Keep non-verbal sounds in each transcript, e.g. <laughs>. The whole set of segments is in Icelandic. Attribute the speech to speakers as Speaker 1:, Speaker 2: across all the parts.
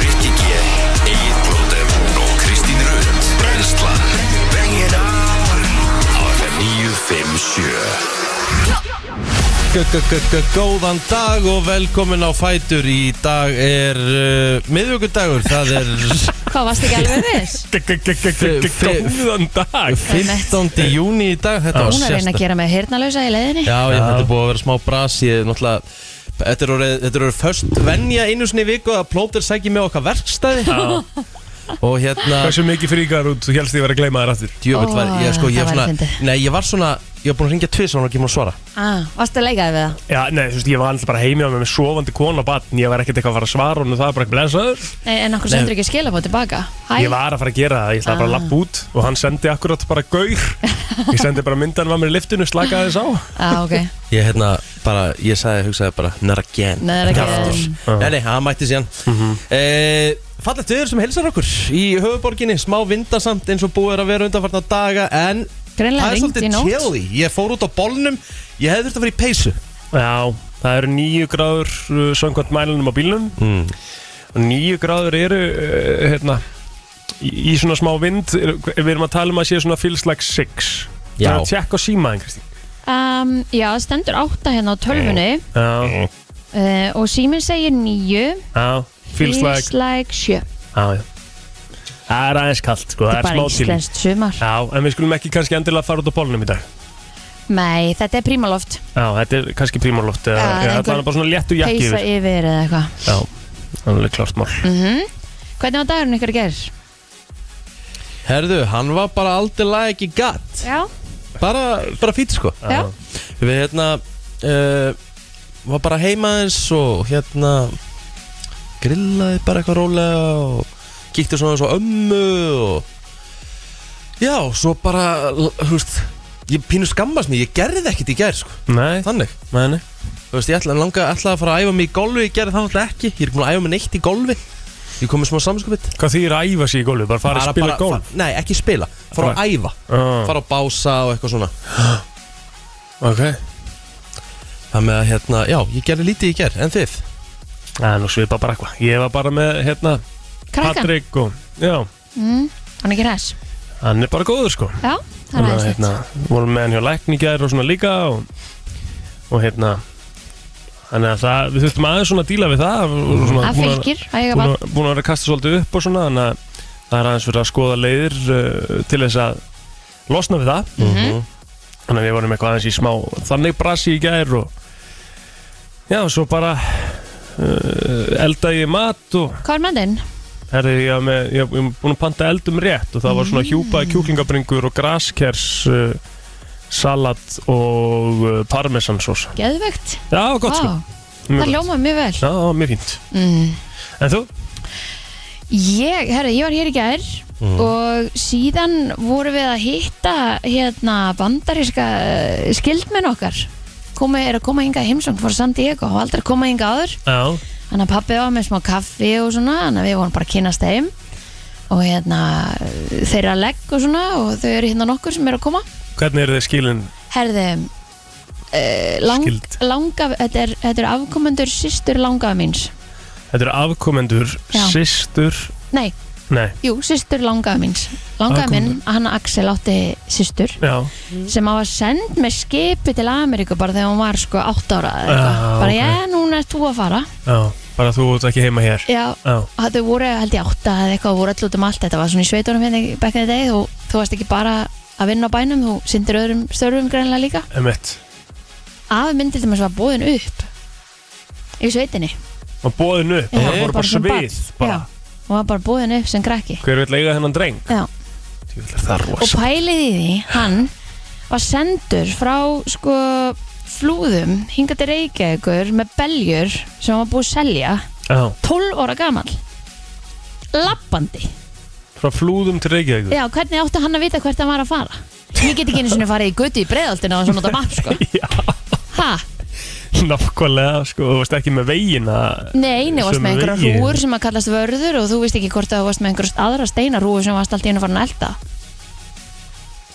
Speaker 1: Rikki G, Egil Blóter og Kristín Rund Brenslan Bring it on Á FM 957
Speaker 2: G- g- g- g- Góðan dag og velkomin á Fætur Í dag er uh, miðvíkudagur Það er
Speaker 3: Hvað varst ekki alveg viss?
Speaker 4: Góðan dag
Speaker 2: 15. júni í dag Þetta var
Speaker 3: Hún er að reyna að
Speaker 2: sérstakt
Speaker 3: gera mig hirnalösa í leiðinni
Speaker 2: Já, ég þetta er búið að vera smá bras Ég er náttúrulega Þetta er orðið, þetta er orðið först venja einu sinni í viku að plóter sækja með okkar verkstæði og hérna
Speaker 4: Hversu mikið fríkar út Þú helst ég verið að gleyma þér aftur
Speaker 2: djöfull var ég sko ég
Speaker 3: Ó,
Speaker 2: var
Speaker 3: það væri
Speaker 2: svona,
Speaker 3: fyndið.
Speaker 2: nei ég var svona ég var búin að ringja tvið svona og ekki múin að svara
Speaker 3: ah, Varst að leikaði við það?
Speaker 4: Já, nei, þú veist, ég var alltaf bara heimjá með með sofandi kona og batn Ég var ekkert eitthvað að fara að svara honum það er bara ekki blensaður
Speaker 3: Nei, en okkur
Speaker 2: Nei.
Speaker 3: sendur ekki skilabóð tilbaka Hæ?
Speaker 4: Ég var að fara að gera það, ég ætlaði bara að
Speaker 3: Ah.
Speaker 4: lappa út Og hann sendi akkurat bara
Speaker 3: <laughs>
Speaker 4: gaur Ég sendi bara myndan var mér í liftinu, slakaði þess á
Speaker 3: ah, ok
Speaker 2: ég hérna bara ég sagði hugsaði bara never again
Speaker 3: Never
Speaker 2: Ekki
Speaker 3: again.
Speaker 2: aftur. nei nei hann mætti síðan mm fallegt viður sem helsar okkur í höfuborginni smá vindasamt eins og búið er að vera undanfarnar daga en
Speaker 3: Greinlega
Speaker 2: það er
Speaker 3: rigndi í
Speaker 2: svolítið
Speaker 3: nótt.
Speaker 2: chilly ég fór út á bolnum ég hefði þurft að vera í peysu
Speaker 4: Já, það eru nýju gráður uh, Söngkvæmt mælunum á bílnum
Speaker 2: Mm.
Speaker 4: Og nýju gráður eru uh, hérna, í, í svona smá vind er, Við erum að tala um að sé svona feels like six Það
Speaker 2: Já.
Speaker 4: er að tjekka á símaðin, Kristín
Speaker 3: um, Já, það stendur átta hérna á tölvunni
Speaker 4: Já,
Speaker 3: uh, Og síminn segir nýju
Speaker 4: já, feels like
Speaker 3: like sjö
Speaker 4: Já, já Það er aðeins kallt, sko, það er
Speaker 3: Bara
Speaker 4: smá til
Speaker 3: íslenskt sumar
Speaker 4: Já, en við skulum ekki kannski endilega fara út á pólunum í dag
Speaker 3: Nei, þetta er prímaloft
Speaker 4: Já, þetta er kannski prímorloft eða,
Speaker 3: Já,
Speaker 4: eða
Speaker 3: einhver
Speaker 4: það er bara svona léttu jakki
Speaker 3: Peisa
Speaker 4: yfir
Speaker 3: yfir eða eitthvað Mhm.
Speaker 4: Já, það er alveg klart mál
Speaker 3: Hvernig var dagurinn ykkur að gera?
Speaker 2: herðu hann var bara aldrei lag ekki gatt
Speaker 3: Já,
Speaker 2: bara bara fít sko
Speaker 3: já.
Speaker 2: við hérna uh, var bara heima eins og hérna grillaði bara eitthvað rólega og kíkti svona eins og ömmu og já, svo bara l- þú veist, ég pínu skammast mér, ég gerði ekkert í gær sko,
Speaker 4: Nei,
Speaker 2: þannig
Speaker 4: nei, nei
Speaker 2: þú veist, ég ætla, langa, ætlaði að fara að æfa mig í golfi ég gerði það alltaf ekki, ég er búin að æfa mig neitt í golfi ég kom með smá samskupið
Speaker 4: Hvað þýr að æfa sig í gólfi, bara fara að spila gólf
Speaker 2: nei, ekki spila, fara að æfa
Speaker 4: Já,
Speaker 2: fara að bása og eitthvað svona
Speaker 4: <gasps> ok
Speaker 2: það með að hérna, já, ég gerði lítið í gær, en þið?
Speaker 4: Það er nú svipa bara eitthvað Ég var bara með, hérna,
Speaker 3: Krakkan,
Speaker 4: Patrik og Já,
Speaker 3: mm, hann er ekki ræs
Speaker 4: hann er bara góður, sko
Speaker 3: Já, það er aðeins
Speaker 4: hérna, vorum með hann hjá lækni gæðir og svona líka og, og hérna þannig að það, við þurftum aðeins svona að díla við það og svona
Speaker 3: Það
Speaker 4: búin að,
Speaker 3: fylgir, að ég
Speaker 4: búin,
Speaker 3: bara
Speaker 4: að, búin að vera að kasta svolítið upp og svona þannig að það er aðeins verið að skoða leiðir uh, til þess að losna við það
Speaker 3: Mhm.
Speaker 4: Mhm. þannig að við vorum eitthvað aðeins í smá þannig brasi í gæðir og já, svo bara uh, eldaði ég mat og
Speaker 3: Hvað er mandinn?
Speaker 4: Herri, ég var með- ég var búin að panta eldum rétt og það var svona hjúpaði kjúklingabringur og graskers uh, salat og uh, parmesansós
Speaker 3: Geðvegt
Speaker 4: Já, gott sko
Speaker 3: Það
Speaker 4: Mjög gott.
Speaker 3: ljómaði mjög vel
Speaker 4: Já, mjög fínt
Speaker 3: mm.
Speaker 4: En þú?
Speaker 3: Ég, herru, ég var hér í gær
Speaker 4: Mm.
Speaker 3: og síðan vorum við að hitta hérna bandaríska eh, skildmenn okkar Komi, er að koma hingað í heimsóng fór San Diego og aldrei koma hingað áður
Speaker 4: Já
Speaker 3: Þannig að pappi var með smá kaffi og svona Þannig að við vorum bara að kynast þeim Og hérna þeirra legg og svona Og þau eru hérna nokkur sem eru að koma
Speaker 4: Hvernig eru þið skilin?
Speaker 3: Herði uh, lang,
Speaker 4: Skyld.
Speaker 3: langa, þetta, er, þetta er afkomendur Systur langaða míns
Speaker 4: Þetta eru afkomendur,
Speaker 3: Já.
Speaker 4: systur
Speaker 3: Nei,
Speaker 4: Nei,
Speaker 3: jú, systur langaða míns Langaða minn, hann Axel átti systur
Speaker 4: já
Speaker 3: Sem hann var send með skipi til Ameríku Bara þegar hún var sko átt ára eða eitthvað.
Speaker 4: Ah,
Speaker 3: Bara
Speaker 4: ok.
Speaker 3: já, núna ert þú að fara
Speaker 4: Já, bara þú ert ekki heima hér
Speaker 3: Já,
Speaker 4: Já,
Speaker 3: að þau voru held ég átta eða eitthvað voru allut um allt, þetta var svona í sveitunum hérna back in the day, þú, þú varst ekki bara að vinna á bænum, þú sindir öðrum störfum greinlega líka,
Speaker 4: emitt
Speaker 3: afi myndi til þess að búðin upp í sveitinni
Speaker 4: Og bóðin upp, það voru bara
Speaker 3: svona barn.
Speaker 4: svið bara.
Speaker 3: Já, hún var bara búðin upp sem krakki
Speaker 4: Hver vil eiga þennan dreng?
Speaker 3: Já.
Speaker 4: Jú, það er
Speaker 3: og
Speaker 4: rosa
Speaker 3: pælið í því, hann var sendur frá sko flúðum, hingað til reykjaðugur með beljur sem hann var búið að selja
Speaker 4: Já,
Speaker 3: 12 óra gamal lappandi
Speaker 4: frá flúðum til Reykjavík
Speaker 3: Já, hvernig átti hann að vita hvert hann var að fara? Ég get ekki einu sinni farið í götu í breiðaldina og svona á mapp, sko.
Speaker 4: <laughs> Já,
Speaker 3: Ha?
Speaker 4: Nákvæmlega, sko, þú varst ekki með vegina
Speaker 3: Nei, nei, þú varst
Speaker 4: Sem
Speaker 3: með einhverja
Speaker 4: veginn.
Speaker 3: rúur sem að kallast vörður og þú veist ekki hvort að þú varst með einhverja aðra steinarúur sem varst allt í einu farin að elda.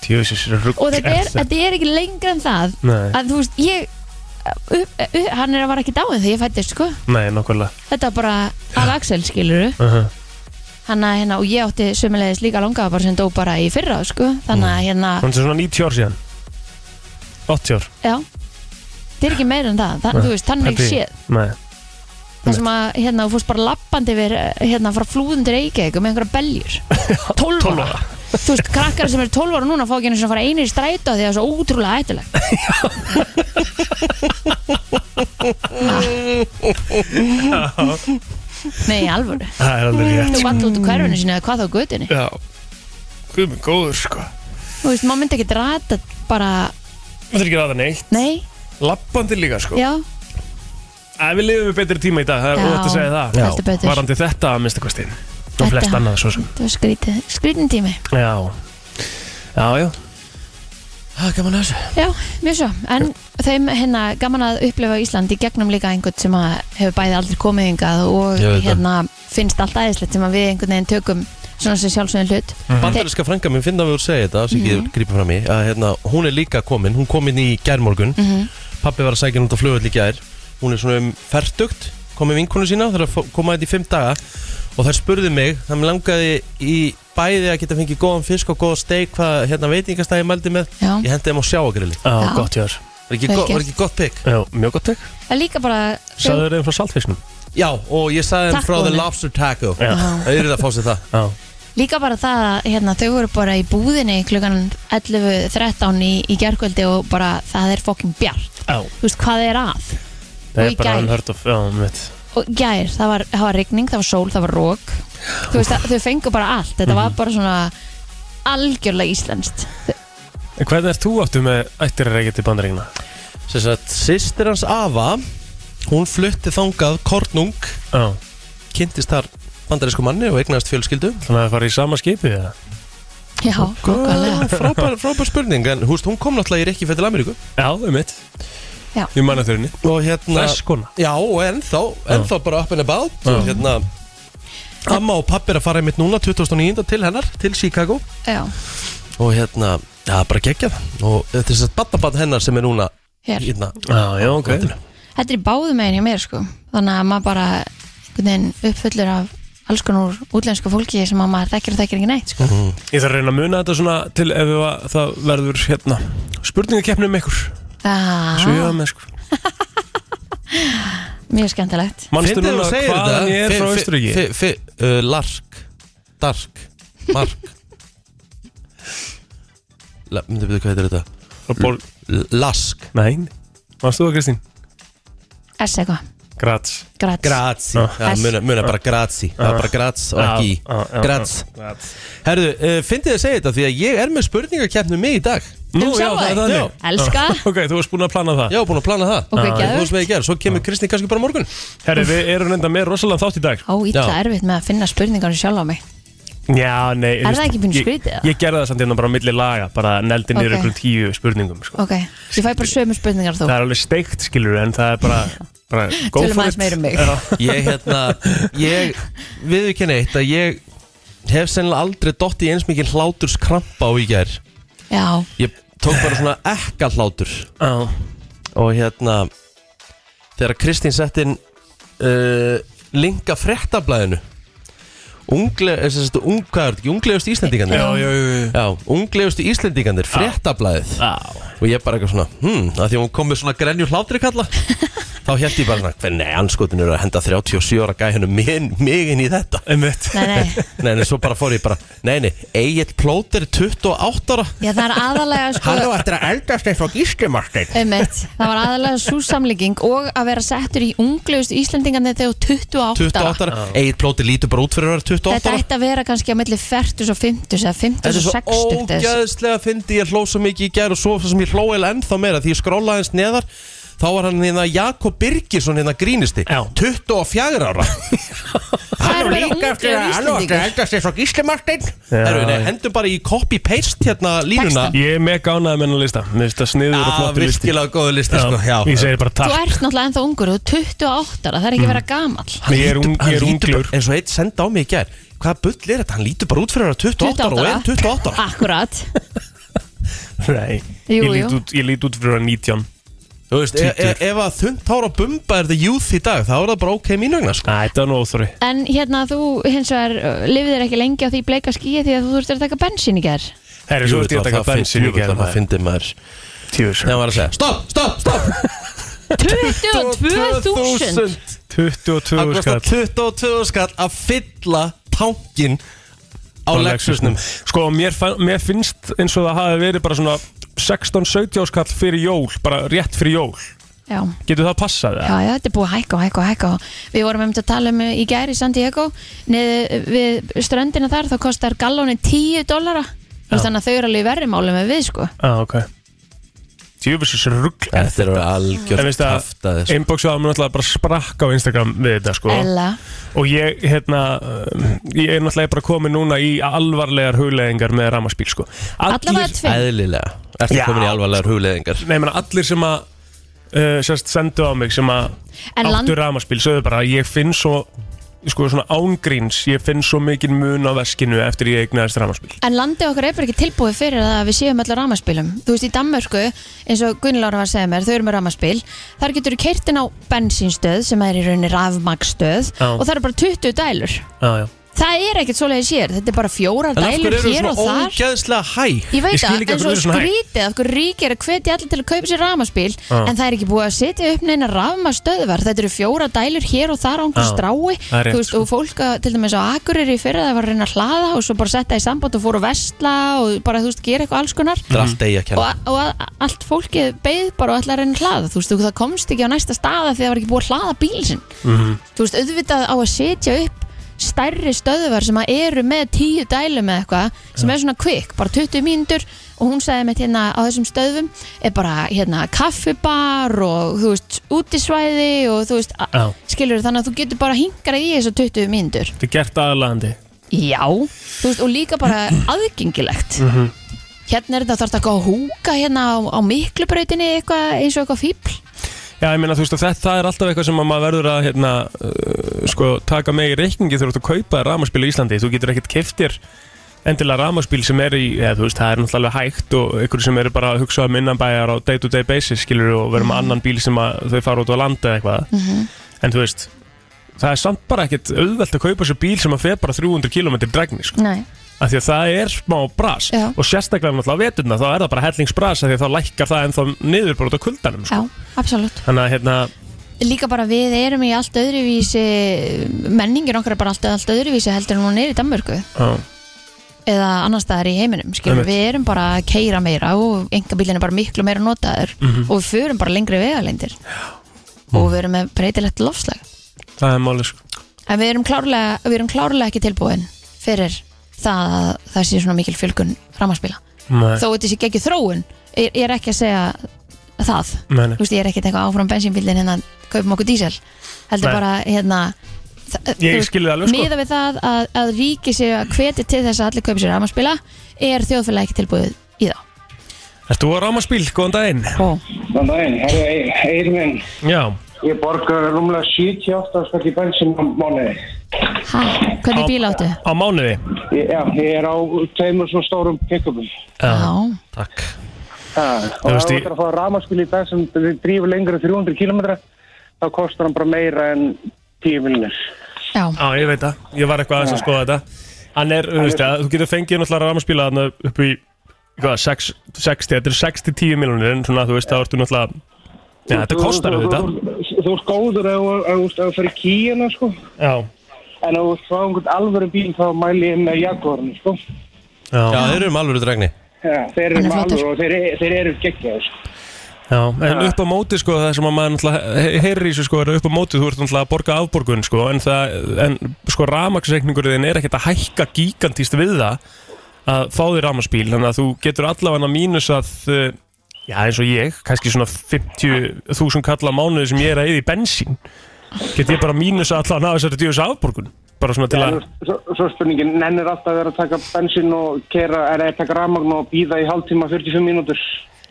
Speaker 4: Jössis, rugg
Speaker 3: og þetta er, þetta er ekki lengra en það
Speaker 4: Nei,
Speaker 3: að þú veist, ég upp, upp, hann er að vara ekki dáin þegar ég fættist sko.
Speaker 4: nei, nokkvæmlega
Speaker 3: þetta var bara af Axel skiluru
Speaker 4: uh
Speaker 3: hann að hérna, og ég átti sömulegis líka langa bara sem dó bara í fyrra sko. þannig að hérna,
Speaker 4: Mm. Hún er svona 90 ár síðan 80 ár
Speaker 3: já þetta er ekki meira en það, það
Speaker 4: Nei,
Speaker 3: þú veist, þannig
Speaker 4: pældi í-
Speaker 3: séð
Speaker 4: Nei,
Speaker 3: það sem að, hérna, þú fórst bara lappandi yfir, hérna, frá flúðundir eigeik með einhverja
Speaker 4: <laughs>
Speaker 3: beljur 12
Speaker 4: 12
Speaker 3: ára þú veist, krakkar sem er 12 ára núna fá ekki einu sinni að fara einir í strætó af því að það er svo ótrúlega ættilegt
Speaker 4: <laughs>
Speaker 2: <laughs>
Speaker 4: Ah.
Speaker 3: nei, í alvöru
Speaker 4: það er alveg rétt sko.
Speaker 3: þú vall út úr hverfinu sinni eða hvað þá götunni
Speaker 4: Já, guð minn góður sko
Speaker 3: þú veist, maður myndi ekki rata bara
Speaker 4: Það er ekki aðan neitt
Speaker 3: nei,
Speaker 4: Lappandi líka sko
Speaker 3: já,
Speaker 4: Æ, Við lifum við betri tíma í dag, það er
Speaker 3: Já.
Speaker 4: ótt að segja það
Speaker 3: Heldur betur.
Speaker 4: Varandi þetta að minnsta kosti
Speaker 3: Þetta.
Speaker 4: Og flest annað svo sem
Speaker 3: það var skrítið skrítin tími,
Speaker 4: Já, já, já
Speaker 2: Það er gaman að þessu
Speaker 3: já, mjög svo en þeim, hérna, gaman að upplifa Ísland í gegnum líka einhvern sem að hefur bæði aldrei komið yngað og
Speaker 2: Ég veit það.
Speaker 3: hérna finnst allt aðeinslegt sem að við einhvern veginn tökum svona sem sjálfsögum hlut
Speaker 2: Mhm. Bandarinska frænka minn finna við úr segja þetta Sikið
Speaker 3: Mhm.
Speaker 2: mm -hmm. grípa fram í að, hérna, Hún er líka komin, hún kom inn í gærmorgun mm
Speaker 3: Mhm.
Speaker 2: Pappi var að sækja hún út á flugvöld í gær Hún er svona um ferdugt Kom með vinkonu sína, það er að fó- koma þetta í fimm daga Og þær spurðu mig, það mér langaði í bæði að geta fengið góðan fisk og góða steik Hvað hérna, veitingastæði mældi með
Speaker 3: Já.
Speaker 2: Ég hendi þeim á sjáagrilli
Speaker 4: Já,
Speaker 3: Já.
Speaker 4: gott hjör
Speaker 2: Var ekki,
Speaker 3: Vel
Speaker 2: gott, var
Speaker 3: gert.
Speaker 2: ekki gott pick?
Speaker 4: Já, mjög gott tek
Speaker 3: en líka bara
Speaker 4: Sæður þeim frá saltfisknum
Speaker 2: Já, og ég sagði þeim frá The
Speaker 3: Tacoinu.
Speaker 2: Lobster Taco
Speaker 4: Já.
Speaker 2: Það eru það að fá sér það
Speaker 4: Já,
Speaker 3: Líka bara það að hérna, þau voru bara í búðinni klukkan 11.13 í, í gerkvöldi og bara það er fokkin bjart.
Speaker 4: já
Speaker 3: Þú veist hvað er að?
Speaker 4: Það
Speaker 3: Og
Speaker 4: er
Speaker 3: í
Speaker 4: bara
Speaker 3: gær.
Speaker 4: unheard of, já, mitt
Speaker 3: Og gær, það var, það var rigning, það var sól, það var rók. Þú veist að þau fengu bara allt.
Speaker 2: Mhm.
Speaker 3: Þetta var bara svona algjörlega íslenskt.
Speaker 4: Hvernig ert þú áttu með ættir að reyja til bandaríkina?
Speaker 2: Sem sagt, sýstir hans Ava Hún flutti þangað Kornung
Speaker 4: Já,
Speaker 2: Kynntist þar bandarísku manni og eignast fjölskyldu
Speaker 4: þannig að það fara í sama skipið eða?
Speaker 3: Já, okkarlega.
Speaker 4: <laughs>
Speaker 2: Frábær, frábær spurning En húst, hún kom náttúrulega í Reykjavík til Ameríku
Speaker 4: Já, um mitt
Speaker 3: Já.
Speaker 4: Ég manna þau henni
Speaker 2: Og hérna
Speaker 4: Þess kona
Speaker 2: Já, og ennþá, ennþá bara up and about Og
Speaker 4: Já.
Speaker 2: hérna Amma og pappi er að fara einmitt núna 2009 til hennar, til Chicago
Speaker 3: Já,
Speaker 2: Og hérna, það er bara geggjað Og þetta er þess að badnabann hennar sem er núna
Speaker 3: hér.
Speaker 2: hérna,
Speaker 4: Ah, Já, já, ok
Speaker 2: landinu.
Speaker 3: Þetta er í báðum meginn hjá mér sko. Þannig að maður bara einhvern veginn uppfullur af alls konar útlensku fólki sem að maður þekkir og þekkir ekki neitt sko.
Speaker 4: Ég þarf að reyna að muna þetta svona til ef við var, það verður hérna spurningakeppni um ykkur Svo ég
Speaker 3: Ah,
Speaker 4: var með sko
Speaker 3: <laughs> mjög skemmtilegt.
Speaker 4: Manstu
Speaker 2: Fyndið
Speaker 4: núna
Speaker 2: þú segir þetta
Speaker 4: hvaðan ég er
Speaker 2: Fi-
Speaker 4: frá
Speaker 2: fi-
Speaker 4: Östuríki?
Speaker 2: fi- fi- uh, Lark Dark Mark <laughs> La- Myndi byrja hvað heitir þetta
Speaker 4: Ból...
Speaker 2: L- Lask
Speaker 4: Nein Manstu þú það Kristín?
Speaker 3: S eitthvað.
Speaker 4: Grats
Speaker 3: Grats.
Speaker 2: Grazi
Speaker 4: Ah.
Speaker 2: Já, muna, muna bara grazi Það er bara grats og ekki í.
Speaker 4: Já, já, já,
Speaker 2: Grats
Speaker 4: Grats
Speaker 2: Herðu, uh, fyndið þið að segja þetta því að ég er með spurningakeppnum mig í dag
Speaker 3: Um sjálfa þig?
Speaker 4: þannig. Ah,
Speaker 2: Já.
Speaker 3: Elska.
Speaker 4: Ok, þú varst búin að plana það
Speaker 2: Ég var búin að plana það
Speaker 3: Ok,
Speaker 2: Ég
Speaker 3: geðveikt.
Speaker 2: fórst með í gerð, svo kemur Kristi kannski bara á morgun
Speaker 4: Ah. Herri, við erum reynda með rosalega þátt í dag
Speaker 3: Ó, illa
Speaker 2: Já.
Speaker 3: erfitt með að finna spurningar sjálf á mig
Speaker 4: Já, nei
Speaker 3: Er
Speaker 4: veist,
Speaker 3: það ekki pínu
Speaker 4: ég-
Speaker 3: skrítið, eða?
Speaker 4: Ég gerði það samt hérna bara á milli laga Bara neldi niður
Speaker 3: Ok.
Speaker 4: okay. ykkur tíu spurningum sko.
Speaker 3: Ok, ég fæ bara sömu spurningar þú
Speaker 4: Það er alveg steikt skilur En það er bara, bara go
Speaker 3: Tölum
Speaker 4: for
Speaker 3: aðeins
Speaker 4: it.
Speaker 3: meira um mig.
Speaker 4: Já.
Speaker 2: Ég, hérna, ég viðurkenni eitt að ég hef sennilega aldrei dott í eins mikið hláturskrampa á í gerð
Speaker 3: Já,
Speaker 2: Ég tók bara svona ekka hlátur
Speaker 4: Já.
Speaker 2: Og hérna Þegar Kristín sett inn uh, Linka fréttablaðinu Ungle, eh, sem sagt, ung, hvað er þetta ekki, unglegust Íslendingandir
Speaker 4: Já, já, já, já.
Speaker 2: Já, unglegustu Íslendingandir, fréttablaðið Og ég bara eitthvað svona, hmm, að því að hún kom með svona grenju hlátri kalla
Speaker 3: <laughs>
Speaker 2: Þá held ég bara svona, hvernig anskotin eru að henda 37 ára gæðinu mig inn í þetta
Speaker 4: Einmitt.
Speaker 3: nei, nei,
Speaker 2: <laughs> Nei, nei, svo bara fór ég bara, nei, nei, Egil Plóter 28 ára
Speaker 3: já það er aðalega sko,
Speaker 2: Hann á eftir að eldast eins og gíslimartin
Speaker 3: einmitt, <laughs> Það var aðalega svo samlíking og að vera settur í unglegust Íslendingarnir þegar þú 28 ára
Speaker 2: 28 ára Egil Plóti lítur bara út fyrir að vera 28
Speaker 3: Þetta
Speaker 2: ára
Speaker 3: ætti að vera kannski á milli 40 og 50 eða 50
Speaker 2: Þetta er
Speaker 3: og
Speaker 2: svo
Speaker 3: 60 þess.
Speaker 2: ógæðslega fyndi Ég hló svo mikið í gær og svo sem ég hló eða ennþá meira Því ég skrólaði hans neðar Þá var hann hérna Jakob Birgisson hérna grínisti
Speaker 4: Já.
Speaker 2: 24 ára
Speaker 3: Það er að vera unglegur Íslendingur
Speaker 2: eldast eins og Gísli Martin
Speaker 4: Já.
Speaker 2: Herru, nei, Hendum bara í copy-paste hérna línuna
Speaker 3: Textan.
Speaker 4: Ég er með gánaði með hennar lista Mér finnst það sniður og
Speaker 2: Já,
Speaker 4: flottur listi
Speaker 2: virkilega góðu listi sko, já.
Speaker 4: Ég segir bara
Speaker 3: Þú
Speaker 4: takk
Speaker 3: ert náttúrulega ennþá ungur, þú er 28 ára, það er ekki að vera gamall
Speaker 2: Hann
Speaker 4: Ég er
Speaker 2: lítur-
Speaker 4: ung-
Speaker 2: hann
Speaker 4: ég er
Speaker 2: lítur bara-
Speaker 4: unglegur.
Speaker 2: Eins og eitt senda á mig í gær Hvaða bull er þetta? Hann lítur bara út fyrir að vera 28 ára og er 28 ára
Speaker 3: Akkurat
Speaker 4: Nei,
Speaker 3: Jú,
Speaker 4: ég, lít
Speaker 3: jú.
Speaker 4: út, ég lít út fyrir að 19
Speaker 2: Þú veist, e e ef að þunnt hár á bumba er það youth í dag, þá er það bara ok mín vegna, sko.
Speaker 4: Æ, þetta var nú óþóri
Speaker 3: En hérna þú hins vegar lifið þér ekki lengi á því bleika skíi því að þú þurftir að taka bensín í gerð
Speaker 4: Það er svo ert ég að taka bensin í gerð
Speaker 2: Það finnir maður. Nei, hann
Speaker 4: maður.
Speaker 2: var að segja, stopp, stopp, stopp.
Speaker 3: 22.000
Speaker 2: Það
Speaker 4: 22
Speaker 2: kostar
Speaker 4: skall
Speaker 2: 22 skall að fylla tankin á Lexusnum.
Speaker 4: Sko, mér, fa- mér finnst eins og það hafi verið bara svona 16-17 skall fyrir jól Bara rétt fyrir jól
Speaker 3: Já,
Speaker 4: Getur það passað
Speaker 3: já,
Speaker 4: það?
Speaker 3: já, þetta er búið að hækka og hækka og hækka Við vorum um að tala um í gerð í San Diego Niður uh, við ströndina þar þá kostar gallónin 10 dollara Þú veist, Þannig að þau eru alveg í verri málum en við sko
Speaker 4: Já, ah, ok Tjöfisins rugg
Speaker 2: Þetta er alveg
Speaker 4: En
Speaker 2: algjört
Speaker 4: veistu að-
Speaker 2: kaftaði, sko.
Speaker 4: Inboxið á mér náttúrulega bara sprakk á Instagram við þetta sko
Speaker 3: Ella,
Speaker 4: Og ég, hérna, um, ég er náttúrulega bara komið núna í alvarlegar hugleðingar með ramaspíl sko
Speaker 3: allavega tvinn
Speaker 2: Æðlilega. Ertu
Speaker 4: Já.
Speaker 2: komin í alvarlegar hugleðingar?
Speaker 4: Nei, menn, allir sem að uh, sérst, sendu á mig sem að
Speaker 3: En land-
Speaker 4: áttu ramaspíl sögðu bara að ég finn svo sko svona ángríns, ég finn svo mikinn mun á veskinu eftir ég eignaðist ramaspíl
Speaker 3: En landið okkar er bara ekki tilbúið fyrir það að við séum allar ramaspilum. Þú veist, í Danmörku, eins og Gunnlára var að segja mér, þau eru með ramaspil, þar getur þú keirtin á bensínstöð sem er í rauninni rafmagstöð
Speaker 4: Já.
Speaker 3: og það eru bara 20 dælur.
Speaker 4: ah,
Speaker 3: Það er ekkert svoleiðis hér, þetta er bara fjórar
Speaker 2: En af hverju
Speaker 3: dælur
Speaker 2: eru
Speaker 3: hér
Speaker 2: svona
Speaker 3: og þar.
Speaker 2: ógeðslega hæg?
Speaker 3: Ég veit
Speaker 4: Ég skil
Speaker 3: það,
Speaker 4: ekki
Speaker 3: en
Speaker 4: af hverju
Speaker 3: svo
Speaker 4: þau eru svona hæg.
Speaker 3: skrítið af hverju ríkir að hvetja allir til að kaupa sér rafmaspil
Speaker 4: Já.
Speaker 3: en það er ekki búið að setja upp neina rafmastöðvar þetta eru fjóra dælur hér og þar á einhverju
Speaker 4: Já.
Speaker 3: strái
Speaker 4: Það er rétt,
Speaker 3: þú veist,
Speaker 4: sko.
Speaker 3: og fólk að, til dæmis á Akureyri í fyrra það var að reyna að hlaða og svo bara setja í samband og fór að vesla og bara þú veist, gera eitthvað alls konar
Speaker 2: Það er allt eigi að
Speaker 3: og,
Speaker 2: kenna.
Speaker 3: og að- allt fólkið beið bara og ætlaði að reyna að hlaða þú veist, þú- það komst ekki á næsta staða því það var ekki búið að hlaða bíl sinn þú veist, auðvitað á að setja upp stærri stöðvar sem að eru með tíu dælum eða eitthvað sem er svona quick, bara 20 mínútur og hún sagði mitt hérna á þessum stöðvum er bara hérna kaffibar og þú veist, útisvæði og þú veist,
Speaker 4: Já.
Speaker 3: oh. skilur þannig að þú getur bara hingrað í þessu 20 mínútur
Speaker 4: Þetta er gert aðalagandi
Speaker 3: Já, þú veist, og líka bara aðgengilegt
Speaker 4: Mhm.
Speaker 3: Hérna er þetta þarf þetta eitthvað að húka hérna á, á miklubrautinni eitthvað eins og eitthvað fíbl
Speaker 4: Já, ég meina, þú veist, að þetta er alltaf eitthvað sem að maður verður að, hérna, uh, sko, taka með í reikningi þegar þú ert að kaupa ramaspíl í Íslandi. Þú getur ekkert keftir endilega ramaspíl sem er í, eða, þú veist, það er náttúrulega alveg hægt og ykkur sem eru bara að hugsa um innanbæjar á day-to-day basis, skilur, og vera
Speaker 3: Mhm.
Speaker 4: með annan bíl sem að þau fara út á landa eða eitthvað. En þú veist, það er samt bara ekkert auðvelt að kaupa sér bíl sem að fer bara 300 km dregni, sko.
Speaker 3: Nei
Speaker 4: Af því að það er smá bras.
Speaker 3: Mhm. Já.
Speaker 4: Og sérstaklega náttúrulega á veturna, þá er það bara hellingsbras af því að þá lækkar það ennþá niður bara út á kuldanum, sko.
Speaker 3: Já, absolutt
Speaker 4: Þannig að, hérna,
Speaker 3: Líka bara við erum í allt öðruvísi menningin okkar er bara allt, allt öðruvísi heldur en hún er í Danmörku
Speaker 4: já.
Speaker 3: eða annar staðar í heiminum skilur,
Speaker 4: Einmitt.
Speaker 3: við erum bara að keira meira og engabílinn er bara miklu meira notaður og við förum bara lengri vegalendir og við erum með breytilegt lofslag
Speaker 4: Það er málið sko
Speaker 3: En við erum klárlega, við erum klárlega ekki tilbúin fyrir það að það sé svona mikil fjölgun ramaspila.
Speaker 4: Nei,
Speaker 3: Þó þetta sé ekki þróun, ég, ég er ekki að segja það.
Speaker 4: Nei, nei.
Speaker 3: Þú veist, ég er ekki að teka áfram bensínbílinn hérna kaupum okkur dísel. Heldur
Speaker 4: Nei.
Speaker 3: bara, hérna, þa-
Speaker 4: Ég
Speaker 3: þú-
Speaker 4: skil það alveg, sko.
Speaker 3: Miðað við það að, að ríki sé að hveti til þess að allir kaupi sér ramaspila, er þjóðfélag ekki tilbúið í þá.
Speaker 4: Ert þú að ráma spíl, góðan daginn
Speaker 3: Ó,
Speaker 5: Góðan daginn, herru Eirminn,
Speaker 4: Já,
Speaker 5: ég borga rúmlega 78 skall í bensin á mánuði.
Speaker 3: hæ, hvernig bíl áttu?
Speaker 4: á mánuði
Speaker 5: Ég, já, ég er á tveimur svona stórum pick-upum.
Speaker 3: Já,
Speaker 2: Takk.
Speaker 5: Ha,
Speaker 4: Þú
Speaker 5: Og ef
Speaker 4: veist,
Speaker 5: þú
Speaker 4: ég-
Speaker 5: ætlar að fá ramaskil í dag sem drífur lengra en 300 km, þá kostar hann bara meira en 10 miljonir.
Speaker 3: já,
Speaker 4: Já, ég veit það, ég var eitthvað aðeins að skoða þetta Hann er, þú veist það, þú getur fengið náttúrulega ráma spíla þarna upp í hvað, 6, 60, þetta er 6-10 miljonir en svona, þú veist, þá ertu náttúrulega Já, þetta kostar
Speaker 5: Þú- þú-
Speaker 4: auðvitað
Speaker 5: Þú þú ert góður ef þú- ef þú fyrir kíina, sko.
Speaker 4: Já,
Speaker 5: En ef þú ert frá einhvern alvöru bíl, þá mæli ég með Jaguarinn, sko.
Speaker 2: Já,
Speaker 4: já,
Speaker 2: þeir eru um alvöru dregni.
Speaker 5: Já, þeir eru
Speaker 3: Hann er
Speaker 5: með
Speaker 3: flottur.
Speaker 5: alvöru og þeir, þeir eru geggjaðir, sko.
Speaker 4: já En upp á móti, sko, það sem að maður náttúrulega he- heyrir í þessu, sko, er að upp á móti, þú ert náttúrulega að borga afborgun, sko, en það en, sko, ramaksreikningurinn er ekkert að hækka gigantíst við það að fá þér rafmagnspíl þannig að þú getur allavega mínus að uh, já eins og ég, kannski svona 50.000 kalla á mánuði sem ég er að eyða í bensín get ég bara mínus að allavega ná þessari djöfis afborgun bara svona til
Speaker 5: Já,
Speaker 4: að
Speaker 5: þú- Svo, svo spurningin, nennir alltaf að vera að taka bensín og kera, er að taka rafmagn og býða í hálftíma 45 mínútur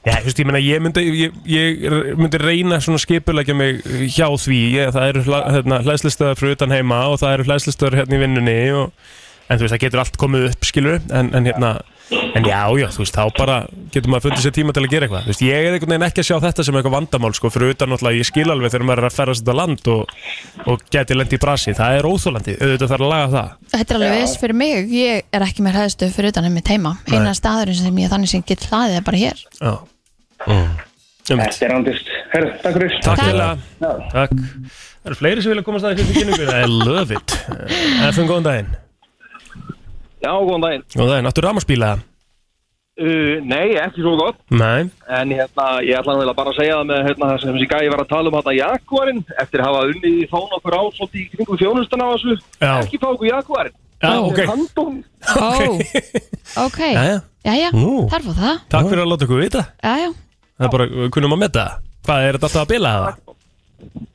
Speaker 4: já, þú veist, ég meina, ég myndi, ég, ég myndi reyna svona skipulegja mig hjá því ég, það eru hla- hérna, hlæðslistöðar frá utan heima og það eru hlæðslistöðar hérna í vinnunni og, en þú veist, það getur allt komið upp skilur en, en hérna, En já, já, þú veist, þá bara getur maður fundið sér tíma til að gera eitthvað Þú veist, ég er einhvern veginn ekki að sjá þetta sem eitthvað vandamál sko, fyrir utan náttúrulega, ég skil alveg þegar maður er að ferðast þetta land og, og geti lendi í brasi það er óþólandi, auðvitað þarf að laga það
Speaker 3: Þetta er alveg viss fyrir mig, ég er ekki með hræðstöð fyrir utan einmitt heima eina staðurinn sem ég þannig sem get hlaðið er bara hér
Speaker 4: <laughs> Já mm.
Speaker 5: Þetta er andist. Herru, takk fyrir.
Speaker 4: Takk
Speaker 3: Takk.
Speaker 4: fyrir Takk Það eru fleiri sem vilja komast að þessu kynningu I love it Efum, góðan daginn
Speaker 6: Já, góðan daginn.
Speaker 4: Góðan daginn, áttu rámasbíla?
Speaker 6: Uh, nei, ekki svo gott,
Speaker 4: Nei
Speaker 6: en hérna, ég ætla að bara að segja það með hérna, það sem þessi gæði var að tala um hérna Jaguarinn, eftir að hafa unnið í þón okkur á svolítið í kringum þjónustana á þessu,
Speaker 4: Já.
Speaker 6: ekki fá okkur Jaguarinn.
Speaker 4: Já, ok
Speaker 6: Handum,
Speaker 3: Ó, ok
Speaker 4: Jæja.
Speaker 3: Jæja,
Speaker 4: Nú.
Speaker 3: þar fór það
Speaker 4: Takk fyrir að láta okkur vita
Speaker 3: Jæja,
Speaker 4: Það er bara, við kunnum að metta það. Hvað, er þetta alltaf að bila það?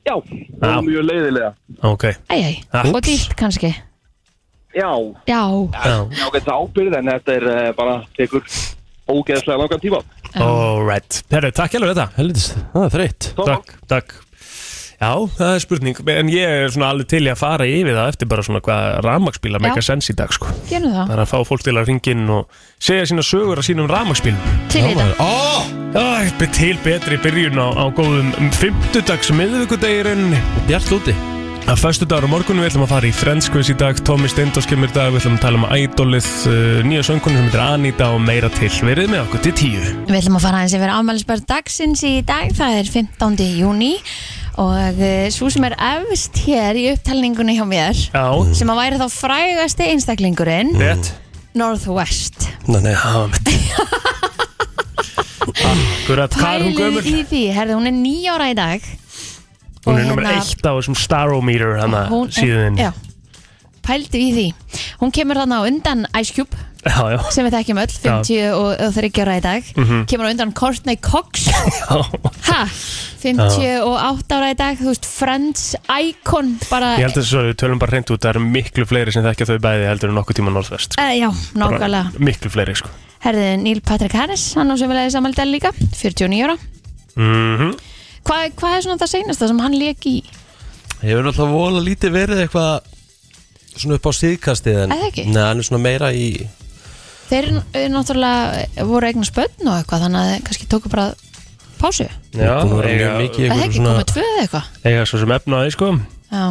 Speaker 6: já,
Speaker 4: Já.
Speaker 6: og mjög leiðilega.
Speaker 4: Ok,
Speaker 3: æjæj,
Speaker 4: Ha.
Speaker 3: og dýrt kannski
Speaker 6: Já,
Speaker 3: Já,
Speaker 4: já,
Speaker 6: já, þetta ábyrð, en þetta er uh, bara tekur ógeðslega langan tíma.
Speaker 4: alright Herru, takk hjálfur þetta
Speaker 2: Helvitis, það er þreytt
Speaker 4: Takk, takk Já, það er spurning, en ég er svona alveg til í að fara yfir það eftir bara svona hvað rafmaksbíla meika sens í dag sko
Speaker 3: gerum það
Speaker 4: bara að fá fólk til að ringin og segja sína sögur að sínum rafmaksbílum
Speaker 3: Til í þetta,
Speaker 2: Ó,
Speaker 4: Það er til betri byrjun á, á góðum fimmtudags miðvíkudegirinn
Speaker 2: bjart úti
Speaker 4: Að föstu dagur á morgunum við ætlum að fara í Friends quiz í dag Tommy Steindós kemur í dag, við ætlum að tala um ædolið uh, nýja söngunum sem heitir Anita og meira til Verið með okkur til tíu
Speaker 3: við ætlum að fara aðeins yfir afmælisbörn dagsins í dag Það er 15. júni og uh, svo sem er efst hér í upptalningunni hjá mér
Speaker 4: Já,
Speaker 3: sem að væri þá frægasti einstaklingurinn
Speaker 4: rétt
Speaker 3: Northwest
Speaker 2: Mm. Nei, nei,
Speaker 4: Já, mitt <laughs> Akkurat, hvað er hún gömur?
Speaker 3: í því, herði hún er nýja ára í dag
Speaker 4: Hún
Speaker 3: Og
Speaker 4: er nummer
Speaker 3: hérna-
Speaker 4: eitt á þessum Starometer hana
Speaker 3: Hún-
Speaker 4: síðan
Speaker 3: já, pældu í því hún kemur þarna á undan Ice Cube
Speaker 4: já, já, Mhm.
Speaker 3: sem við þekkjum öll, 50 og, og 30 ára í dag kemur á undan Courtney
Speaker 4: <laughs>
Speaker 3: Cox ha, 58 ára í dag þú veist, Friends Icon bara,
Speaker 4: Ég held að þess að við tölum bara hreint út Það eru miklu fleiri sem þekkja þau bæði heldur en nokkuð tíma Norðvest sko.
Speaker 3: Eh, já, nákvæmlega
Speaker 4: Miklu fleiri, sko
Speaker 3: herði Neil Patrick Harris, hann á sem við leiði samaldag líka 49 ára
Speaker 4: mm
Speaker 3: Hva, hvað er svona það seinasta sem hann leik í?
Speaker 2: Hefur náttúrulega vola lítið verið eitthvað Svona upp á síðkastið en
Speaker 3: Æ, það ekki.
Speaker 2: Nei, hann er svona meira í
Speaker 3: Þeir eh, náttúrulega voru eignar spönn og eitthvað þannig að þeir kannski tóku bara pásu.
Speaker 4: Já,
Speaker 2: búin að vera
Speaker 4: eiga-
Speaker 2: mjög mikið í
Speaker 3: Það er
Speaker 2: einhverjum
Speaker 3: ekki
Speaker 2: svona
Speaker 3: komið tvö eða eitthvað.
Speaker 4: Eiga svo sem efnaði, sko
Speaker 3: Já,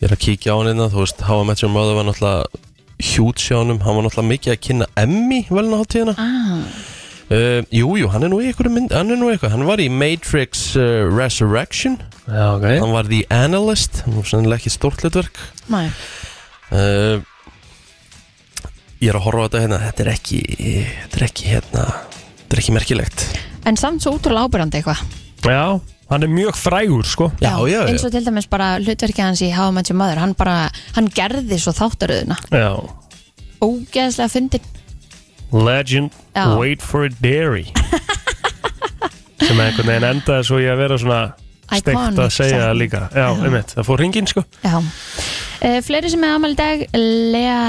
Speaker 2: Ég er að kíkja á hann innan, þú veist, How I Met Your Mother var náttúrulega hjút sjánum, hann var náttúrulega mikið að kynna Emmy velna hátíðina
Speaker 3: ah,
Speaker 2: uh, Jú, jú, hann er nú í einhverju mynd, hann er nú eitthvað Hann var í Matrix uh, Resurrection
Speaker 4: Já, ok
Speaker 2: Hann var The Analyst, hann var sennilega ekki stórt hlutverk
Speaker 3: næ.
Speaker 2: uh, Ég er að horfa á þetta hérna, þetta er ekki, þetta er ekki hérna Þetta er ekki merkilegt
Speaker 3: En samt svo útrúlega ábyrjandi eitthvað.
Speaker 4: Já, hann er mjög frægur, sko
Speaker 2: Já, já,
Speaker 3: Eins og til dæmis bara hlutverkið hans í How I Met Your Mother, hann bara, hann gerði svo þáttaröðuna.
Speaker 4: Já
Speaker 3: Ógeðslega fyndin.
Speaker 4: Legend,
Speaker 3: Já.
Speaker 4: wait for a dairy
Speaker 3: <laughs>
Speaker 4: sem einhvern veginn endaði svo ég að vera svona steikt
Speaker 3: Iconic
Speaker 4: að segja það
Speaker 3: setning.
Speaker 4: líka Já,
Speaker 3: Já.
Speaker 4: einmitt, það fór hringinn, sko
Speaker 3: Já. Uh, fleiri sem er amal í dag, Lea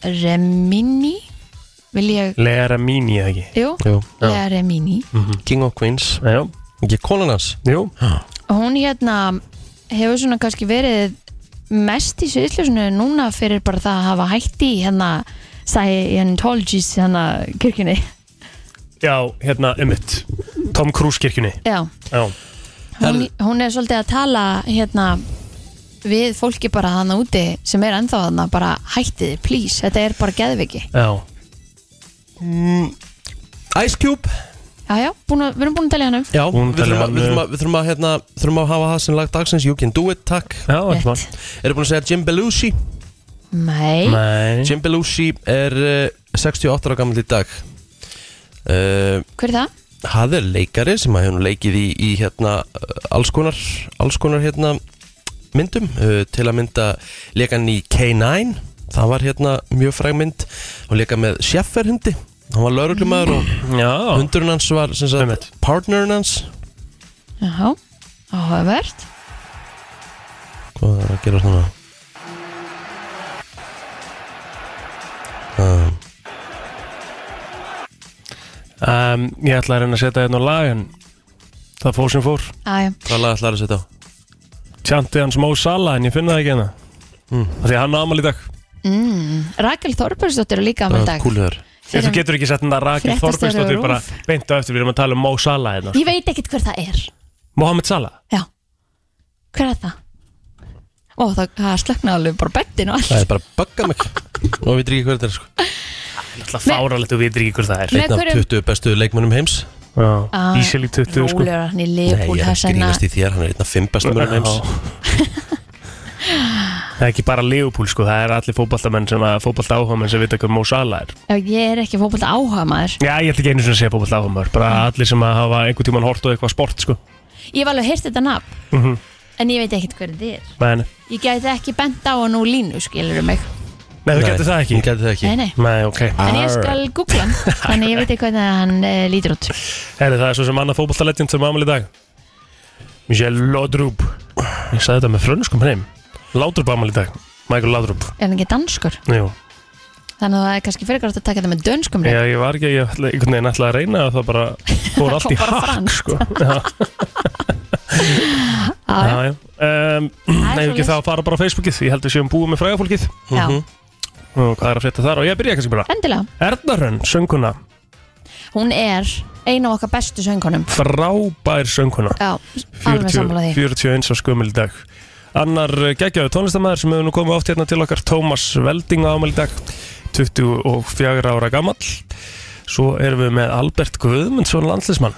Speaker 3: Remini, vil ég,
Speaker 4: Lera mín ég ekki Mhm.
Speaker 3: jú,
Speaker 2: Jú,
Speaker 3: Lea Remini.
Speaker 2: King of Queens
Speaker 4: Já,
Speaker 2: Ekki konan hans
Speaker 4: jú,
Speaker 3: hún hérna hefur svona kannski verið mest í sviðsljósunu núna fyrir bara það að hafa hætti hérna Scientologies hérna kirkjunni
Speaker 4: já, hérna, einmitt Tom Cruise kirkjunni
Speaker 3: já,
Speaker 4: Já,
Speaker 3: hún, hún er svolítið að tala hérna við fólki bara þannig úti sem er ennþá þannig bara hættið, please, þetta er bara geðviki
Speaker 4: já,
Speaker 2: Ice Cube
Speaker 3: já, já, búin að, við erum búin að telja hann um
Speaker 2: Já,
Speaker 4: Hún
Speaker 2: við þurfum
Speaker 4: talar
Speaker 2: að,
Speaker 4: um-
Speaker 2: við þurfum að, við þurfum að, hérna, þurfum að hafa það sem lagt dagsins You can do it, takk
Speaker 4: já, ekki mál
Speaker 3: Rétt.
Speaker 2: Eru búin að segja Jim Belushi
Speaker 3: nei,
Speaker 4: Nei,
Speaker 2: Jim Belushi er uh, 68 ára gammal í dag uh,
Speaker 3: hver er það?
Speaker 2: Hann er leikari sem að hefur nú leikið í, í hérna, uh, alls konar, alls konar hérna, myndum uh, til að mynda leikan í K9 það var hérna mjög fræg mynd og leika með Sjeffer hundi hann var lauruglumæður og
Speaker 4: já,
Speaker 2: hundurinn hans var sem sagt,
Speaker 4: Einmitt.
Speaker 2: partnerinn hans
Speaker 3: já, áhugavert
Speaker 2: Hvað er að gera svona? Um,
Speaker 4: um, ég ætla að reyna að setja hérna á lag en það fór sem fór
Speaker 3: aðja,
Speaker 2: hvað lag ætlar að setja á?
Speaker 4: Tjanti hans Mó Sala en ég finna það ekki hérna
Speaker 2: Hmm.
Speaker 4: mm. Því að hann ámal í dag
Speaker 3: Mm. Rakel Þorbergsdóttir er líka
Speaker 2: Það er
Speaker 3: amal í dag
Speaker 2: kúliður
Speaker 4: En þú getur ekki sett þetta Rakel
Speaker 3: Fréttastjóri
Speaker 4: Þorbergsdóttir
Speaker 3: RÚV.
Speaker 4: bara beint á eftir, við erum að tala um Mo Salah hérna.
Speaker 3: Ég veit ekkert hver það er
Speaker 4: Mohamed Salah,
Speaker 3: Já, hver er það? Ó, það, það slöknaði alveg bara bettin og
Speaker 2: Það
Speaker 3: allt
Speaker 2: er bara að bugga mig Og við ekki hver þetta er sko
Speaker 4: alltaf fáralegt og við veitum ekki hver það er.
Speaker 3: Með
Speaker 2: Einn af
Speaker 3: hverjum-
Speaker 2: 20 bestu leikmönnum heims
Speaker 4: Já,
Speaker 3: Ah,
Speaker 4: Ísjali 20 sko.
Speaker 3: Rólegur hann
Speaker 2: Nei,
Speaker 3: í
Speaker 2: ég
Speaker 3: Leopold
Speaker 2: er ekki
Speaker 3: Hassana
Speaker 2: grínast í þér Hann er einn af 5 bestu
Speaker 4: <laughs>
Speaker 2: mönnum heims
Speaker 4: Það er ekki bara Leopold sko, það er allir fótballtamenn sem að fótballta áhugamenn sem vita hver Mo Salah er.
Speaker 3: Ég er ekki fótbolta áhuga maður
Speaker 4: Já, ég ætla ekki einu svona að segja fótballta áhugamenn, bara allir sem að hafa einhvern tíman hort á eitthvað sport sko.
Speaker 3: Ég hef alveg heyrt þetta nafn
Speaker 2: Mhm.
Speaker 3: En ég veit ekkert hver þetta er
Speaker 4: Men,
Speaker 3: Ég gæti ekki bent á hann úr línu, skilur mig
Speaker 4: nei, þú getur það
Speaker 2: Hún
Speaker 4: ekki.
Speaker 2: getur það ekki
Speaker 3: Nei, nei
Speaker 4: Nei, ok.
Speaker 3: En ég skal googla hann Þannig ég veit ekki hvernig hann uh, lítur út
Speaker 4: Herri, það er svo sem annað fótballtalegend sem amal í dag Michel Laudrup Ég sagði þetta með frönskum hreim Laudrup amal í dag, Michael Laudrup
Speaker 3: Er hann ekki danskur?
Speaker 4: Jú,
Speaker 3: Þannig að það er kannski fyrir grátt að taka þetta með dönskum
Speaker 4: ég,
Speaker 3: rétt.
Speaker 4: ég var ekki, ég ætla, einhvern veginn ætlaði að reyna að það bara fór allt í
Speaker 3: kom <laughs> bara
Speaker 4: hakk
Speaker 3: franskt.
Speaker 4: sko. Já, já,
Speaker 3: Já,
Speaker 4: já um,
Speaker 3: er
Speaker 4: Nei, ekki
Speaker 3: svoleiðis.
Speaker 4: það að fara bara á Facebookið Ég held við séum búið með frægafólkið Mhm.
Speaker 3: já,
Speaker 4: og hvað er að frétta þar og ég byrja kannski bara
Speaker 3: endilega
Speaker 4: Erdarönn, sönguna,
Speaker 3: Hún er ein af okkar bestu söngunum
Speaker 4: frábær sönguna
Speaker 3: Já,
Speaker 4: 40
Speaker 3: alveg sammála því
Speaker 4: 41 á skömmil í dag annar geggjaðu tónlistamæður sem hefur nú komið oft hérna til okkar Tómas Velding á ámæli í dag 24 ára gamall svo erum við með Albert Guðmundsson landslismann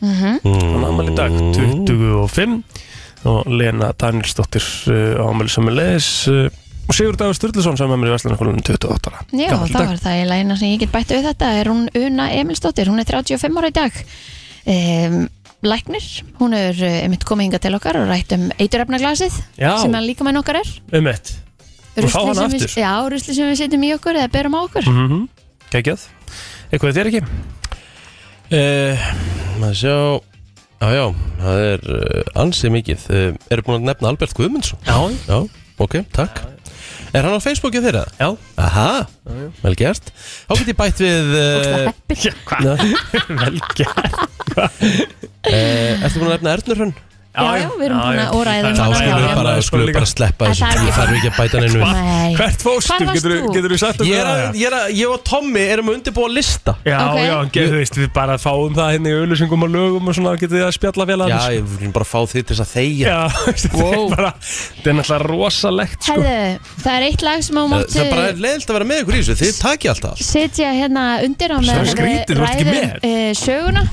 Speaker 3: Mhm.
Speaker 4: hann ámæli í dag 25 og Lena Danielsdóttir uh, ámæli sem er leðis eh, og Sigur Dagur Sturluson sem er með í Vestlunarkólunum 28 ára
Speaker 3: Já,
Speaker 4: Gamall í
Speaker 3: það
Speaker 4: dag.
Speaker 3: var það í læna sem ég get bætt við þetta er hún Una Emilsdóttir, hún er 35 ára í dag um, Læknir hún er eh, einmitt komið hingað til okkar og rætt um eiturefnaglasið
Speaker 4: Já.
Speaker 3: sem hann líka með okkar er
Speaker 4: um eitt Og fá
Speaker 3: Ruslið
Speaker 4: hana
Speaker 3: sem við-
Speaker 4: aftur.
Speaker 3: Já, rusli sem við setjum í okkur eða berum á okkur
Speaker 4: mm -hmm. geggjað eitthvað þér ekki
Speaker 2: Eh, Maður sjá Já, já, það er uh, ansið mikið uh, Eru búin að nefna Albert Guðmundsson?
Speaker 4: já
Speaker 2: Já, ok, takk Er hann á Facebooki þeirra?
Speaker 4: já
Speaker 2: Aha, vel gert Þá get ég bætt við uh,
Speaker 4: hvað vel gert
Speaker 2: uh, Ertu búin að nefna Erlur hann?
Speaker 3: Já, já, við erum búin að óræða um
Speaker 2: Þá skulum
Speaker 3: hana, já, já.
Speaker 2: við bara, skulum við bara sleppa
Speaker 3: Að
Speaker 2: þessu
Speaker 3: það er
Speaker 2: Ég
Speaker 3: ekki-
Speaker 2: þarf ekki að bæta hann einu við
Speaker 3: Nei,
Speaker 4: Hvert fórstu?
Speaker 3: Hvar varst
Speaker 4: Getur,
Speaker 3: þú?
Speaker 4: getur þú sagt okkur
Speaker 2: Ég, er að,
Speaker 4: það?
Speaker 2: ég, er að, ég og Tommy erum að undirbúa lista
Speaker 4: Já,
Speaker 3: Ok.
Speaker 4: já, en getur þú veist, við bara fáum það hérna í auðlýsingum og lögum og svona, getur þið að spjalla vel
Speaker 2: Já,
Speaker 4: aðeins
Speaker 2: ég vil bara fá þið til þess að þegja
Speaker 4: já <laughs> þetta er
Speaker 3: Wow.
Speaker 4: bara, þetta er náttúrulega rosalegt, sko
Speaker 3: Herðu, eh, það er eitt lag sem á
Speaker 2: Það
Speaker 3: móttu
Speaker 2: það bara er leiðilt að vera með ykkur í þessu Þið takja alltaf
Speaker 3: setja hérna undir á
Speaker 4: Það
Speaker 3: með
Speaker 4: er skrítið, þú ert ekki með.
Speaker 3: uh, söguna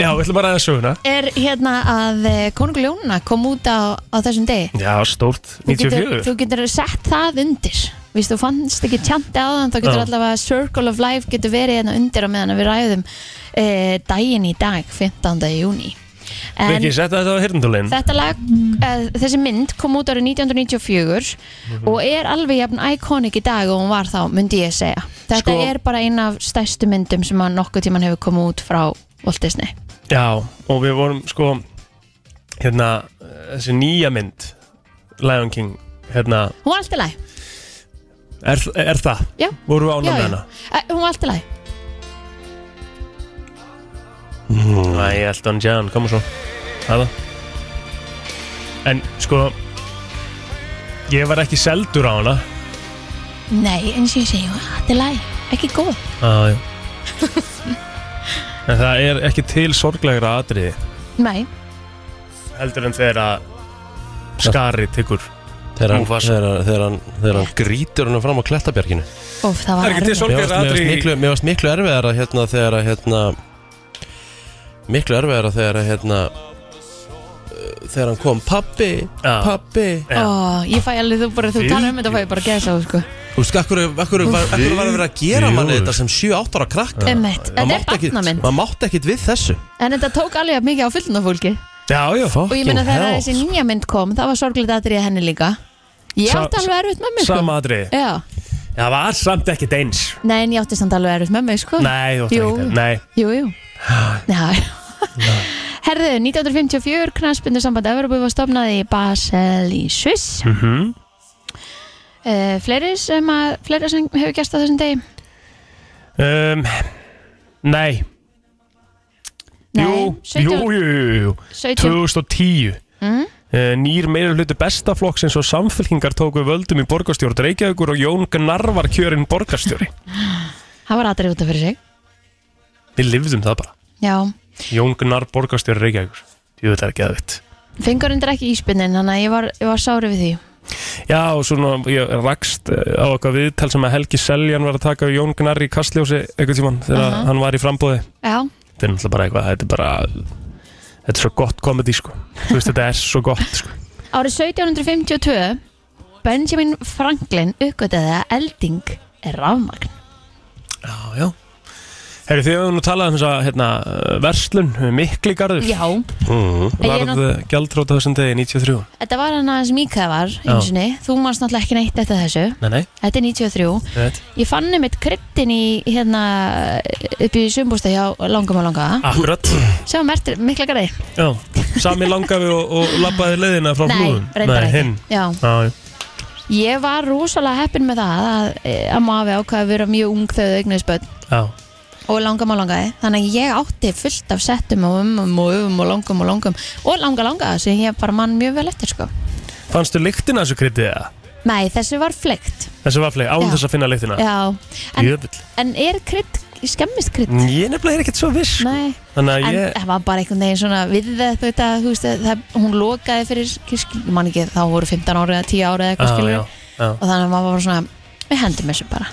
Speaker 4: Já, við ætlum bara að ræða söguna
Speaker 3: er hérna að uh, konungur Ljóna kom út á, á þessum degi
Speaker 4: Já, stórt,
Speaker 3: þú getur,
Speaker 4: 94
Speaker 3: þú getur sett það undir Vist, þú fannst ekki tjanti á þann þá getur
Speaker 4: Já.
Speaker 3: allavega Circle of Life getur verið hérna undir á meðan að við ræðum uh, daginn í dag, 15. júni
Speaker 4: Við ekki setja þetta á hirndulinn
Speaker 3: Þetta lag, uh, þessi mynd kom út árið 1994
Speaker 4: Mhm.
Speaker 3: og er alveg jafn iconic í dag og hún var þá, myndi ég segja. Þetta
Speaker 4: Sko-
Speaker 3: er bara eina af stærstu myndum sem að nokkuð tíman hefur komið út frá Walt Disney.
Speaker 4: Já, og við vorum, sko hérna, þessi nýja mynd Lion King hérna,
Speaker 3: Hún var alltaf læg,
Speaker 4: er, er það?
Speaker 3: Já.
Speaker 4: Vorum við
Speaker 3: já,
Speaker 4: ánum
Speaker 3: já.
Speaker 4: hérna?
Speaker 3: Eh, Hún var alltaf læg.
Speaker 4: Æ, Elton John, koma svo Það það. En sko Ég var ekki seldur á hana
Speaker 3: Nei, eins og ég segi, hún var alltaf læg, ekki góð.
Speaker 4: ah, <laughs> En það er ekki til sorglegra atriði
Speaker 3: Nei,
Speaker 4: Heldur en þegar að Skari tekur
Speaker 2: Þegar hann,
Speaker 4: Mufasa.
Speaker 2: þegar, þegar hann, þegar hann grítur hann fram á klettabjarginu
Speaker 3: óf, það var
Speaker 4: Það er ekki til
Speaker 3: erfitt.
Speaker 2: Mér
Speaker 4: sorglegra
Speaker 2: varst, mér varst
Speaker 4: atriði
Speaker 2: miklu, mér varst miklu erfiðar að hérna þegar að hérna miklu erfiðar að þegar að hérna uh, þegar hann kom pappi,
Speaker 4: Já.
Speaker 2: pappi
Speaker 4: Já.
Speaker 3: Ó, ég fæ alveg, þú bara, þú talar um þetta og fæ ég bara að gera það, sko.
Speaker 2: Þú veist, akkur, akkur, var, akkur var að vera að gera
Speaker 4: Jú.
Speaker 2: manni þetta sem 7-8 ára krakk
Speaker 3: Emmett, þetta er barnamynd,
Speaker 2: maður mátti ekkit við þessu
Speaker 3: en þetta tók alveg jafn mikið á fullna fólki.
Speaker 4: Já, já
Speaker 3: Og ég meina þegar þessi nýja mynd kom, það var sorglega aðrið henni líka. Ég
Speaker 4: Sa-
Speaker 3: átti alveg erfitt með mig, sko.
Speaker 4: Sama atriði
Speaker 3: Já,
Speaker 4: Það var samt ekki deins
Speaker 3: nei en ég átti samt alveg erfitt með mig sko
Speaker 4: Nei, þú ætti
Speaker 3: Jú.
Speaker 4: ekki deins Nei,
Speaker 3: Jú, jú Já Herðu, 1954 knarspindu samband Evropu var stofnað í Basel í Sviss mm
Speaker 4: Mhm.
Speaker 3: Fleiri sem að fleiri sem hefur gerst á þessum degi
Speaker 4: um, nei. Jú, jú,
Speaker 3: 17,
Speaker 4: jú, jú, jú.
Speaker 3: 17
Speaker 4: 2010
Speaker 3: Mm.
Speaker 4: Eh, Nýr meira hluti bestaflokksins og samfélkingar tóku völdum í borgarstjórn Reykjavíkur og Jón Gnarvar kjörinn borgarstjóri
Speaker 3: það var aðrið út af fyrir sig
Speaker 4: Við lifðum það bara
Speaker 3: Já,
Speaker 4: Jón Gunnar borgarstjóri Reykjavíkur Jú, þetta er ekki aðvitt
Speaker 3: fengur undir ekki íspinnin þannig að ég var, ég var sári við því
Speaker 4: Já, og svona, ég rakst eh, á eitthvað viðtal sem að Helgi Seljan var að taka við Jón Gunnar í Kastljósi einhvern tímann þegar
Speaker 3: Aha.
Speaker 4: hann var í frambóði
Speaker 3: Já,
Speaker 4: Þetta er náttúrulega bara eitthvað, þetta er bara Þetta er svo gott komedi, sko Þú veist, þetta er svo gott, sko
Speaker 3: Árið 1752 Benjamin Franklin uppgötaði að elding er rafmagn
Speaker 4: Já, já Herri, þið hefur nú talað um þess að, hérna, verslun mikli garður
Speaker 3: Já, En ég er
Speaker 4: Varð gjaldróta þessum degi 93
Speaker 3: þetta var hann aðeins mikið var einu sinni, þú manst náttúrulega ekki neitt eftir þessu
Speaker 4: Nei, nei,
Speaker 3: Þetta er 93
Speaker 4: ég veit
Speaker 3: Ég fann einmitt kryddin í hérna upp í sumbústa hjá langum og langa
Speaker 4: Akkurat
Speaker 3: sem mertir mikla græði
Speaker 4: Já, sami langafi og, og labbaði leiðina frá flúðum
Speaker 3: reyndar ekki
Speaker 4: hinn
Speaker 3: Já,
Speaker 4: Já, já.
Speaker 3: Ég var rosalega heppin með það að, eh, að maður hafi ákvað að vera mjög ung þegar þau eignuðist börn
Speaker 4: já
Speaker 3: og langam og langaði þannig að ég átti fullt af settum og umum og umum og langum og langum og langa langaði sem ég bara mann mjög vel eftir sko.
Speaker 4: Fannstu lyktina af þessu kryddið eða?
Speaker 3: Nei, þessu var fleikt
Speaker 4: Þessu vafli, án
Speaker 3: Já.
Speaker 4: þess að finna lyktina
Speaker 3: Já, en,
Speaker 4: Jöfull
Speaker 3: en er krydd, skemmist krydd?
Speaker 4: Mm, Ég nefnilega er ekkert svo viss sko.
Speaker 3: Nei,
Speaker 4: Þannig
Speaker 3: en
Speaker 4: að ég
Speaker 3: það var bara einhvern veginn svona við þetta, þetta þú veist, það, hún lokaði fyrir, kirkju- ég man ekki, þá voru 15 ára eða 10 ára eða eitthvað
Speaker 4: Já, Ah,
Speaker 3: skilur
Speaker 4: já, já.
Speaker 3: og þannig að maður var svona, við hendum þessu bara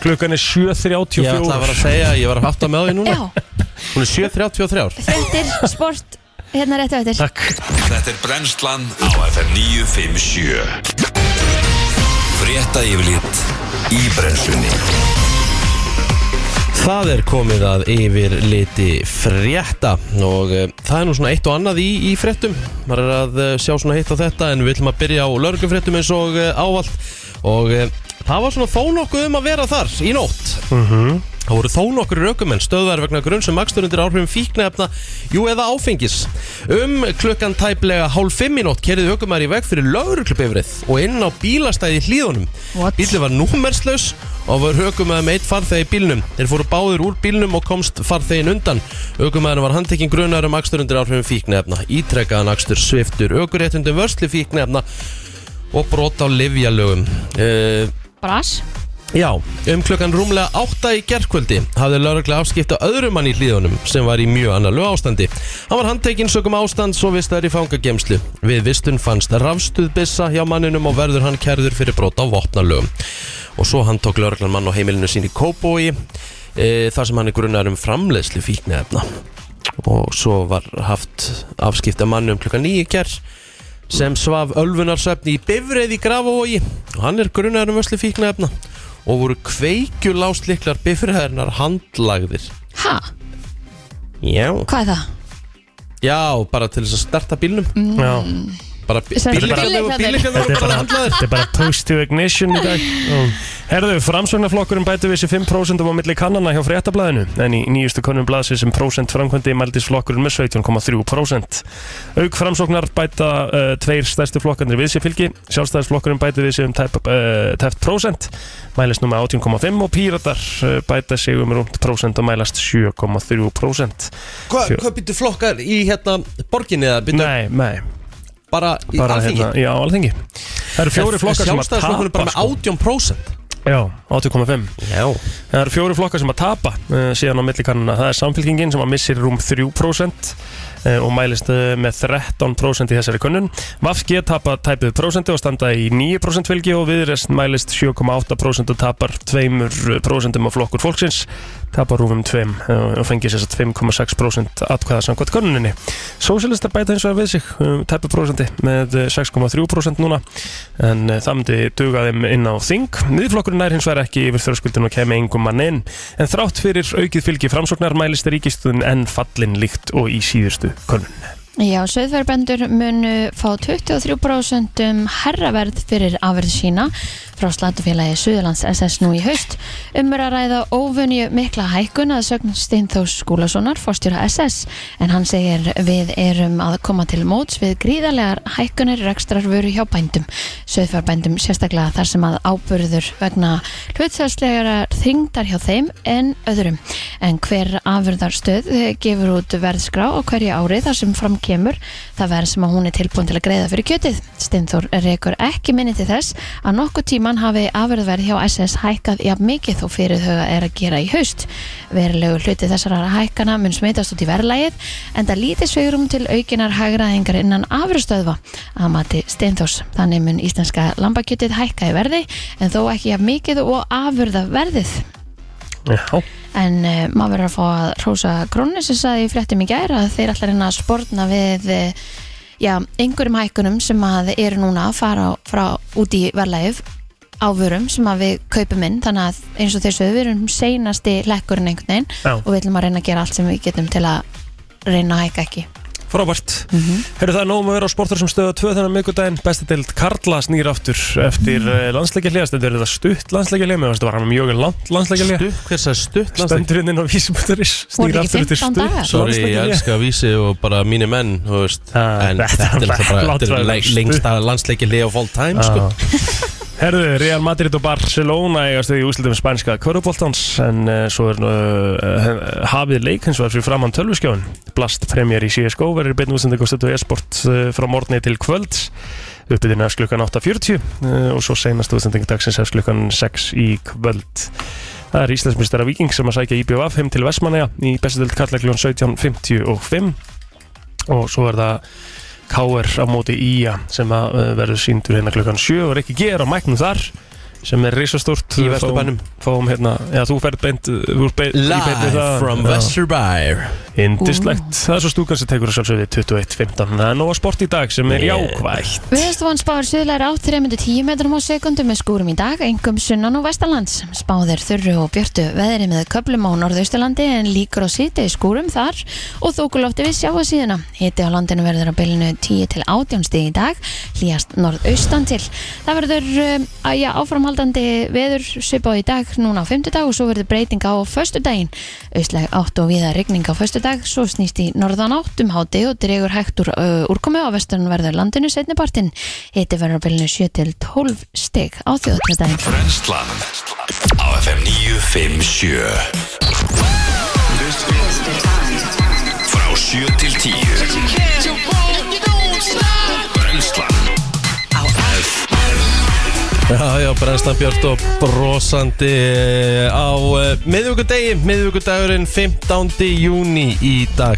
Speaker 4: Klukkan er
Speaker 2: Ég ætla að
Speaker 4: 7.34
Speaker 2: vera að segja, ég var að fatta með á því núna
Speaker 3: Já,
Speaker 2: Hún er 7.33
Speaker 3: frettir, sport, hérna réttu eftir
Speaker 4: Takk
Speaker 1: Þetta er brennslan á FM 957 Frétta yfirlit í brennslunni
Speaker 2: Það er komið að yfir liti frétta og uh, það er nú svona eitt og annað í, í fréttum maður er að uh, sjá svona hitt á þetta en við ætlum að byrja á lörgufréttum eins og uh, ávallt og uh, það var svona þó nokkuð um að vera þar í nótt
Speaker 4: Mhm.
Speaker 2: Það voru þó nokkur raukumenn stöðvar vegna grunn sem makstur undir áhrifum fíknefna, jú eða áfengis. Um klukkan tæplega hálf fimm í nótt kerði aukumæri í veg fyrir lauruglubifrið og inn á bílastæði í hlíðunum.
Speaker 3: What?
Speaker 2: Bílið var númerslaus og var aukumæri með eitt farþegi í bílnum. Þeir fóru báður úr bílnum og komst farþegin undan. Aukumæri var handtekinn grunnar um makstur undir áhrifum fíknefna, ítrekkaðan makstur, sviftur, aukuréttundum vörslu fíknefna og brot á livjalögum. Uh,
Speaker 3: Bras,
Speaker 2: Já, um klukkan rúmlega 8 í gerkvöldi hafði lauruglega afskipta öðrum mann í hlíðunum sem var í mjög annarlu ástandi. Hann var handtekinn sögum ástand svo vistaður í fangagemslu. Við vistun fannst rafstuðbissa hjá manninum og verður hann kærður fyrir brot á vopnalögum. Og svo hann tók lauruglan mann á heimilinu sín í Kóbói e, þar sem hann er grunnar um framleiðslu fíknefna. Og svo var haft afskipta mann um klukkan 9 í gerð sem svaf ölfunarsvefni í bifreið í Grafavogi og hann er grunnar um vöslu fíknefna og voru kveikjulásliklar bifræðarnar handlagðir
Speaker 3: ha,
Speaker 2: Já
Speaker 3: hvað er það? Mm.
Speaker 2: Já, bara til þess að starta bílnum
Speaker 4: Já.
Speaker 2: Bara
Speaker 3: Sem
Speaker 2: bílíkjarnir
Speaker 3: bíllyflarnir.
Speaker 4: Þetta
Speaker 2: bílíkjarnir voru
Speaker 4: er
Speaker 2: bara
Speaker 4: bara,
Speaker 2: handlagðir
Speaker 4: þetta er bara post to ignition í dag Mm. Herðu, framsögnarflokkurinn bætu við sér 5% á milli kannana hjá fréttablaðinu en í nýjustu konum blaðsir sem prósent framkvæmdi mældist flokkurinn með 17,3% Auk framsóknar bæta uh, tveir stærstu flokkarnir við sér fylgi Sjálfstæðisflokkurinn bætu við sér um tæp, uh, tæft prósent mælist nú með 18,5 og píratar uh, bæta sig um rúmt prósent og mælast 7,3%
Speaker 2: Hvað hva byrtu flokkar í hérna borginni eða byrtu
Speaker 4: Nei, nei,
Speaker 2: bara í
Speaker 4: bara
Speaker 2: alþingi
Speaker 4: hérna, já, alþingi Það eru fjóri flokkar sem að tapa
Speaker 2: Sjálfstæðisflokkurinn bara með
Speaker 4: sko.
Speaker 2: 18%
Speaker 4: Já, 8,5
Speaker 2: Já
Speaker 4: Það eru fjóru flokkar sem að tapa uh, síðan á millikannuna. Það er samfélkingin sem að missir rúm 3% uh, og mælist uh, með 13% í þessari könnun. VFG tapa tæpið prósenti og standa í 9% fylgi og viðrest mælist 7,8% og tapar 2% af flokkur fólksins tapar rúmum 2 uh, og fengið sér 5,6% atkvæða samkvæmt könnuninni. Sósialistar bæta eins og er við sig uh, tæpið prósenti með eh, 6,3% núna en uh, það myndi duga þeim inn á þing. Miðflokkurinn er hins vegar ekki yfir þröskuldin og kemur engum mann inn en þrátt fyrir aukið fylgi framsóknar mælist ríkistuðin enn fallin líkt og í síðustu konun.
Speaker 3: Já, söðverðbendur munu fá 23% um herraverð fyrir afverð sína frá slættufélagi Suðurlands SS nú í haust. Umur að ræða óvunju mikla hækkun að sögn Steinþós Skúlasonar, fórstjóra SS, en hann segir við erum að koma til móts við gríðarlegar hækkunir rekstrarvöru hjá bændum. Söðverðbændum sérstaklega þar sem að ábyrður vegna hlutfælslegara þringdar hjá þeim en öðrum. En hver afurðarstöð eh, gefur út verðskrá á hverju ári þar sem fram kemur kemur það verð sem að hún er tilbúin til að greiða fyrir kjötið. Steinþór rekur ekki minni til þess að nokkuð tíman hafi afurðverð hjá SS hækkað jafn mikið þó fyrir þau er að gera í haust. Verilegu hluti þessara hækkana mun smitast út í verðlægið en það lítið sveigrum til aukinar hagraðingar innan afurðstöðva að mati Steinþórs. Þannig mun íslenska lambakjötið hækka í verði en þó ekki jafn mikið og afurðaverðið
Speaker 4: Já,
Speaker 3: en uh, maður verður að fá að hrósa krónu sem sagði í fréttum í gæra að þeir ætla að reyna að spórna við uh, já, einhverjum hækkunum sem að eru núna að fara á- frá út í verðlægif á vörum sem að við kaupum inn þannig að eins og þessu við erum seinasti lekkurinn einhvern veginn
Speaker 4: Já.
Speaker 3: og við ætlum að reyna að gera allt sem við getum til að reyna að hækka ekki
Speaker 4: frábært mm Herru það er nóg um að vera á sportur sem stöða tvö þennan miðgudaginn besta deild Karla snýr aftur eftir mm. landsleikja hljast, þetta er þetta stutt landsleikja hljast, þetta var hann mjög langt landsleikja hljast
Speaker 2: Stutt, hvers að stutt landsleik?
Speaker 4: Stendurinn hérna inn á vísimuturis
Speaker 3: Voru
Speaker 4: snýr
Speaker 3: ekki
Speaker 4: aftur
Speaker 3: 15 dagar?
Speaker 2: Sorry, ég
Speaker 4: landsleikjahlé.
Speaker 2: elska vísi og bara mínu menn, þú veist
Speaker 4: Ah,
Speaker 2: En
Speaker 4: þetta
Speaker 2: þetta
Speaker 4: er
Speaker 2: er alltaf bara
Speaker 4: langt
Speaker 2: þetta
Speaker 4: frá
Speaker 2: er le-
Speaker 4: þessu.
Speaker 2: lengsta landsleiki leið of all time, sko
Speaker 4: Ah. Herðu, Real Madrid og Barcelona eigast þau í úslitum spænska kvöruboltans en uh, svo er uh, hafið leik eins og er fyrir framann tölvuskjáin Blast Premier í CSGO verður beinu útsendingu og stötu e-sport uh, frá morgni til kvölds uppbytinn efst klukkan 8.40 uh, og svo seinast útsendingu dagsins efst klukkan 6 í kvöld Það er Íslandsmyndstara Viking sem að sækja IBF heim til Vestmannaja í bestudöld kallakljón 17.55 og svo er það K.R. á móti Ía sem að uh, verður síndur hérna klukkan 7 og Rikki G er á mæknum þar sem er risastórt
Speaker 2: Í Vesturbænum.
Speaker 4: fáum hérna, já þú ferð beint uh, þú ert beint, í beint við
Speaker 2: Live
Speaker 4: það.
Speaker 2: from
Speaker 4: Já.
Speaker 2: Vesturbær
Speaker 4: Yndislegt, það er svo stúkan sem tekur að sjálfsögði 21.15, það er nóga sport í dag sem er jákvægt
Speaker 3: Viðstofan spáður suðlæri átt 310 metrum á sekundu með skúrum í dag, engum sunnan og vestanlands. Spáðir þurru og björtu veðri með köplum á norðausturlandi en líkur á síti í skúrum þar og þókulofti við sjáa síðuna. Hiti á landinu verður á bylinu 10 til 18 stig í dag, hlýjast norðaustan til. Það verður um, að, já, áframhaldandi veður svipað í dag núna á 50 dag og svo verður breyting á föstudaginn. Austlæg átt og viða rigning á föstudag, svo snýst í norðan átt um háti og dregur hægt úr uh, úrkomi á vestunverður landinu setnipartin. Hiti verður á bylunu 7 til 12 stig á þjóðatnadaginn.
Speaker 1: Brennslan á FM 957 Frá 7 til 10 Brennslan á FM
Speaker 2: Já, já, Brennstan Björn og brosandi eh, á uh, miðvíkudegi, miðvíkudagurinn 15. júni í dag.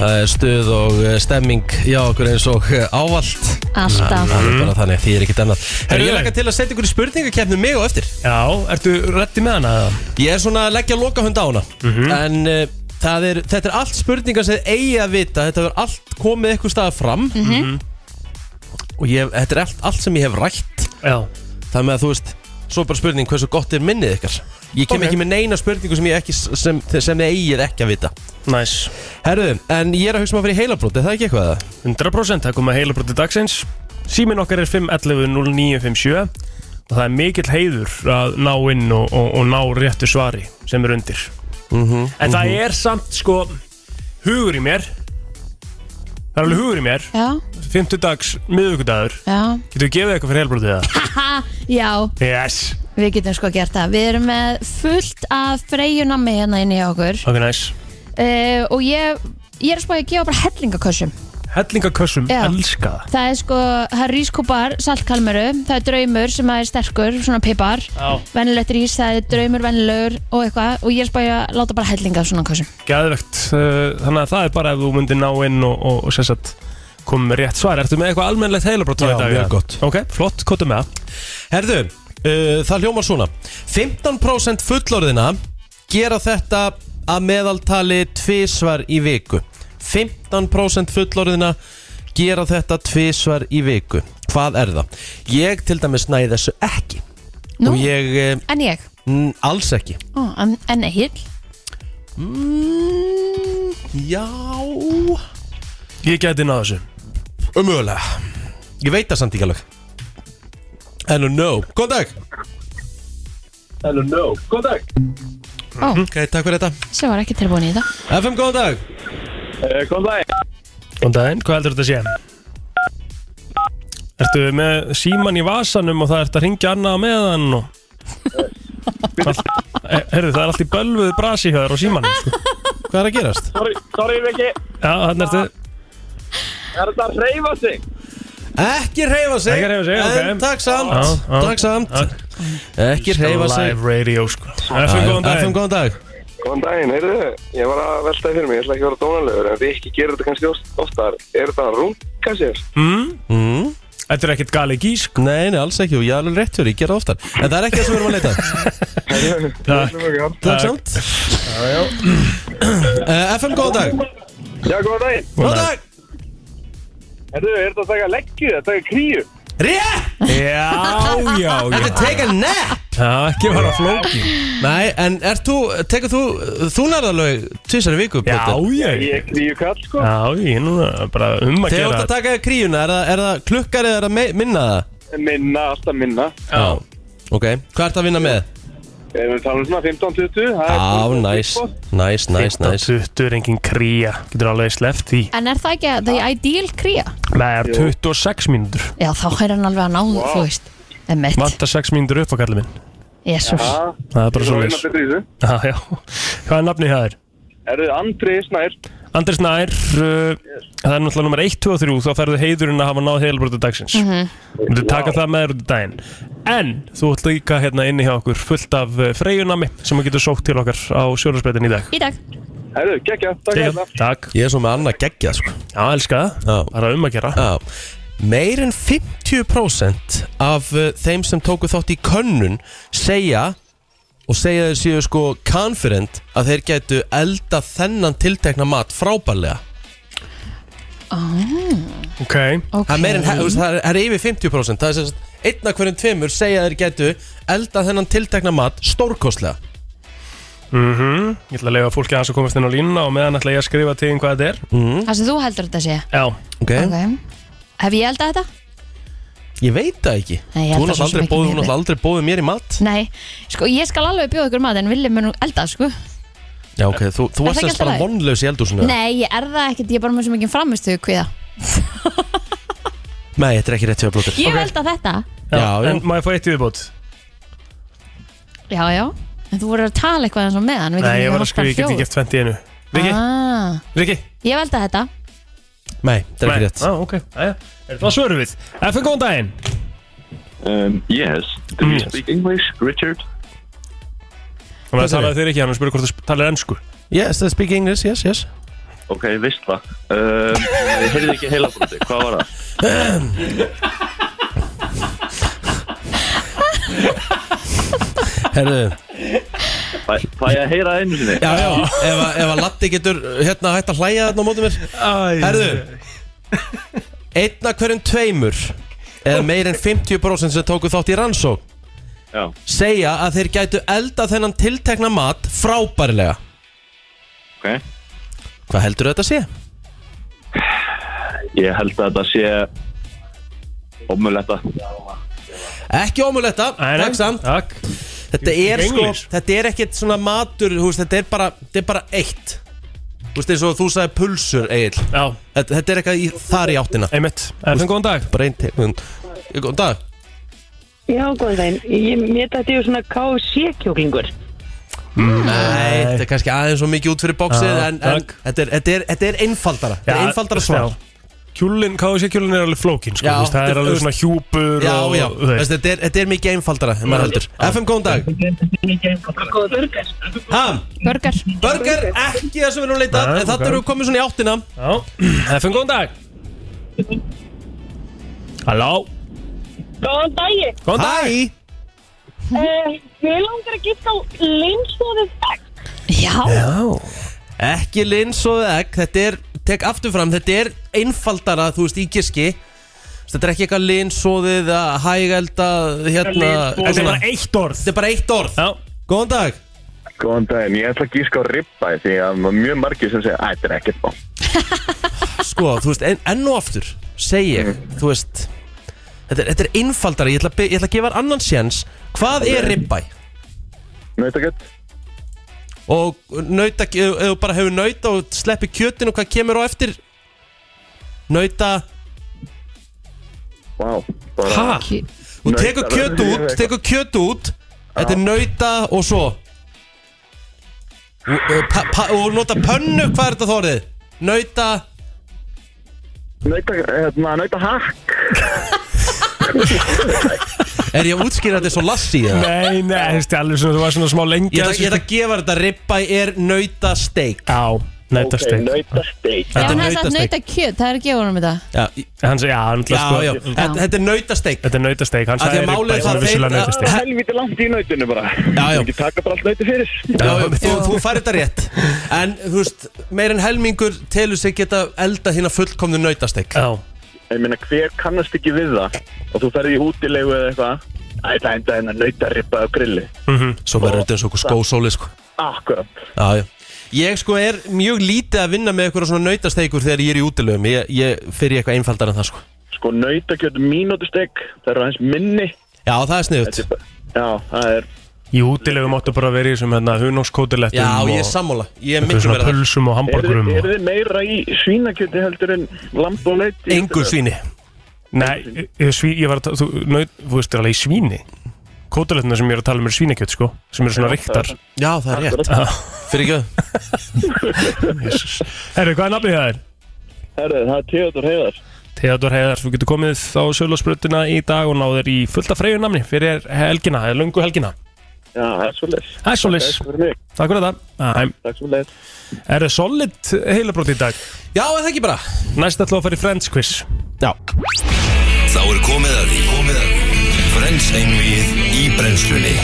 Speaker 2: Það er stuð og eh, stemming hjá okkur eins og eh, ávallt.
Speaker 3: Alltaf.
Speaker 2: Það er
Speaker 4: Mhm.
Speaker 2: bara þannig, því er ekkert annað. Herru,
Speaker 4: ég-
Speaker 2: ég lakka til að setja ykkur í spurningakefni mig og eftir.
Speaker 4: Já, ertu reddi með hana? eða? Mhm.
Speaker 2: Ég er svona að leggja loka hund á hana En uh, það er, þetta er allt spurningar sem þið eigi að vita Þetta er allt komið eitthvað staðar fram
Speaker 4: Mhm.
Speaker 2: Og ég, þetta er allt, allt sem ég hef rætt
Speaker 4: Já,
Speaker 2: Það með að þú veist Svo er bara spurning hversu gott er minnið ykkar Ég kem
Speaker 4: Ok.
Speaker 2: ekki með neina spurningu sem, ég ekki, sem, sem þið eigið ekki að vita
Speaker 4: næs
Speaker 2: Herðu, en ég er að hugsa maður fyrir heilabrót Er það ekki eitthvað?
Speaker 4: 100% það kom að heila brotið dagsins Símin okkar er 5.11.09.57 og það er mikill heiður að ná inn og, og, og ná réttu svari sem er undir
Speaker 2: Mm
Speaker 4: En það er samt sko hugur í mér Það er alveg hugur í mér
Speaker 3: Já,
Speaker 4: 50 dags miðugudagur
Speaker 3: já,
Speaker 4: Getur við gefið eitthvað fyrir heilbrotið það?
Speaker 3: já,
Speaker 4: Yes
Speaker 3: við getum sko gert það. Við erum með fullt af freyjunami hérna inn í okkur
Speaker 4: Ok, næs
Speaker 3: uh, og ég, ég er að spáði að gefa bara hellingakössum.
Speaker 4: Hellingakössum,
Speaker 3: Já.
Speaker 4: elska það
Speaker 3: Það er sko, það er rískópar, saltkalmeru, það er draumur sem að er sterkur, svona pipar,
Speaker 4: Já.
Speaker 3: venilegt rís, það er draumur, venilegur og eitthvað og ég er spæði að láta bara hellinga af svona kásum.
Speaker 4: Gæðvegt, uh, þannig að það er bara ef þú myndir ná inn og, og, og sérstætt komið með rétt svar, ertu með eitthvað almennlegt heilabrótt
Speaker 2: Já, mjög gott.
Speaker 4: Ok, flott, kóta með það
Speaker 2: Herðu, uh, það hljómar svona 15% fullorðina gera þetta að meðaltali tvisvar í viku 15% fullorðina gera þetta tvisvar í viku Hvað er það? Ég til dæmis næði þessu ekki
Speaker 3: Nú,
Speaker 2: og ég eh,
Speaker 3: en ég,
Speaker 2: mm, alls ekki
Speaker 3: Ó, en, en Egil,
Speaker 2: mm, Já
Speaker 4: Ég gæti náðu þessu
Speaker 2: Umögulega Ég veit það samt ekki alveg Hello no, góðan dag
Speaker 6: Hello, no, góð dag
Speaker 3: ó,
Speaker 2: Mhm, Ok, takk fyrir þetta
Speaker 3: sem var ekki tilbúin í það.
Speaker 2: FM, góðan dag
Speaker 6: uh, Góð dag
Speaker 4: Góðan daginn, hvað heldur þetta að sé? Ertu með síman í vasanum og það ert að ringja annað á meðan og All- Eh, Heyrðu, það er allt í bölvuðu brasi hjá þér á símanum sko.
Speaker 2: Hvað er að gerast?
Speaker 6: Sorry, sorry, Viki
Speaker 4: Já, þannig ertu
Speaker 6: Er þetta að hreyfa sig?
Speaker 2: Ekki reyfa sig
Speaker 4: Ekki hreyfa sig,
Speaker 2: En
Speaker 4: ok.
Speaker 2: takk samt,
Speaker 4: Já, já.
Speaker 2: takk samt
Speaker 4: Já.
Speaker 2: Ekki reyfa sig
Speaker 4: Live radio sko FM góðan
Speaker 2: FM
Speaker 4: dag
Speaker 2: góðan dag
Speaker 7: Góðan daginn, heyrðu, ég var að veltaði fyrir mig, ég ætla ekki að vera dónalegur, en Rikki gerir þetta kannski oft- oftar, er þetta að runga sér?
Speaker 4: Mm,
Speaker 2: mm.
Speaker 4: Þetta er ekkert gali gís sko
Speaker 2: Nei, nei, alls ekki og ég er alveg rétt fyrir, ég gera það oftar En það er ekki það sem við erum að
Speaker 6: <laughs>
Speaker 2: leita að.
Speaker 4: Takk.
Speaker 2: Takk samt uh, FM góðan dag
Speaker 6: Já, góðan daginn.
Speaker 2: Góðan dag
Speaker 6: Herðu, er þetta að taka leggju, að taka kríu?
Speaker 2: Rétt
Speaker 4: Já, já, já
Speaker 2: Take a nap
Speaker 4: Það ekki var að flóki
Speaker 2: Nei, en er þú, tekur þú, þú nærðalög tvisar í viku
Speaker 4: Já,
Speaker 2: Pétur?
Speaker 4: ég
Speaker 6: Ég er kríu kall, sko.
Speaker 4: Já, ég er núna bara um að
Speaker 2: Þegar þú
Speaker 4: gera
Speaker 2: ert að taka kríuna, er það, er það klukkar eða er það me- minna það?
Speaker 6: Minna, alltaf minna.
Speaker 2: Já Ok, hvað ert að vinna með?
Speaker 6: Ef við
Speaker 7: um
Speaker 6: talum svona 15-20, það er...
Speaker 2: Já, næs, næs, næs, næs
Speaker 4: 20 er engin kría Getur alveg sleppt því
Speaker 3: En er það ekki að það er ideal kría?
Speaker 4: Það er 26 mínútur
Speaker 3: Já, þá er hann alveg að ná, þú veist Emmett,
Speaker 4: Vantar 6 mínútur upp á kallið minn
Speaker 3: jésús
Speaker 4: Það er bara
Speaker 6: Svo
Speaker 4: svo
Speaker 6: vinna
Speaker 4: leys
Speaker 6: betri í þessu.
Speaker 4: Já, já Hvað er nafnið það er?
Speaker 6: Er þið Andri Snær?
Speaker 4: Andris Nær uh, Það er náttúrulega nummer 1, 2 og 3 Þá færðu heidurinn að hafa náð heilbrötu dagsins Þú -hmm. taka það með þér út í daginn En þú ert líka hérna inni hjá okkur Fullt af uh, freyjunami Sem að getur sótt til okkar á sjólarsbreytin í dag
Speaker 3: Í dag
Speaker 6: Herðu, geggja, takk
Speaker 4: Til-
Speaker 6: hérna.
Speaker 4: Takk
Speaker 2: Ég er svo með annað geggjað sko
Speaker 4: Já, elska
Speaker 2: Já.
Speaker 4: það Bara um að gera
Speaker 2: Já, meir en 50% af uh, þeim sem tóku þátt í könnun segja og segja þeir séu sko confident að þeir gætu elda þennan tiltekna mat frábærlega
Speaker 4: Ok
Speaker 2: það, er meir en, þú veist, það, er, það er yfir 50% það er sem sagt einna hverjum tveimur segja að þeir gætu elda þennan tiltekna mat stórkostlega
Speaker 4: Mhm. Ég ætla að lega fólki aðeins að komast inn á línuna Og meðan ætla ég að skrifa til þeim hvað þetta er
Speaker 2: Mhm.
Speaker 3: Það sem þú heldur að þetta sé
Speaker 4: Já
Speaker 2: okay.
Speaker 3: Ok Hef ég eldað þetta?
Speaker 2: Ég veit það ekki
Speaker 3: Nei,
Speaker 2: Þú
Speaker 3: ég held það
Speaker 2: náttúrulega
Speaker 3: svo sem
Speaker 2: aldrei,
Speaker 3: ekki
Speaker 2: boðið-
Speaker 3: mér
Speaker 2: þú náttúrulega aldrei bóðið mér í mat
Speaker 3: Nei, sko ég skal alveg bjóða ykkur mat en Vili mun eldað sko
Speaker 2: Já ok, þú, þú
Speaker 3: Er það
Speaker 2: varst
Speaker 3: ekki
Speaker 2: þess bara
Speaker 3: alltaf lagi?
Speaker 2: vonlaus í eldúsinu
Speaker 3: Nei, ég er það ekkert, ég er bara með svo mikið framistuðu kviða
Speaker 2: Nei, þetta er ekki rétt hjá blóttir
Speaker 3: Ég okay. eldað þetta
Speaker 2: Já,
Speaker 4: En má ég fá eitt í viðbót?
Speaker 3: Já, já En þú voru að tala eitthvað eins og meðan við
Speaker 4: Nei, ég
Speaker 3: getum
Speaker 4: var að
Speaker 3: haft
Speaker 4: skrifa,
Speaker 3: bara
Speaker 4: ég get ekki
Speaker 3: hljóð.
Speaker 4: gett 20 í einu Riki,
Speaker 3: Ah,
Speaker 4: Riki
Speaker 3: Ég hef eldað þetta
Speaker 2: Nei, þetta er ekki rétt
Speaker 4: Já, Ah, ok Jæja. Er Það svörum við FN, góðan daginn
Speaker 8: Um, yes. Do you
Speaker 4: Yes.
Speaker 8: speak English, Richard?
Speaker 4: Hann var að tala
Speaker 2: Hvað sagði?
Speaker 4: við þér ekki, hann var að spyrja hvort þú sp- talar ennsku
Speaker 2: Yes, they speak English, yes, yes
Speaker 8: Ok, veist það. Um, ég heyrði ekki heila broti, hvað var það?
Speaker 2: Herðu,
Speaker 8: Fæ, fæ ég að heyra það einu sinni?
Speaker 2: já, já, ef að, ef að Latti getur hérna hægt að hlæja þarna á mótum mér
Speaker 4: Æ,
Speaker 2: Herðu Einna hverjum tveimur eða meir en 50% sem tóku þátt í rannsók
Speaker 8: Já.
Speaker 2: segja að þeir gætu elda þennan tiltekna mat frábærlega
Speaker 8: Ok.
Speaker 2: Hvað heldur þetta sé?
Speaker 8: Ég held að þetta sé ómuletta.
Speaker 2: Ekki ómuletta, takk samt
Speaker 4: Takk
Speaker 2: Þetta
Speaker 4: Ég-
Speaker 2: er
Speaker 4: ég
Speaker 2: sko,
Speaker 4: English.
Speaker 2: þetta er ekkert svona matur þú veist, þetta, er bara, þetta er bara eitt Þú veist eins og þú sagði pulsur Egil
Speaker 4: Já,
Speaker 2: þetta, þetta er eitthvað í, þar í áttina
Speaker 4: einmitt FN, góðan dag
Speaker 2: Bara ein tegund Góðan dag
Speaker 9: Já, góðan daginn. Ég, mér dætti ég svona KC-kjóklingur.
Speaker 2: Nei, þetta er kannski aðeins svo mikið út fyrir
Speaker 4: Mm.
Speaker 2: bóksið
Speaker 4: Já,
Speaker 2: En, en
Speaker 4: takk.
Speaker 2: þetta, er, þetta, er, þetta er einfaldara Þetta er einfaldara svar
Speaker 4: Kjúlin, KFC kjúlin er alveg flókin sko, þú
Speaker 2: Já,
Speaker 4: veist, Það er
Speaker 2: þú-
Speaker 4: alveg
Speaker 2: þú-
Speaker 4: svona hjúpur
Speaker 2: Já,
Speaker 4: og,
Speaker 2: já,
Speaker 4: þú
Speaker 2: Veistu,
Speaker 4: veist,
Speaker 2: þetta er, þetta er mikið einfaldara en maður heldur FM, góðan dag Ham,
Speaker 3: Burger
Speaker 2: burger, ekki það sem við erum leitað
Speaker 4: Nei,
Speaker 2: En þetta
Speaker 4: ok.
Speaker 2: eru við komin svona í áttina
Speaker 4: já. FN, góðan dag Halló
Speaker 9: Góðan daginn.
Speaker 4: Góðan dag
Speaker 2: Hæ,
Speaker 9: Uh,
Speaker 7: Eh,
Speaker 9: mér langar að geta á linslóðið vekk.
Speaker 3: Já,
Speaker 2: ekki lins og egg Þetta er, tek aftur fram, þetta er einfaldara, þú veist, í giski Þetta er ekki eitthvað linsoðið að hægælda hérna
Speaker 4: Þetta er
Speaker 2: svona.
Speaker 4: bara eitt orð
Speaker 2: Þetta er bara eitt orð
Speaker 4: Já,
Speaker 2: Góðan dag
Speaker 7: Góðan daginn, ég ætla að gíska á ribba því að mjög margir sem segja að þetta er ekkert bá.
Speaker 2: sko, þú veist, en, enn og aftur segi ég, þú veist þetta, er- þetta er einfaldara, ég ætla, að bi- ég ætla að gefa þér annan séns, hvað er ribbæ?
Speaker 7: Nautakjöld?
Speaker 2: og nauta, ef ef þú bara hefur nauta og sleppi kjötin og hvað kemur á eftir nauta
Speaker 7: Vá. bara-
Speaker 4: ha?
Speaker 2: og tekur
Speaker 7: Nauta-
Speaker 2: kjöt út, tekur kjöt út þetta er nauta og svo eh, og, og, pa, pa, og nota pönnu, hvað er þetta þórið? nauta
Speaker 7: Nauta, hérna, nauta hakk
Speaker 2: <laughs> Er ég að útskýra þetta svo lassi það?
Speaker 4: Nei, nei, þetta er alveg svona, þú var svona smá lengi
Speaker 2: Ég ætla ég ætla að gefa þetta ribba er nautasteik
Speaker 4: Já, nautasteik
Speaker 7: nauta steik
Speaker 3: Já,
Speaker 2: Þetta er
Speaker 3: hann er satt
Speaker 2: nautasteik.
Speaker 3: nauta kjöt, það er að gefa honum þetta
Speaker 2: Já,
Speaker 4: Hann segi, já, hann ætla
Speaker 2: já,
Speaker 4: sko
Speaker 2: já Þetta þetta er nautasteik
Speaker 4: Þetta er nautasteik, hann
Speaker 2: Af því
Speaker 4: sagði
Speaker 2: að málið er
Speaker 4: Erik Bæ,
Speaker 2: það að
Speaker 4: vissulega
Speaker 2: þeir-
Speaker 4: nautasteik
Speaker 7: Helviti langt í nautinu bara
Speaker 2: Já, já.
Speaker 7: Ekki taka bara allt nauti fyrir
Speaker 2: Já, já, þú, þú færi þetta rétt En, þú veist, meir en helmingur telur sig geta elda hérna fullkomnu nautasteik
Speaker 4: Já,
Speaker 7: Ég meina, hver kannast ekki við það og þú ferði í hútilegu eða eitthvað Æ, það enda hennar nautarippa á grilli
Speaker 2: Svo verður þetta eins og okkur skósóli, sko
Speaker 7: Akkurat
Speaker 2: Já, já Ég sko er mjög lítið að vinna með eitthvað svona nautasteikur þegar ég er í útilegum Ég, ég fyrir eitthvað einfaldar en það, sko
Speaker 7: Sko, nautakjöt mínútustek Það eru aðeins minni
Speaker 2: Já, það er sniðut
Speaker 7: Þetta er bara- Já, það er
Speaker 4: í útilegum áttu bara að vera í þessum hérna hunókskótilettum
Speaker 2: Já, ég er sammála Ég er
Speaker 4: Eitthvað
Speaker 2: miklu
Speaker 4: svona
Speaker 2: meira það
Speaker 4: pulsum og
Speaker 7: Eru
Speaker 4: hambúrgurum
Speaker 7: þið-
Speaker 4: og...
Speaker 7: eru þið meira í svínakjöti heldur en lamb og leitt
Speaker 2: Engu svíni
Speaker 4: Nei, ég, ég sví- ég var að ta- þú, naut, þú veist, er alveg í svíni Kótilettina sem ég er að tala um er svínakjöt, sko Sem eru svona reyktar
Speaker 2: Já, það er rétt Fyrir ekki
Speaker 4: <laughs> Herru, hvað er nafnið það er?
Speaker 7: Herðu, það er Theodor Heiðar
Speaker 4: Theodor Heiðar, þú getur komið á Sjölusbrutina í dag og náður í fullta freyju namni fyrir helgina, eða lungu helgina
Speaker 7: Já, það er svolítið
Speaker 4: Það er svolítið,
Speaker 7: Takk fyrir mig,
Speaker 4: takk fyrir þetta Æ,
Speaker 7: takk svolítið
Speaker 4: Er það solid heilabrót í dag?
Speaker 2: Já, er það ekki bara
Speaker 4: Næst ætlum við að fara í Friends quiz
Speaker 2: Já
Speaker 1: Þá er komið að því Komið að því Frens einvið í brennslunni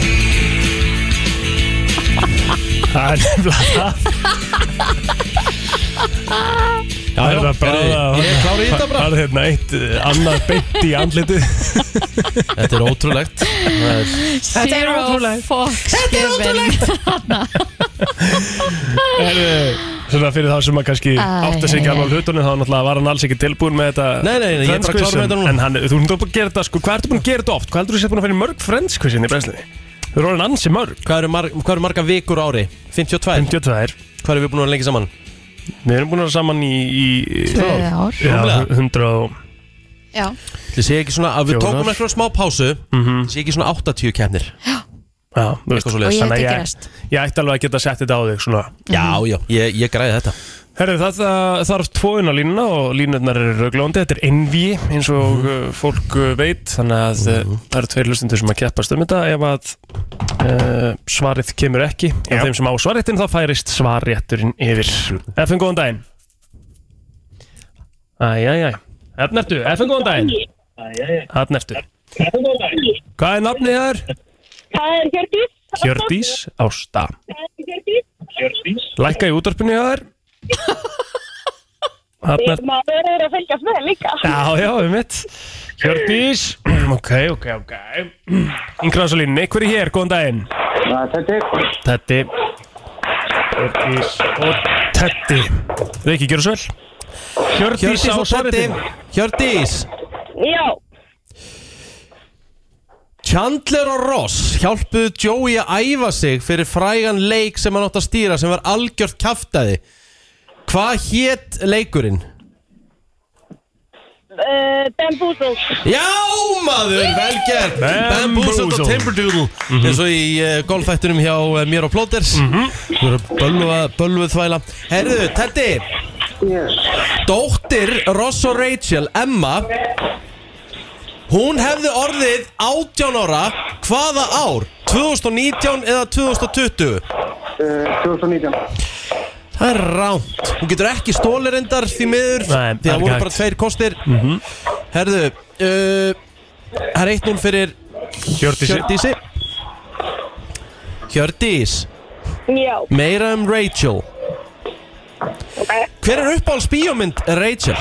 Speaker 4: Það er nefnilega Það er það bara
Speaker 2: Herri, Ég er klárið í þetta bara
Speaker 4: Það er hérna eitt eh, annað beint í andliti
Speaker 2: Þetta er ótrúlegt Það er-
Speaker 3: Þetta er ótrúlegt Þetta er ótrúlegt
Speaker 4: er, eh, Svona fyrir þá sem að kannski
Speaker 3: Æ.
Speaker 4: átta sig ekki alveg á hlutunum þá náttúrulega var hann alls ekki tilbúin með þetta
Speaker 2: Nei, nei, nei, ég er
Speaker 4: Friends
Speaker 2: bara klár með
Speaker 4: quiz, en-
Speaker 2: þetta núna.
Speaker 4: En hann, þú ert búin að gera þetta sko, hvað ertu búin að gera þetta oft? Hvað heldur þú sér búin að finna mörg Friends quizin í brenslinni? Þú eru orðin ansi mörg
Speaker 2: Hvað eru marg- hvað eru marga vikur á ári? 52
Speaker 4: 52
Speaker 2: Hvað eru við búin að vera lengi saman?
Speaker 4: Við erum búin að vera saman í, í
Speaker 3: Tvö ár.
Speaker 4: Já,
Speaker 2: Rúmlega.
Speaker 4: 100 og
Speaker 3: Já,
Speaker 2: Þið sé ekki svona að Við
Speaker 4: Fjórar. Mhm.
Speaker 2: tókum eitthvað smá pásu mm -hmm. Sé ekki svona 80 keppnir
Speaker 4: Já, þú veist
Speaker 2: Eitthvað
Speaker 3: og
Speaker 2: svoleiðis
Speaker 3: ég
Speaker 4: Þannig að
Speaker 3: hef
Speaker 4: ég-
Speaker 3: ekki rest Mhm.
Speaker 4: Ég ætti alveg að geta sett þetta á þig svona
Speaker 2: Já, já Ég, ég græði þetta
Speaker 4: Herru, það, það þarf tvoðun á línuna og línurnar eru rauglóndi Þetta er enví eins og
Speaker 3: Mhm.
Speaker 4: mm fólk uh, veit Þannig að uh, það eru tveir hlustundur sem að keppast um þetta Ef að uh, svarið kemur ekki yep. Þeim sem á svarréttin þá færist svarrétturinn yfir FN, góðan daginn Æjæjæ Hérna ertu, FN, góðan daginn Hérna ertu Hvað er nafnið þér?
Speaker 9: Það er Hjördís.
Speaker 4: Hjördís Ásta
Speaker 9: Það er Hjördís.
Speaker 4: Lækka í útarpinu hjá þér Þarna er
Speaker 9: Maður er að fylgjast með líka.
Speaker 4: Já, já, við mitt Hjördís Ok, ok, ok Ingrásalínni, hver er hér, góðan daginn Tetti Hjördís og Tetti Riki, gjör svo vel Hjördís
Speaker 2: Hjördís
Speaker 4: á
Speaker 2: og Teddi
Speaker 4: svaretin
Speaker 2: Hjördís
Speaker 9: Já.
Speaker 2: Chandler og Ross hjálpuðu Joey að æfa sig fyrir frægan leik sem hann átt að stýra sem var algjört kaftaði Hvað hétt leikurinn?
Speaker 9: Uh, Bamboozled.
Speaker 2: Já maður, velgerð Bamboozled og
Speaker 4: Bamboozled.
Speaker 2: Timberdoodle eins og í uh, golfættunum hjá uh, mér og Plóters mm -hmm. Þú eru bölva- bölvuð þvæla Herðu, Teddi Dóttir Ross og Rachel, Emma Hún hefði orðið 18 ára hvaða ár? 2019 eða 2020?
Speaker 5: Eh, 2019
Speaker 2: Það er ránt Hún getur ekki stólirindar því miður
Speaker 4: Nei,
Speaker 2: Því
Speaker 4: ekki
Speaker 2: það voru
Speaker 4: hægt.
Speaker 2: bara tveir kostir
Speaker 4: Mhm.
Speaker 2: Herðu uh, Það er 1-0 fyrir
Speaker 4: Hjördís
Speaker 2: Hjördísi Hjördís
Speaker 9: Já.
Speaker 2: Meira um Rachel
Speaker 9: Ok.
Speaker 2: Hver er uppáhalds bíómynd Rachel?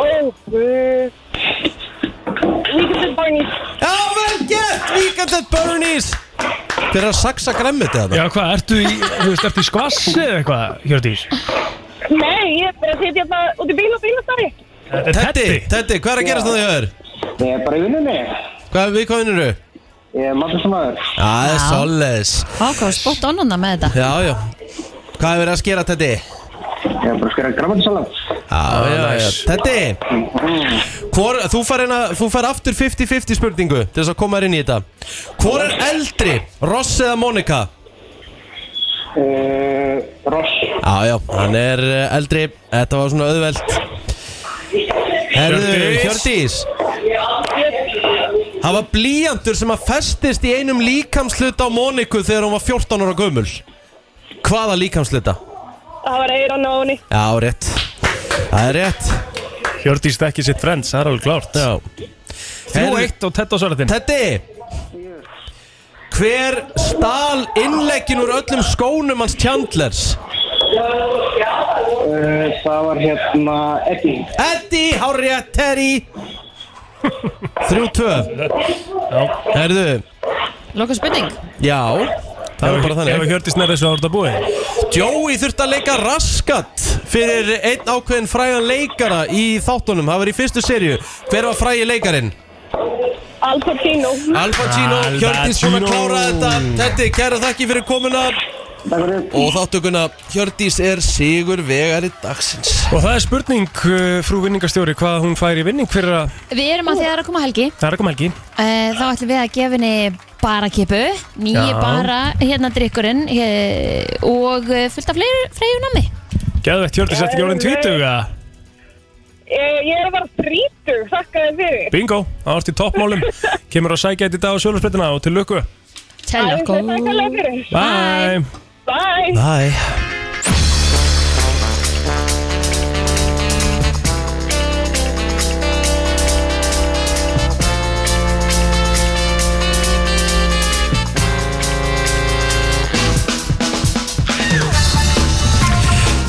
Speaker 9: Ó, guð. Líka til Barney.
Speaker 2: Já, vel gett! Weekend at Bernie's Hver er að saxa græmmið þetta?
Speaker 4: Já, hvað, ertu í, þú veist, ertu í skvassi eða eitthvað, Hjördís?
Speaker 9: Nei, ég er bara að sitja þarna út í bíl og bílastari.
Speaker 4: Þetta er
Speaker 2: Teddi,
Speaker 4: Teddi
Speaker 2: Teddi, hvað er að gerast þannig að þér?
Speaker 5: Ég er bara í vinnunni
Speaker 2: Hvað, við hvað vinnur þú?
Speaker 5: Ég er matlistamæður
Speaker 2: Já, það er
Speaker 3: Já.
Speaker 2: svolítið
Speaker 3: Ákvæm, spott onnuna með þetta
Speaker 2: Já, já Hvað er verið að skera, Teddi?
Speaker 5: Ég er bara að skera grammatinsalat
Speaker 2: Já, já, já. Teddi, hvor, þú, fær hérna, þú fær aftur 50-50 spurningu til þess að koma þér inn í þetta. Hvor er eldri, Ross eða Monica?
Speaker 5: uh, Ross
Speaker 2: Já, já, hann er eh, eldri Þetta var svona auðvelt Herðu,
Speaker 4: Hjördís.
Speaker 2: Hjördís Það var blíjandur sem að festist í einum líkamsluta á Moniku þegar hún var 14 ára gömul Hvaða líkamsluta?
Speaker 9: Það var eiran á henni.
Speaker 2: Já, rétt Það er rétt
Speaker 4: Hjördís þekki sitt friends, það er alveg klárt
Speaker 2: Já.
Speaker 4: Þrjú
Speaker 2: Herðu,
Speaker 4: eitt og tett á svarðin
Speaker 2: Teddi Hver stal innleggin úr öllum skónum hans Chandlers?
Speaker 5: Uh, það var hérna Eddie.
Speaker 2: Eddi, hárið, Terry Þrjú tvö Herðu,
Speaker 3: Loka spurning
Speaker 2: já Það var bara
Speaker 4: Ef
Speaker 2: þannig
Speaker 4: Hjördís nærði þessu árda búið
Speaker 2: Joey þurfti að leika raskat Fyrir einn ákveðin frægan leikara Í þáttunum, það var í fyrstu serju Hver var frægi leikarin?
Speaker 9: Al Pacino.
Speaker 2: Al Pacino,
Speaker 4: Al
Speaker 2: Hjördís búin að
Speaker 4: Pacino.
Speaker 2: klára þetta Teddi, kæra þakki fyrir komuna
Speaker 5: Takk fyrir.
Speaker 2: Og þáttuguna Hjördís er sigur vegari dagsins
Speaker 4: Og það er spurning, uh, frú vinningastjóri, hvað hún fær í vinning fyrir að
Speaker 3: Við erum að því að það er að koma helgi
Speaker 4: Það er ekki melgi
Speaker 3: Eh, Þá ætlum við að gefa henni barakipu Nýju
Speaker 4: Já.
Speaker 3: bara, hérna drikkurinn eh, Og eh, fullt af fleiri freyjum nammi
Speaker 4: Gæðvegt Hjördís, þetta ekki orðin tvítuga
Speaker 9: eh, Ég, ég er að vera þrítur, þakka þér fyrir.
Speaker 4: Bingo, það varst í toppmálum Kemur að sækja þetta í dag á sjölusbreytina og til lukku
Speaker 3: Telja
Speaker 9: Æðislega, Þakka þér fyrir.
Speaker 4: Bye
Speaker 9: Bye.
Speaker 2: Æ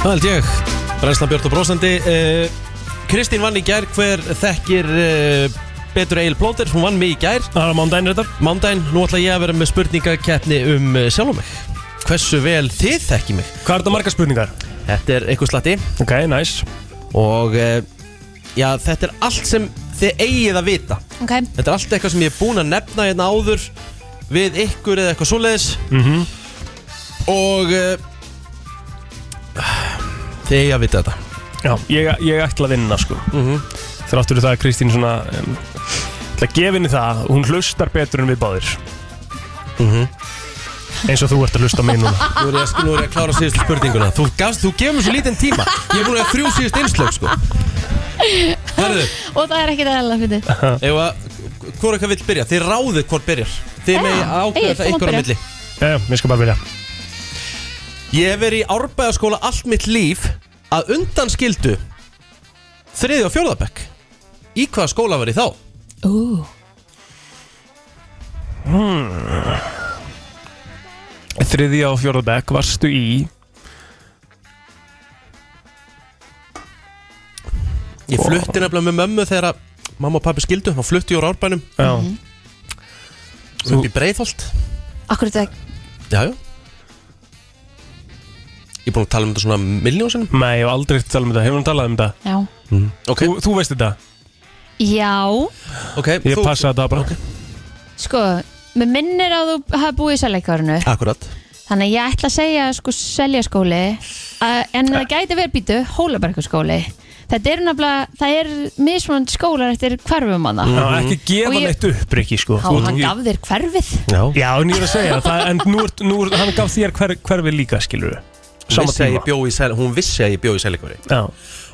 Speaker 2: Það held ég Brænslan Björn og Brósandi eh, Kristín vann í gær Hver þekkir eh, betur Egil Plóter Hún vann mig í gær
Speaker 4: Það er á mándaginn þetta
Speaker 2: Mándaginn, nú ætla ég að vera með spurningakeppni um eh, sjálf mig Hversu vel þið þekki mig
Speaker 4: Hvað er þetta marga spurningar?
Speaker 2: Þetta er eitthvað slatti
Speaker 4: Ok, nice
Speaker 2: og eh, já, þetta er allt sem þið eigið að vita
Speaker 3: Ok,
Speaker 2: Þetta er allt eitthvað sem ég er búinn að nefna hérna áður við ykkur eða eitthvað svoleiðis
Speaker 4: Mhm.
Speaker 2: og eh, þið eigið að vita þetta Mhm.
Speaker 4: Já, ég, ég ætla að vinna sko Þráttur það að Kristín svona um, ætla að gefa henni það hún hlustar betur en við báðir eins og þú ert að hlusta á mig núna
Speaker 2: Mhm. Nú er ég, að- nú er ég að klára síðustu spurninguna Þú, gafst, þú gefur mér svo lítinn tíma Ég er búinn að eiga þrjú síðust einslög sko Herðu,
Speaker 3: og það er ekkert aðeins að fyndi
Speaker 2: eða hvora hvað vill byrja? Þið ráðið hvort byrjar Þið
Speaker 3: Já,
Speaker 2: megið ákveða
Speaker 3: Egill,
Speaker 2: það
Speaker 3: þú mátt
Speaker 2: ykkur á
Speaker 3: byrja.
Speaker 2: milli
Speaker 4: Já, já, ég skal bara vilja
Speaker 2: Ég hef verið í árbæðaskóla allt mitt líf að undan skildu þriði og fjórðabekk Í hvaða skóla var ég þá?
Speaker 3: Ú,
Speaker 4: Hmm. Þriðja og fjóra bekk varstu í
Speaker 2: Ég flutti nefnilega með mömmu þegar að mamma og pappi skildu og flutti ég úr árbænum
Speaker 4: Já,
Speaker 3: Mhm.
Speaker 2: upp í Breiðholt
Speaker 3: akkur þetta
Speaker 2: Jájú Ég er búin að tala um þetta svona miljónsinnum
Speaker 4: nei, ég hef aldrei eftir að tala um þetta, hefur hún talað um þetta
Speaker 3: Já
Speaker 2: Mhm. Ok,
Speaker 4: þú, þú veist þetta,
Speaker 3: Já,
Speaker 2: ok
Speaker 4: ég passa þetta bara
Speaker 3: sko Mér minnir að þú hafa búið í seljakarinu
Speaker 2: Akkurat
Speaker 3: Þannig að ég ætla að segja sko seljaskóli uh, En það gæti verið býtu Hólabergaskóli Þetta er nefnilega, það er mismunandi skólar eftir hverfum hann
Speaker 2: Mm.
Speaker 4: Já, ekki gefa
Speaker 3: Og ég-
Speaker 4: neitt upp, Rikki sko.
Speaker 3: Há,
Speaker 4: Þú ert
Speaker 3: hann
Speaker 4: ekki-
Speaker 3: gaf þér hverfið
Speaker 2: Já
Speaker 4: Já, en ég er að segja það, en nú, ert- nú, ert- hann gaf þér hver, hverfi líka, skilur
Speaker 2: Hún
Speaker 4: Sama
Speaker 2: vissi að ég
Speaker 4: tíma.
Speaker 2: bjó í sel, Hún vissi að ég bjó í selikveri
Speaker 4: Já,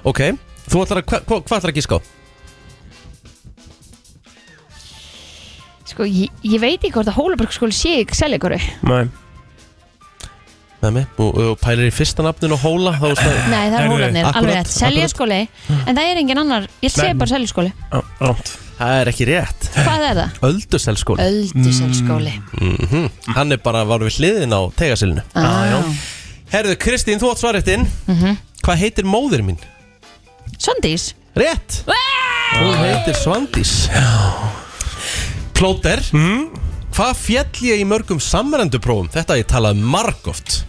Speaker 2: Ok, þú ætlar að, hva, hva, hvað ætlar að gíska á?
Speaker 3: Sko, ég, ég veit ekki hvort að Hólabergaskóli sé ekki seljakoru
Speaker 4: nei
Speaker 2: Með mig, og, og pælir í fyrsta nafninu Hóla, þá veist það
Speaker 3: Nei, það er
Speaker 4: Heyrðu,
Speaker 3: hólanir,
Speaker 2: akkurat,
Speaker 3: alveg rétt Seljaskóli, en það er engin annar Ég
Speaker 4: Nei.
Speaker 3: segi bara seljaskóli
Speaker 4: Já, Rámt
Speaker 2: Það er ekki rétt
Speaker 3: Hvað er það?
Speaker 2: Ölduselskóli Mhm.
Speaker 3: Ölduselskóli
Speaker 2: Hann er bara var við hliðin á tegasilinu
Speaker 3: ah, Mhm.
Speaker 2: Herðu, Kristín, þú átt svarréttin Hvað heitir móðir mín?
Speaker 3: Sondís
Speaker 2: Rétt Hún heitir Svandís Plóter
Speaker 4: Mhm.
Speaker 2: Hvað fjall ég í mörgum samrenduprófum? Þetta hef ég talað margóft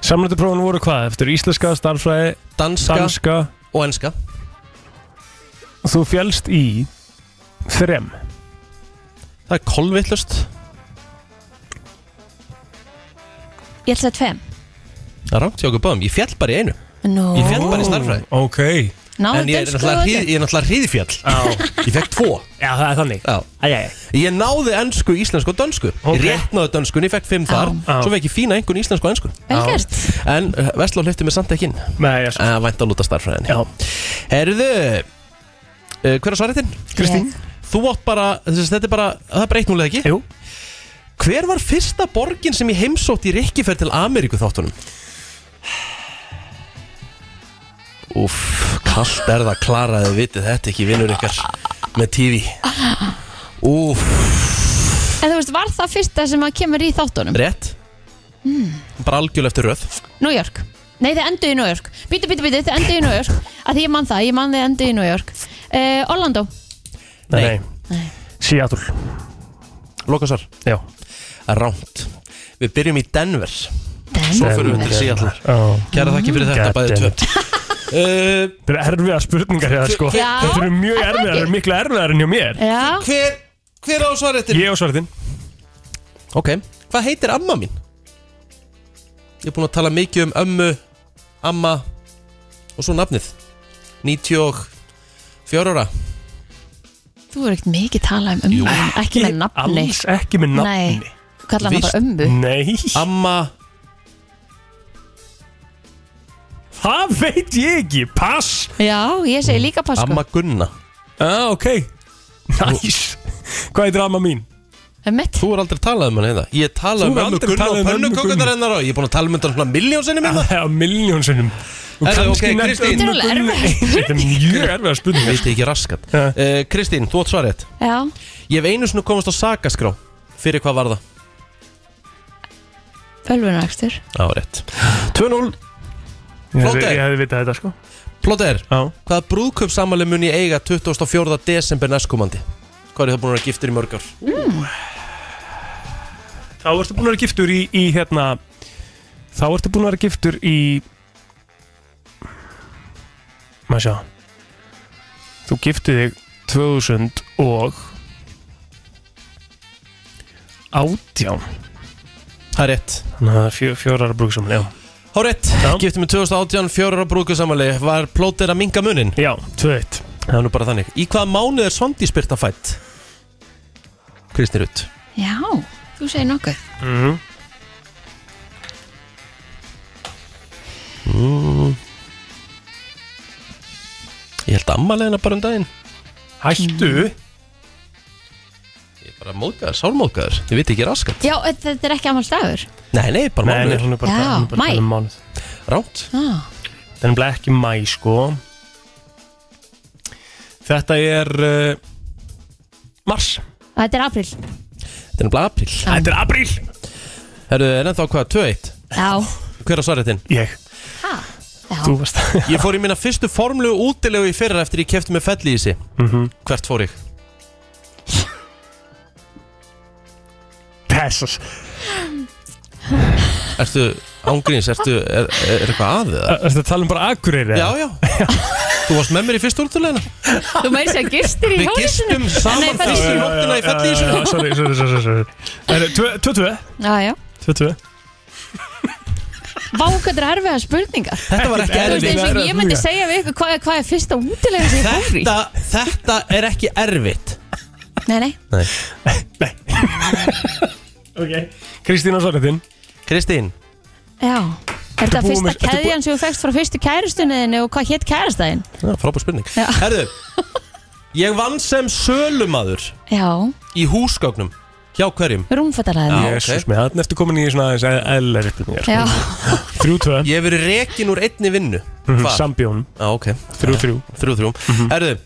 Speaker 4: Samrættuprófin voru hvað? Eftir íslenska, starfræði,
Speaker 2: Danska
Speaker 4: danska
Speaker 2: og enska
Speaker 4: Þú fjálst í þrem
Speaker 2: Það er kolvittlust
Speaker 3: Ég ætla að tveim
Speaker 2: Það er rangt hjá okkur báðum Ég fjall bara í einu
Speaker 3: Nú,
Speaker 2: Ég fjall bara í starfræði
Speaker 4: Ok
Speaker 3: Náðu
Speaker 2: En ég er
Speaker 3: dönsku
Speaker 2: náttúrulega,
Speaker 3: og
Speaker 2: hrið, ég er náttúrulega hriðfjall Ég fekk tvo
Speaker 4: Já, það er þannig
Speaker 2: Já.
Speaker 4: Æjæj
Speaker 2: Ég náði ennsku, íslensku og dönsku
Speaker 4: Ok.
Speaker 2: Ég rétt náði dönskunni, ég fekk fimm þar
Speaker 4: Já.
Speaker 2: Svo vekk ég fína engun íslensku og ennsku
Speaker 3: Vel gert.
Speaker 2: En uh, Vestló hlifti mér samt ekki inn
Speaker 4: Nei, ég
Speaker 2: uh, Vænt að lúta starfræðinni
Speaker 4: Já.
Speaker 2: Herðu uh, Hver er svaretinn?
Speaker 3: Kristín. Ég.
Speaker 2: Þú átt bara, þessi, þetta er bara, það breytt núlega ekki
Speaker 4: Jú.
Speaker 2: Hver var fyrsta borgin sem ég heimsótt í Rikkiferð til Ameríku þáttunum? Úff, kallt er það Klara þið vitið þetta ekki vinnur ykkar með TV Úff,
Speaker 3: En þú veist, var það fyrsta sem að kemur í þáttunum?
Speaker 2: rétt Hmm. Bara algjörlega eftir röð
Speaker 3: New York Nei, þið endur í New York Býtu, býtu, býtu, þið endur í New York Af því ég man það, ég man þið endur í New York uh, Orlando
Speaker 4: Nei,
Speaker 2: Nei.
Speaker 4: nei. Seattle
Speaker 2: Lokasar,
Speaker 4: Já
Speaker 2: rámt Við byrjum í Denver Svo
Speaker 3: Denver.
Speaker 2: fyrir við til Seattle
Speaker 4: Já
Speaker 2: Kæra þakki fyrir þetta,
Speaker 4: God
Speaker 2: bæði
Speaker 4: damn <laughs>
Speaker 2: tvö uh,
Speaker 4: Þetta eru erfiða spurningar hérna sko
Speaker 3: Já.
Speaker 4: Þetta eru mjög
Speaker 3: Er það
Speaker 4: erfiðar,
Speaker 3: ekki?
Speaker 4: þetta eru miklu erfiðar en hjá mér
Speaker 3: Já,
Speaker 2: Hver, hver á svaretinn?
Speaker 4: Ég og svarðin
Speaker 2: Ok, hvað heitir amma mín? Ég er búin að tala mikið um ömmu, amma og svo nafnið 94 ára
Speaker 3: þú er ekkert mikið talað um ömmu þína, Ekki með nafni
Speaker 4: Alls ekki með
Speaker 3: Nei,
Speaker 4: nafni
Speaker 3: þú kallar hann bara ömmu
Speaker 4: Nei
Speaker 2: Amma,
Speaker 4: Það veit ég ekki Pass
Speaker 3: Já, ég segi líka pass sko
Speaker 2: amma Gunna
Speaker 4: Já, ok Næs Hvað heitir amma mín?
Speaker 3: Ömmett
Speaker 2: Þú er aldrei talað um hann eða Ég
Speaker 4: Þú
Speaker 2: tala um
Speaker 4: hefur
Speaker 2: ömmu
Speaker 4: aldrei
Speaker 2: Gunna
Speaker 4: talað
Speaker 2: og
Speaker 4: um ömmu
Speaker 2: pönnukökunar
Speaker 4: Gunnu.
Speaker 2: hennar og ég er búin að tala um þetta svona miljónsinnum
Speaker 4: <laughs>
Speaker 2: hérna
Speaker 4: Það er á miljón sinnum Og
Speaker 2: Herðu,
Speaker 4: kannski
Speaker 2: ok,
Speaker 4: nefnt
Speaker 2: Kristín.
Speaker 4: ömmu Gunnu
Speaker 3: Þetta eru alveg
Speaker 4: einu. Þetta er mjög erfiða
Speaker 2: Ég
Speaker 4: spurningar
Speaker 2: veit ekki raskat
Speaker 4: Ja.
Speaker 2: uh, Kristín, þú átt svarið
Speaker 3: Já,
Speaker 2: Ég hef einu svona komast á sakaskrá Fyrir hvað var það?
Speaker 3: ölvunakstur
Speaker 2: Já, rétt 2-0
Speaker 4: Ég
Speaker 2: Flott
Speaker 4: hefði-
Speaker 2: er.
Speaker 4: Ég hefði vitað þetta sko
Speaker 2: Plóter,
Speaker 4: Já
Speaker 2: hvaða brúðköpsamali mun ég eiga 24. desember næstkomandi? Hvað er það búin að vera giftur í mörg ár?
Speaker 4: Hmm. Þá ertu búin að vera giftur í, í hérna Þá ertu búin að vera giftur í Maður sjá Þú giftið þig 2000 og átján
Speaker 2: Það er rétt
Speaker 4: Þannig að það er fjö, fjórar brúksumli, já
Speaker 2: Hárétt,
Speaker 4: Já.
Speaker 2: giftum við 2018, fjórar á brúkusamali Var plótir að minga munin?
Speaker 4: Já, 2-1
Speaker 2: Það er nú bara þannig Í hvaða mánuð er Svandi spyrta fætt? Kristi Rutt
Speaker 3: Já, þú segir nokkuð
Speaker 4: Mhm.
Speaker 2: Mm. Ég held að ammalegina bara um daginn Mm.
Speaker 4: Hættu
Speaker 2: Ég er bara móðgæður, sármóðgæður Ég veit ekki raskat
Speaker 3: Já, þetta þetta er ekki ammals dagur
Speaker 2: Nei, nei, bara
Speaker 4: Nei, nei,
Speaker 2: mánuður
Speaker 4: hún er bara
Speaker 3: Já,
Speaker 4: hún er bara að tala um
Speaker 3: maí.
Speaker 4: mánuð
Speaker 2: Ránt
Speaker 3: ah.
Speaker 4: Það er nefnilega ekki mæ, sko Þetta er uh, Mars
Speaker 3: Þetta er april
Speaker 2: Þetta er náttúrulega april
Speaker 4: Þetta er apríl
Speaker 2: Herðu, er ennþá hvað, 2-1?
Speaker 3: Já,
Speaker 2: Hver á svarréttin?
Speaker 4: Ég,
Speaker 3: ha Já,
Speaker 4: þú varst
Speaker 2: <laughs> Ég fór í minna fyrstu formlegu útilegu í fyrra eftir ég kefti með felli í sig
Speaker 4: Mhm.
Speaker 2: Hvert fór ég?
Speaker 4: Pessas
Speaker 2: Ertu ángríns, ertu, er, er, er eitthvað aðið það?
Speaker 4: Þetta tala um bara akureyri
Speaker 2: Já, já Þú varst með mér í fyrstu úrtulegina
Speaker 3: þú meir sér gistir í
Speaker 2: Við
Speaker 3: hálsinu
Speaker 2: gistum saman
Speaker 3: Nei,
Speaker 2: fyrstu
Speaker 3: fellihýsinu.
Speaker 2: nóttina í fellísinu
Speaker 4: Sorry, sorry, sorry, sorry. Það er 2-2
Speaker 3: Já, já
Speaker 4: 2-2
Speaker 3: Vá, hvað þetta er erfiða spurningar
Speaker 2: Þetta var ekki
Speaker 3: Þú veist,
Speaker 2: erfitt
Speaker 3: eins og
Speaker 4: erfitt.
Speaker 3: ég myndi segja við ykkur hvað, hvað er fyrsta útilega sem ég fór í
Speaker 2: þetta, þetta er ekki erfitt
Speaker 3: Nei, nei,
Speaker 4: <laughs> Ok Kristína Svaretin
Speaker 2: Kristín,
Speaker 3: já Er þetta
Speaker 4: búin
Speaker 3: fyrsta
Speaker 4: með- ertu
Speaker 3: keðjan sem þú fegst frá fyrstu kærustunniðinni og hvað hétt kærastæðin?
Speaker 2: frábær spurning
Speaker 3: Já.
Speaker 2: Herðu, ég vann sem sölumadur
Speaker 3: Já,
Speaker 2: í húsgögnum Hjá hverjum?
Speaker 3: rúmfattaræðin
Speaker 2: Já.
Speaker 4: Jésús mig, þannig ertu komin í svona aðeins eðlæri spurningar
Speaker 3: Já,
Speaker 4: 3-2
Speaker 2: Ég hef verið rekin úr einni vinnu
Speaker 4: Mhm,
Speaker 2: Hvað?
Speaker 4: Sambjón
Speaker 2: Já, ok,
Speaker 4: 3-3
Speaker 2: þrjú, þrjú
Speaker 4: Mhm.
Speaker 2: Herðu,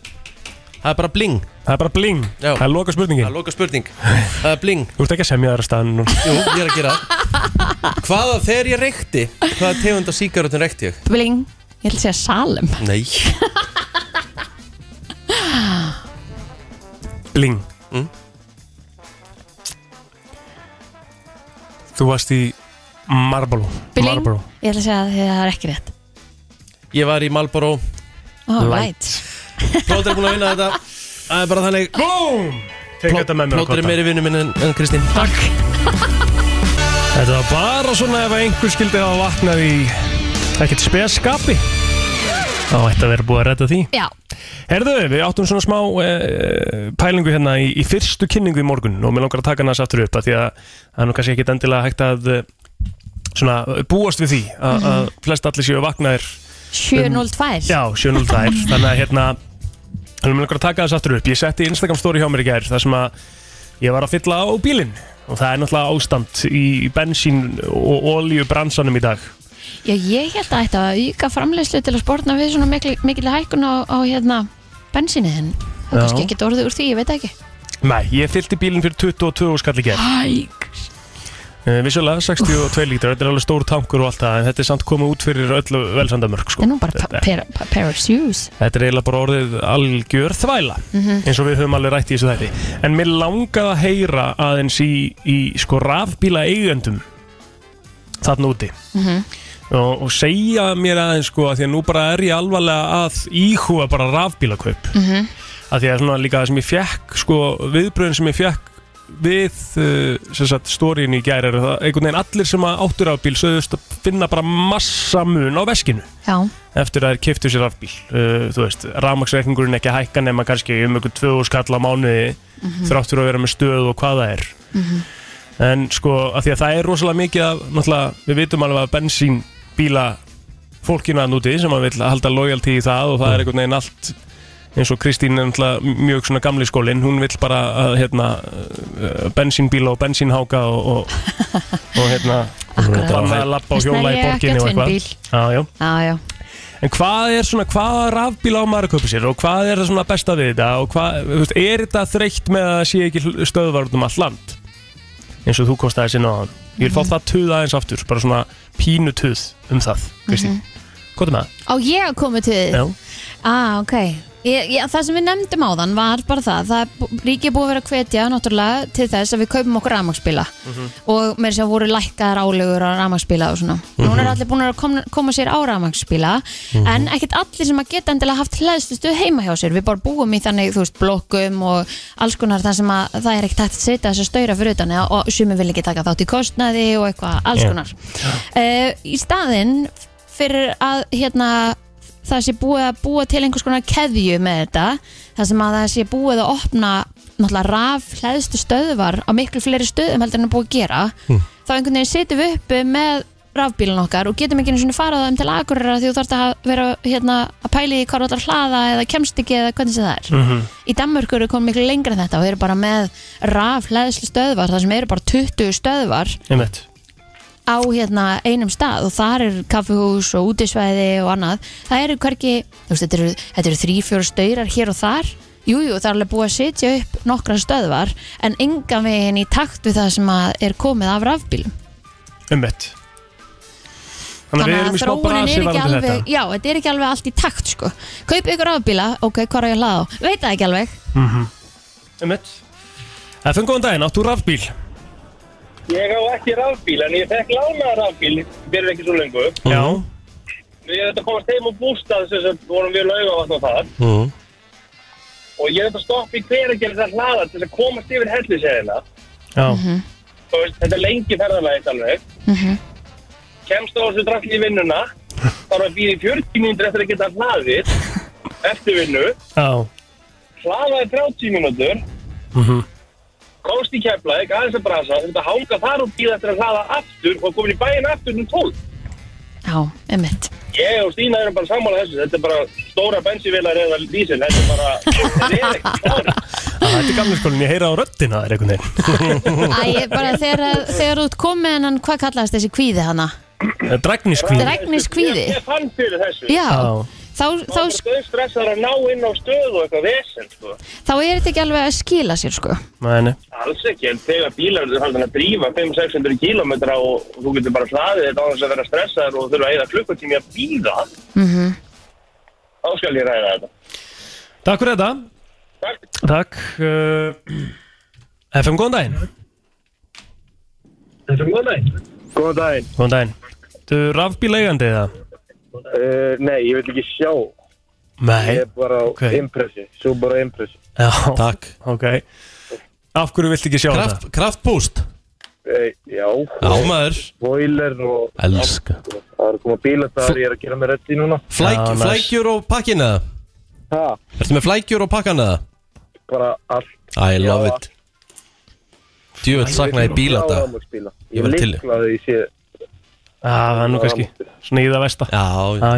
Speaker 2: það er bara bling
Speaker 4: Það er bara bling
Speaker 2: Já.
Speaker 4: Það er loka
Speaker 2: Það er
Speaker 4: spurningin
Speaker 2: loka spurning Það er bling
Speaker 4: Þú ert ekki að semja þar að staðan nú
Speaker 2: Jú, ég er að gera það. Hvaða þegar ég reykti Hvaða tegund af sígarutin reykti ég?
Speaker 3: bling Ég ætla að segja salum
Speaker 2: Nei
Speaker 4: Bling
Speaker 2: Mm.
Speaker 4: Þú varst í Marlboro
Speaker 3: <gasps> Bling,
Speaker 4: Marlboro
Speaker 3: ég ætla að segja að það er ekki rétt
Speaker 2: Ég var í Malboro
Speaker 3: All right
Speaker 4: Light.
Speaker 2: Plóter er búin að vinna þetta Það er bara þannig
Speaker 4: Boom Tek þetta með mér
Speaker 2: Plóter er meiri vinnu minn en, en Kristín
Speaker 4: Takk Þetta var bara svona ef einhver skildi hafa vaknað í ekkert speskapi Þá ætti að vera búið að redda því
Speaker 3: Já,
Speaker 4: Herðu, við áttum svona smá e, pælingu hérna í, í fyrstu kynningu í morgun og mér langar að taka hann aðeins aftur upp af því að það er nú kannski ekkit endilega hægt að eh, svona búast við því
Speaker 3: Mhm.
Speaker 4: að, að flest allir séu vaknaðir um-
Speaker 3: 702
Speaker 4: Já, 702
Speaker 3: Mhm.
Speaker 4: Þannig að hérna Þannig að mér langar að taka þess aftur upp Ég setti Instagram story hjá mér í gær þar sem að ég var að fylla á bílinn Og það er náttúrulega ástand í bensín og oljubransanum í dag
Speaker 3: Já, ég held að þetta að auka framleiðslu til að spórna við svona mikil, mikil hækkun á, á hérna bensinni en það
Speaker 4: Já.
Speaker 3: er kannski ekki orðið úr því, ég veit það ekki Ah.
Speaker 4: Nei, ég fyllti bílinn fyrir 22 skall í gær
Speaker 3: Hæk
Speaker 4: Eh, Vissulega 62 lítrar, þetta er alveg stór tankur og allt það En þetta er samt komið út fyrir öllu velsandamörk sko.
Speaker 3: Það er nú bara pa- pair, pa- pair of shoes Mhm.
Speaker 4: Þetta er eiginlega bara orðið algjör þvæla Eins og við höfum alveg rætt í þessu þætti En mér langaði að heyra aðeins í, í sko rafbíla eigendum Þarna úti
Speaker 3: Mhm.
Speaker 4: og, og segja mér aðeins sko að Því að nú bara er ég alvarlega að íhuga bara rafbílakaup að Því að svona líka það sem ég fekk sko Viðbröðin sem ég fekk við uh, sem sagt stórin í gær er það einhvern veginn allir sem að áttur af bíl sögðust að finna bara massa mun á veskinu
Speaker 3: Já,
Speaker 4: eftir að þeir kiftu sér rafbíl uh, þú veist, rafmaksreikningurinn ekki að hækka nema kannski um ykkur tvö og skall á mánuði þráttur að vera með stöð og hvað það er en sko, af því að það er rosalega mikið af, náttúrulega, við vitum alveg að bensín bíla fólkinu að núti sem að vill halda lojalti í það og
Speaker 3: Mm.
Speaker 4: það er einhvern veginn allt eins og Kristín er náttúrulega mjög svona gamli skólinn, hún vill bara að hérna, uh, bensínbíla og bensínháka og, og,
Speaker 3: <laughs>
Speaker 4: og hérna
Speaker 3: Akkurat.
Speaker 4: banna að labba og
Speaker 3: Þess
Speaker 4: hjóla
Speaker 3: vegna
Speaker 4: í
Speaker 3: er ég ekki
Speaker 4: borginni og
Speaker 3: að
Speaker 4: eitthvað
Speaker 3: tvinnbíl.
Speaker 4: Já, já.
Speaker 3: já, já
Speaker 4: En hvað er svona, hvaða rafbíla á maður að kaupa sér og hvað er það svona besta við þetta og hvað, þú veist, er þetta þreytt með að það sé ekki hl- stöðvar út um allt land eins og þú kostaði sinna á hann Ég
Speaker 3: Mhm.
Speaker 4: vil fá það tuð aðeins aftur, bara svona pínu tuð um það,
Speaker 3: Mhm.
Speaker 4: Kristín Hvað er með það?
Speaker 3: Á ég að koma til þið?
Speaker 4: Já,
Speaker 3: Ah, ok. Ég, ég, það sem við nefndum áðan var bara það, það er bú- ríkið er búið að vera að hvetja náttúrulega til þess að við kaupum okkur rafmagsbíla og með þess að voru lækkaðar álegur á rafmagsbíla og svona. Núna er allir búin að koma, koma sér á rafmagsbíla en ekkert allir sem að geta endilega haft hlæðslustu heima hjá sér. Við bara búum í þannig, þú veist, blokkum og alls konar þar sem að það er ekkert hægt að setja þess að stöyra fyrir utan eða- og sumi vil ekki taka þátt í kostnaði og eitthvað, alls
Speaker 4: Já.
Speaker 3: konar. Uh, í staðinn fyrir að hérna það sé búið að búa til einhvers konar keðju með þetta þar sem að það sé búið að opna náttúrulega raf hlæðstu stöðvar á miklu fleiri stöðum heldur en að búið að gera þá einhvern veginn setjum við uppi með rafbílan okkar og getum ekki einu sinni farað á þeim til akureyra því þú þarfst að vera hérna, að pæli í hvað þú ætlar að hlaða eða kemst ekki eða hvernig sem það er
Speaker 4: Mhm.
Speaker 3: í Danmörku eru komið miklu lengra en þetta og eru bara með raf hlæðslu stöðvar þar sem eru bara 20 stöðvar
Speaker 4: einmitt
Speaker 3: á hérna einum stað og þar er kaffihús og útisvæði og annað það eru hvergi, þú veist, þetta eru, þetta eru þrý, fjóru stöyrar hér og þar jújú, jú, það er alveg búið að setja upp nokkra stöðvar en engan veginn í takt við það sem að er komið af rafbílum
Speaker 4: Einmitt Þannig að við erum í smá
Speaker 3: þróunin
Speaker 4: brasi
Speaker 3: er ekki
Speaker 4: varandi
Speaker 3: alveg
Speaker 4: þetta
Speaker 3: já, þetta er ekki alveg allt í takt sko kaup ykkur rafbíla, ok, hvað er ég að hlaða á veit það ekki alveg,
Speaker 4: Mhm. Einmitt Efum góðan daginn, áttu rafbíl
Speaker 6: Ég á ekki rafbíl, en ég fekk lána rafbíl fyrir ekki svo lengu.
Speaker 10: Mm-hmm.
Speaker 4: Já,
Speaker 6: Ég hef þetta komast heim og bústað þess að vorum við laugavatn og þar.
Speaker 10: Mm-hmm.
Speaker 2: Mhm.
Speaker 6: Og ég hef þetta stopp í hver að gera þetta hlaða til þess að komast yfir hellisegina.
Speaker 4: já,
Speaker 6: Þú veist, Þetta er lengi ferðarlægt alveg. Kemst á þessu drasli í vinnuna. Þarf að býða í 40 mínútur eftir að geta hlaðið. Eftir vinnu.
Speaker 4: já Mhm.
Speaker 6: Hlaðaði 30 mínútur. Komst í keflaðið, aðeins að brasa. Þetta hanga þar og býða eftir að hlaða aftur og komin í bæinn aftur um 12.
Speaker 3: já, einmitt
Speaker 6: Ég og Stína erum bara sammála þessu, þetta er bara stóra bensinvilar eða dísil, þetta er bara, þetta er ekki stóri.
Speaker 4: Á, Þetta er gamlega skólinn, ég heyra á röddina það er einhvern veginn
Speaker 3: <laughs> <laughs> Æ, ég bara þegar, að- þegar þú ert komið en hvað kallaðast þessi kvíði hana?
Speaker 4: Eh, Dragniskvíð
Speaker 3: Dregniskvíði?
Speaker 6: Ég fann fyrir þessu,
Speaker 3: Já,
Speaker 4: Já.
Speaker 3: þá,
Speaker 6: þá
Speaker 3: þá
Speaker 6: er
Speaker 3: sko
Speaker 6: bara stressar að ná inn á stöðu og eitthvað vesen, sko.
Speaker 3: þá er þetta ekki alveg að skila sér sko
Speaker 4: Nei, nei
Speaker 6: Alls ekki, en þegar bílar eru haldin að drífa 500-600 km og þú getur bara hlaðið þetta á þess að vera stressaður og þurfa að eða klukkutími að bíða,
Speaker 3: Mhm.
Speaker 6: þá skal ég ræða þetta.
Speaker 4: Takk fyrir þetta
Speaker 6: Takk.
Speaker 4: Takk uh, <clears throat> FM, góðan daginn
Speaker 6: Þetta er góð daginn.
Speaker 7: Góðan daginn.
Speaker 4: Góðan daginn Þú er rafbíleigandi eða?
Speaker 11: Eh,
Speaker 7: Uh, nei, ég vil ekki sjá.
Speaker 4: Nei
Speaker 7: Ég er bara á
Speaker 4: Ok.
Speaker 7: impressi. Svo bara impressi.
Speaker 4: Já,
Speaker 2: Takk
Speaker 4: ok Af hverju viltu ekki sjá
Speaker 2: Kraft, Kraftbúst
Speaker 11: Eh, já,
Speaker 2: Ámaður
Speaker 11: boiler og
Speaker 2: Elska
Speaker 11: það er að koma bíla þar, ég er að gera mér rödd í núna
Speaker 2: Flæk, Flækjur og pakkina
Speaker 11: Ha,
Speaker 2: Ertu með flækjur og pakkana
Speaker 11: bara allt
Speaker 2: I love
Speaker 11: Já.
Speaker 2: it Djúvill saknaði bíla þetta
Speaker 11: Rafmagnsbíla.
Speaker 2: Ég
Speaker 11: Ég
Speaker 2: var til í.
Speaker 11: liklaði því sé
Speaker 4: Það er nú kannski svona í það vesta
Speaker 2: Já, já,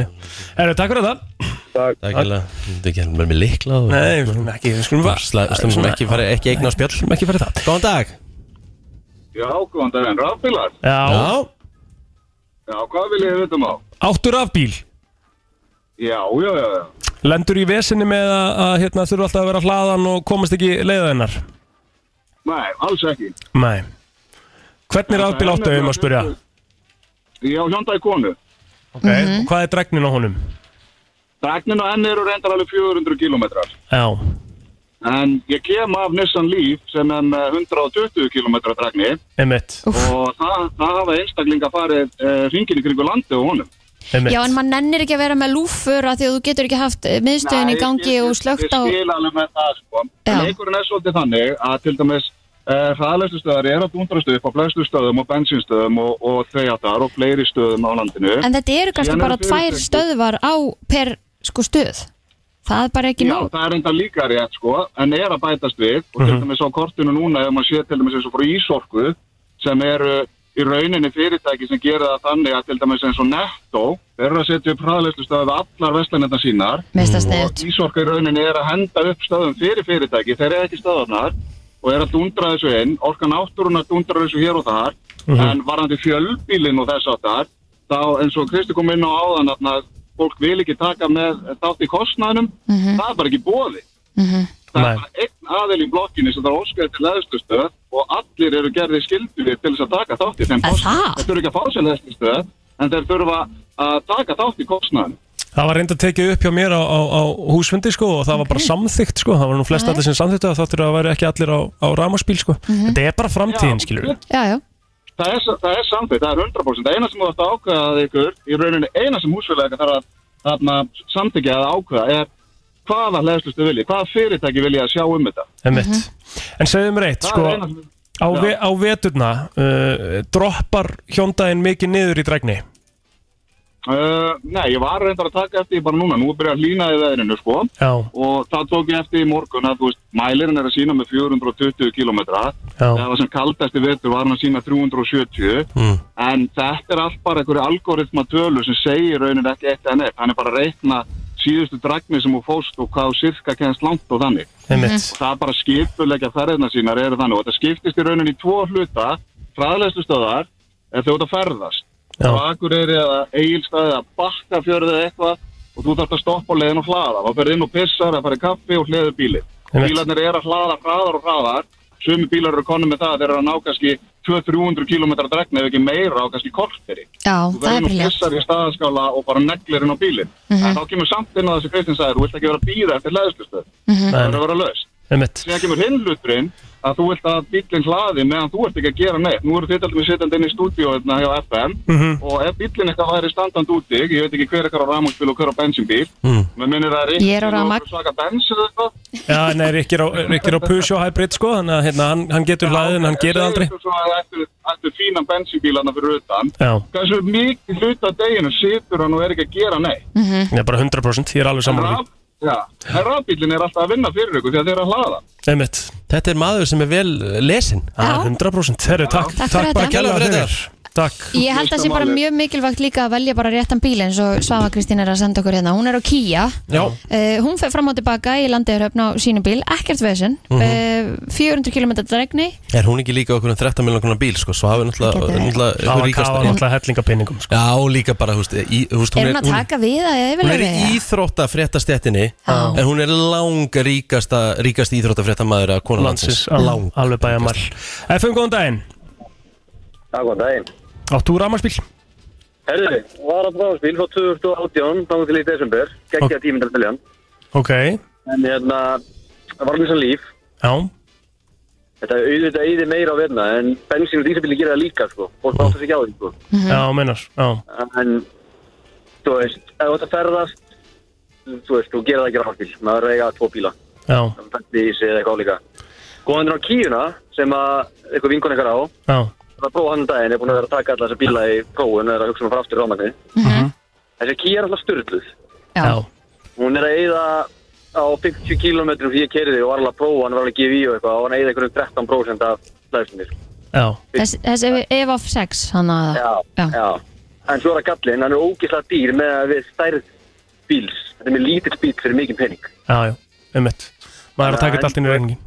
Speaker 4: Erðu, takk fyrir það
Speaker 2: takk hella Þetta ekki heldur með líkla og
Speaker 4: Nei, við skulum ekki, við skulum
Speaker 2: Sla- Stum ekki fara, ekki eigna á spjall
Speaker 4: skulum ekki fyrir það
Speaker 2: Góðan dag
Speaker 11: Já, góðan daginn, rafbílar
Speaker 4: Já,
Speaker 11: Já, hvað vil ég veitum á?
Speaker 4: áttur af bíl
Speaker 11: um Já, já, já, já
Speaker 4: Lendur í vesinni með að, að hérna, þurfa alltaf að vera hlaðan og komast ekki leiða hennar
Speaker 11: Nei, alls ekki
Speaker 4: Nei Hvernig rafbíl áttu um að spyrja?
Speaker 11: Ég á hjóndaði konu
Speaker 4: Okay. og Hvað er dregnin á honum?
Speaker 11: Dagnin og enn eru reyndar alveg 400 kilometrar
Speaker 4: Já,
Speaker 11: En ég kem af Nissan Leaf sem er með 120 km dragni
Speaker 4: einmitt,
Speaker 11: og það, það hafa einstaklinga farið uh, ringin í kringu landi og honum.
Speaker 4: einmitt
Speaker 3: Já, en maður nennir ekki að vera með lúfur að því að þú getur ekki haft eh, miðstöðin í
Speaker 11: Nei,
Speaker 3: gangi
Speaker 11: ég-
Speaker 3: og slögt á
Speaker 11: Ég skil alveg með það sko.
Speaker 3: Já.
Speaker 11: En Leikurinn er svolítið þannig að til dæmis uh, hraðlestu stöðar eru að dundrastu upp á flestu stöðum og bensinstöðum og, og þegatar og fleiri stöðum á landinu.
Speaker 3: En þetta eru kannski
Speaker 11: Síðan
Speaker 3: bara
Speaker 11: eru
Speaker 3: tvær
Speaker 11: fyrirtæki.
Speaker 3: stöðvar á per sko stöð Það er bara ekki
Speaker 11: Já,
Speaker 3: nóg
Speaker 11: það er enda líka rétt sko, en er að bætast við og til dæmis á kortinu núna ef maður sé til dæmis eins og frá Ísorku sem eru í rauninni fyrirtæki sem gera það þannig að til dæmis eins og Netto þeir eru að setja upp hraðleyslustöðu við allar veslanirna sínar
Speaker 3: Mesta
Speaker 11: og
Speaker 3: sniðut
Speaker 11: Ísorku í rauninni er að henda upp stöðum fyrir fyrirtæki, þeir eru ekki stöðarnar og er að dundra þessu inn, orkan átturinn að dundra þessu hér og þar
Speaker 4: Mhm.
Speaker 11: en
Speaker 3: Mm.
Speaker 11: varandi fjölbílinn og þess að þar þá eins og Kristi kom inn á áðan að fólk vil ekki taka með þátt í kostnæðinum,
Speaker 3: Mhm.
Speaker 11: það er bara ekki bóði það
Speaker 4: Nei.
Speaker 11: er bara einn aðil í blokkinni sem þarf óskaði til leðstustöð og allir eru gerði skildur til þess að taka þátt í þeim
Speaker 3: Er
Speaker 11: kostnaði.
Speaker 3: það?
Speaker 11: þeir þurfa ekki að fá sér leðstustöð en þeir þurfa að taka þátt í kostnæðinum
Speaker 4: Það var reynd að tekið upp hjá mér á, á, á húsfundi sko og það var bara samþygt sko það var nú flest allir sem samþyktu að þáttur að það væri ekki allir á, á ramaspíl sko Þetta er bara framtíðin
Speaker 11: Já.
Speaker 4: skilur við
Speaker 3: Mhm. Já, já,
Speaker 11: það er, það er samþýtt, það er 100% það eina sem þú ætti að ákveða ykkur í rauninni eina sem húsfélaga þarf að þarna, samþykja að ákveða er hvaða leðslustu vilji, hvaða fyrirtæki vilji að sjá um þetta
Speaker 4: Einmitt
Speaker 3: Mhm.
Speaker 4: En segðu mér eitt
Speaker 11: það
Speaker 4: sko
Speaker 11: er eina sem
Speaker 4: á, ve á veturna uh, droppar hjóndaðin mikið niður í dregni
Speaker 11: Uh, nei, ég var reyndar að taka eftir því bara núna, nú er byrjað að hlýna í veðrinu sko
Speaker 4: Já,
Speaker 11: og það tók ég eftir í morgun að þú veist, mælirinn er að sína með 420 km það
Speaker 4: já,
Speaker 11: var sem kaldasti vetur var hann að sína 370
Speaker 2: Mm.
Speaker 11: en þetta er allt bara einhverju algoritma tölur sem segir raunin ekki eitt en eitt hann er bara að reikna síðustu dragni sem hún fóst og hvað hún sirka kennst langt og þannig
Speaker 4: einmitt
Speaker 11: það er bara skipulegja ferðina sínar eru þannig og þetta skiptist í raunin í tvo hluta fræðlegslu stöðar ef þau út að ferðast
Speaker 4: Já.
Speaker 11: og Akureyri eða Egilstaði eða Bakkafjörði eða eitthvað og þú þarfst að stoppa á leiðin og hlaða og ferði inn og pissar að fara í kaffi og hliður bíli
Speaker 4: Einmitt.
Speaker 11: bílarnir eru að hlaða hraðar og hraðar sumi bílar eru konum með það að þeir eru að ná kannski 200-300 km dregna ef ekki meira á kannski korteri
Speaker 3: já,
Speaker 11: þú
Speaker 3: það er Mhm.
Speaker 11: verður nú
Speaker 3: briljant
Speaker 11: pissar í staðaskála og bara neglir inn á bílinn en þá kemur samt inn á þessi Kristinn sagði þú vilt ekki vera að býða eftir hlæðslustöð
Speaker 3: Mhm.
Speaker 11: það verður að vera löst
Speaker 4: Einmitt
Speaker 11: síðan kemur hinn hluturinn að þú vilt að bílinn hlaði meðan þú ert ekki að gera neitt nú eru þið alltaf með sittandi inn í stúdíó hérna hjá FM
Speaker 4: Mhm.
Speaker 11: og ef bílinn eitthvað væri standand úti ég veit ekki hver ekkar á rafmagnsbíl og hver á bensinbíl
Speaker 2: Mm.
Speaker 4: Hmm.
Speaker 11: mér minnir að Rikki
Speaker 3: Ég er á
Speaker 11: og
Speaker 3: rafmagn.
Speaker 11: okkur svaka bensin eða eitthvað
Speaker 4: Já, nei, Rikki er á, Rikki er á Peugeot Hybrid sko þannig að hérna, hann, hann getur hlaðið en hann gerir það aldrei
Speaker 11: Segðu svo að ættu- ættu fínan bensinbílana fyrir utan
Speaker 4: Já,
Speaker 11: hversu mikið hlut af deginu situr hann og er ekki að gera neitt
Speaker 4: ég er bara 100% ég er alveg
Speaker 11: en
Speaker 4: saman
Speaker 11: raf- já, en rafbílinn er alltaf að vinna fyrir ykkur því að þeir eru að hlaða
Speaker 4: Einmitt,
Speaker 2: Þetta er maður sem er vel eh, lesinn
Speaker 4: ah, 100% Herru, takk,
Speaker 3: Takk fyrir
Speaker 4: takk bara
Speaker 3: þetta.
Speaker 4: kærlega
Speaker 2: Takk fyrir
Speaker 4: fyrir Takk
Speaker 3: Ég held að það sé bara mjög mikilvægt líka að velja bara réttan bíl eins og Svava Kristín er að senda okkur hérna Hún er á Kia
Speaker 2: Já,
Speaker 3: Uh, hún fer fram og tilbaka í landiðuröfn á sínum bíl, ekkert veginn, mm 400 km dregni,
Speaker 2: er hún ekki líka okkur en 13 miljón krónar bíl sko, svo hafi
Speaker 3: Hann
Speaker 2: náttúrulega
Speaker 3: getur-
Speaker 4: Það
Speaker 2: náttúrulega einhver
Speaker 4: var
Speaker 2: ríkasta-
Speaker 4: kafa náttúrulega hellingapinningum sko.
Speaker 2: Já, líka bara, húst, í, húst
Speaker 3: er hún að taka við að
Speaker 2: Hún er í
Speaker 3: yfirlega?
Speaker 2: íþrótta fréttastjettinni
Speaker 3: Já.
Speaker 2: En hún er langa ríkasta, ríkasta íþrótta fréttamaður að kona
Speaker 4: Landsins,
Speaker 2: landsins
Speaker 4: al-
Speaker 2: Lang
Speaker 4: alveg bæja mæl FM, góðan daginn
Speaker 8: Já, góðan daginn.
Speaker 4: Átt þú rafmarsbíl?
Speaker 8: Herðu, var að bráðspil frá 2018, þannig til í desember, geggja tíminn til að telja hann.
Speaker 4: Ok,
Speaker 8: En hérna, það var mjög sann líf.
Speaker 4: já,
Speaker 8: Þetta auðvitað eyði meira á verna, en bensín og dísabíli gera það líka, sko. Fólk áttu sig ekki á því, sko.
Speaker 4: já, meinar Já,
Speaker 8: En, þú veist, ef þú ætti að ferðast, þú veist, þú gera það ekki rafbíl. Maður er að eiga tvo bíla.
Speaker 4: já,
Speaker 8: Það er í sig eða eitthvað álíka. Góðan er á kíuna, sem að eitthvað vinkon eitthvað á.
Speaker 4: já
Speaker 8: að prófa hann um daginn, ég er búin að vera að taka alla þessa bíla í prófun og er að hugsa um að fara aftur í rámagni. Þessi kýja er alltaf styrluð.
Speaker 3: Já.
Speaker 8: Hún er að eyða á 50 km því ég kerði og var alveg að prófa, hann var alveg að gefa í og eitthvað og hann eyði einhverjum 13% af hlæðslinni.
Speaker 4: Já.
Speaker 3: Þess, þess ef, ef of 6 hann að
Speaker 8: Já, já. En svo er að gallin, hann er ógislega dýr með að við stærð bíls. Þetta er með lítill bíl fyrir mikið pening.
Speaker 4: Já, já, ummitt Maður er að taka þetta allt inn í reyningin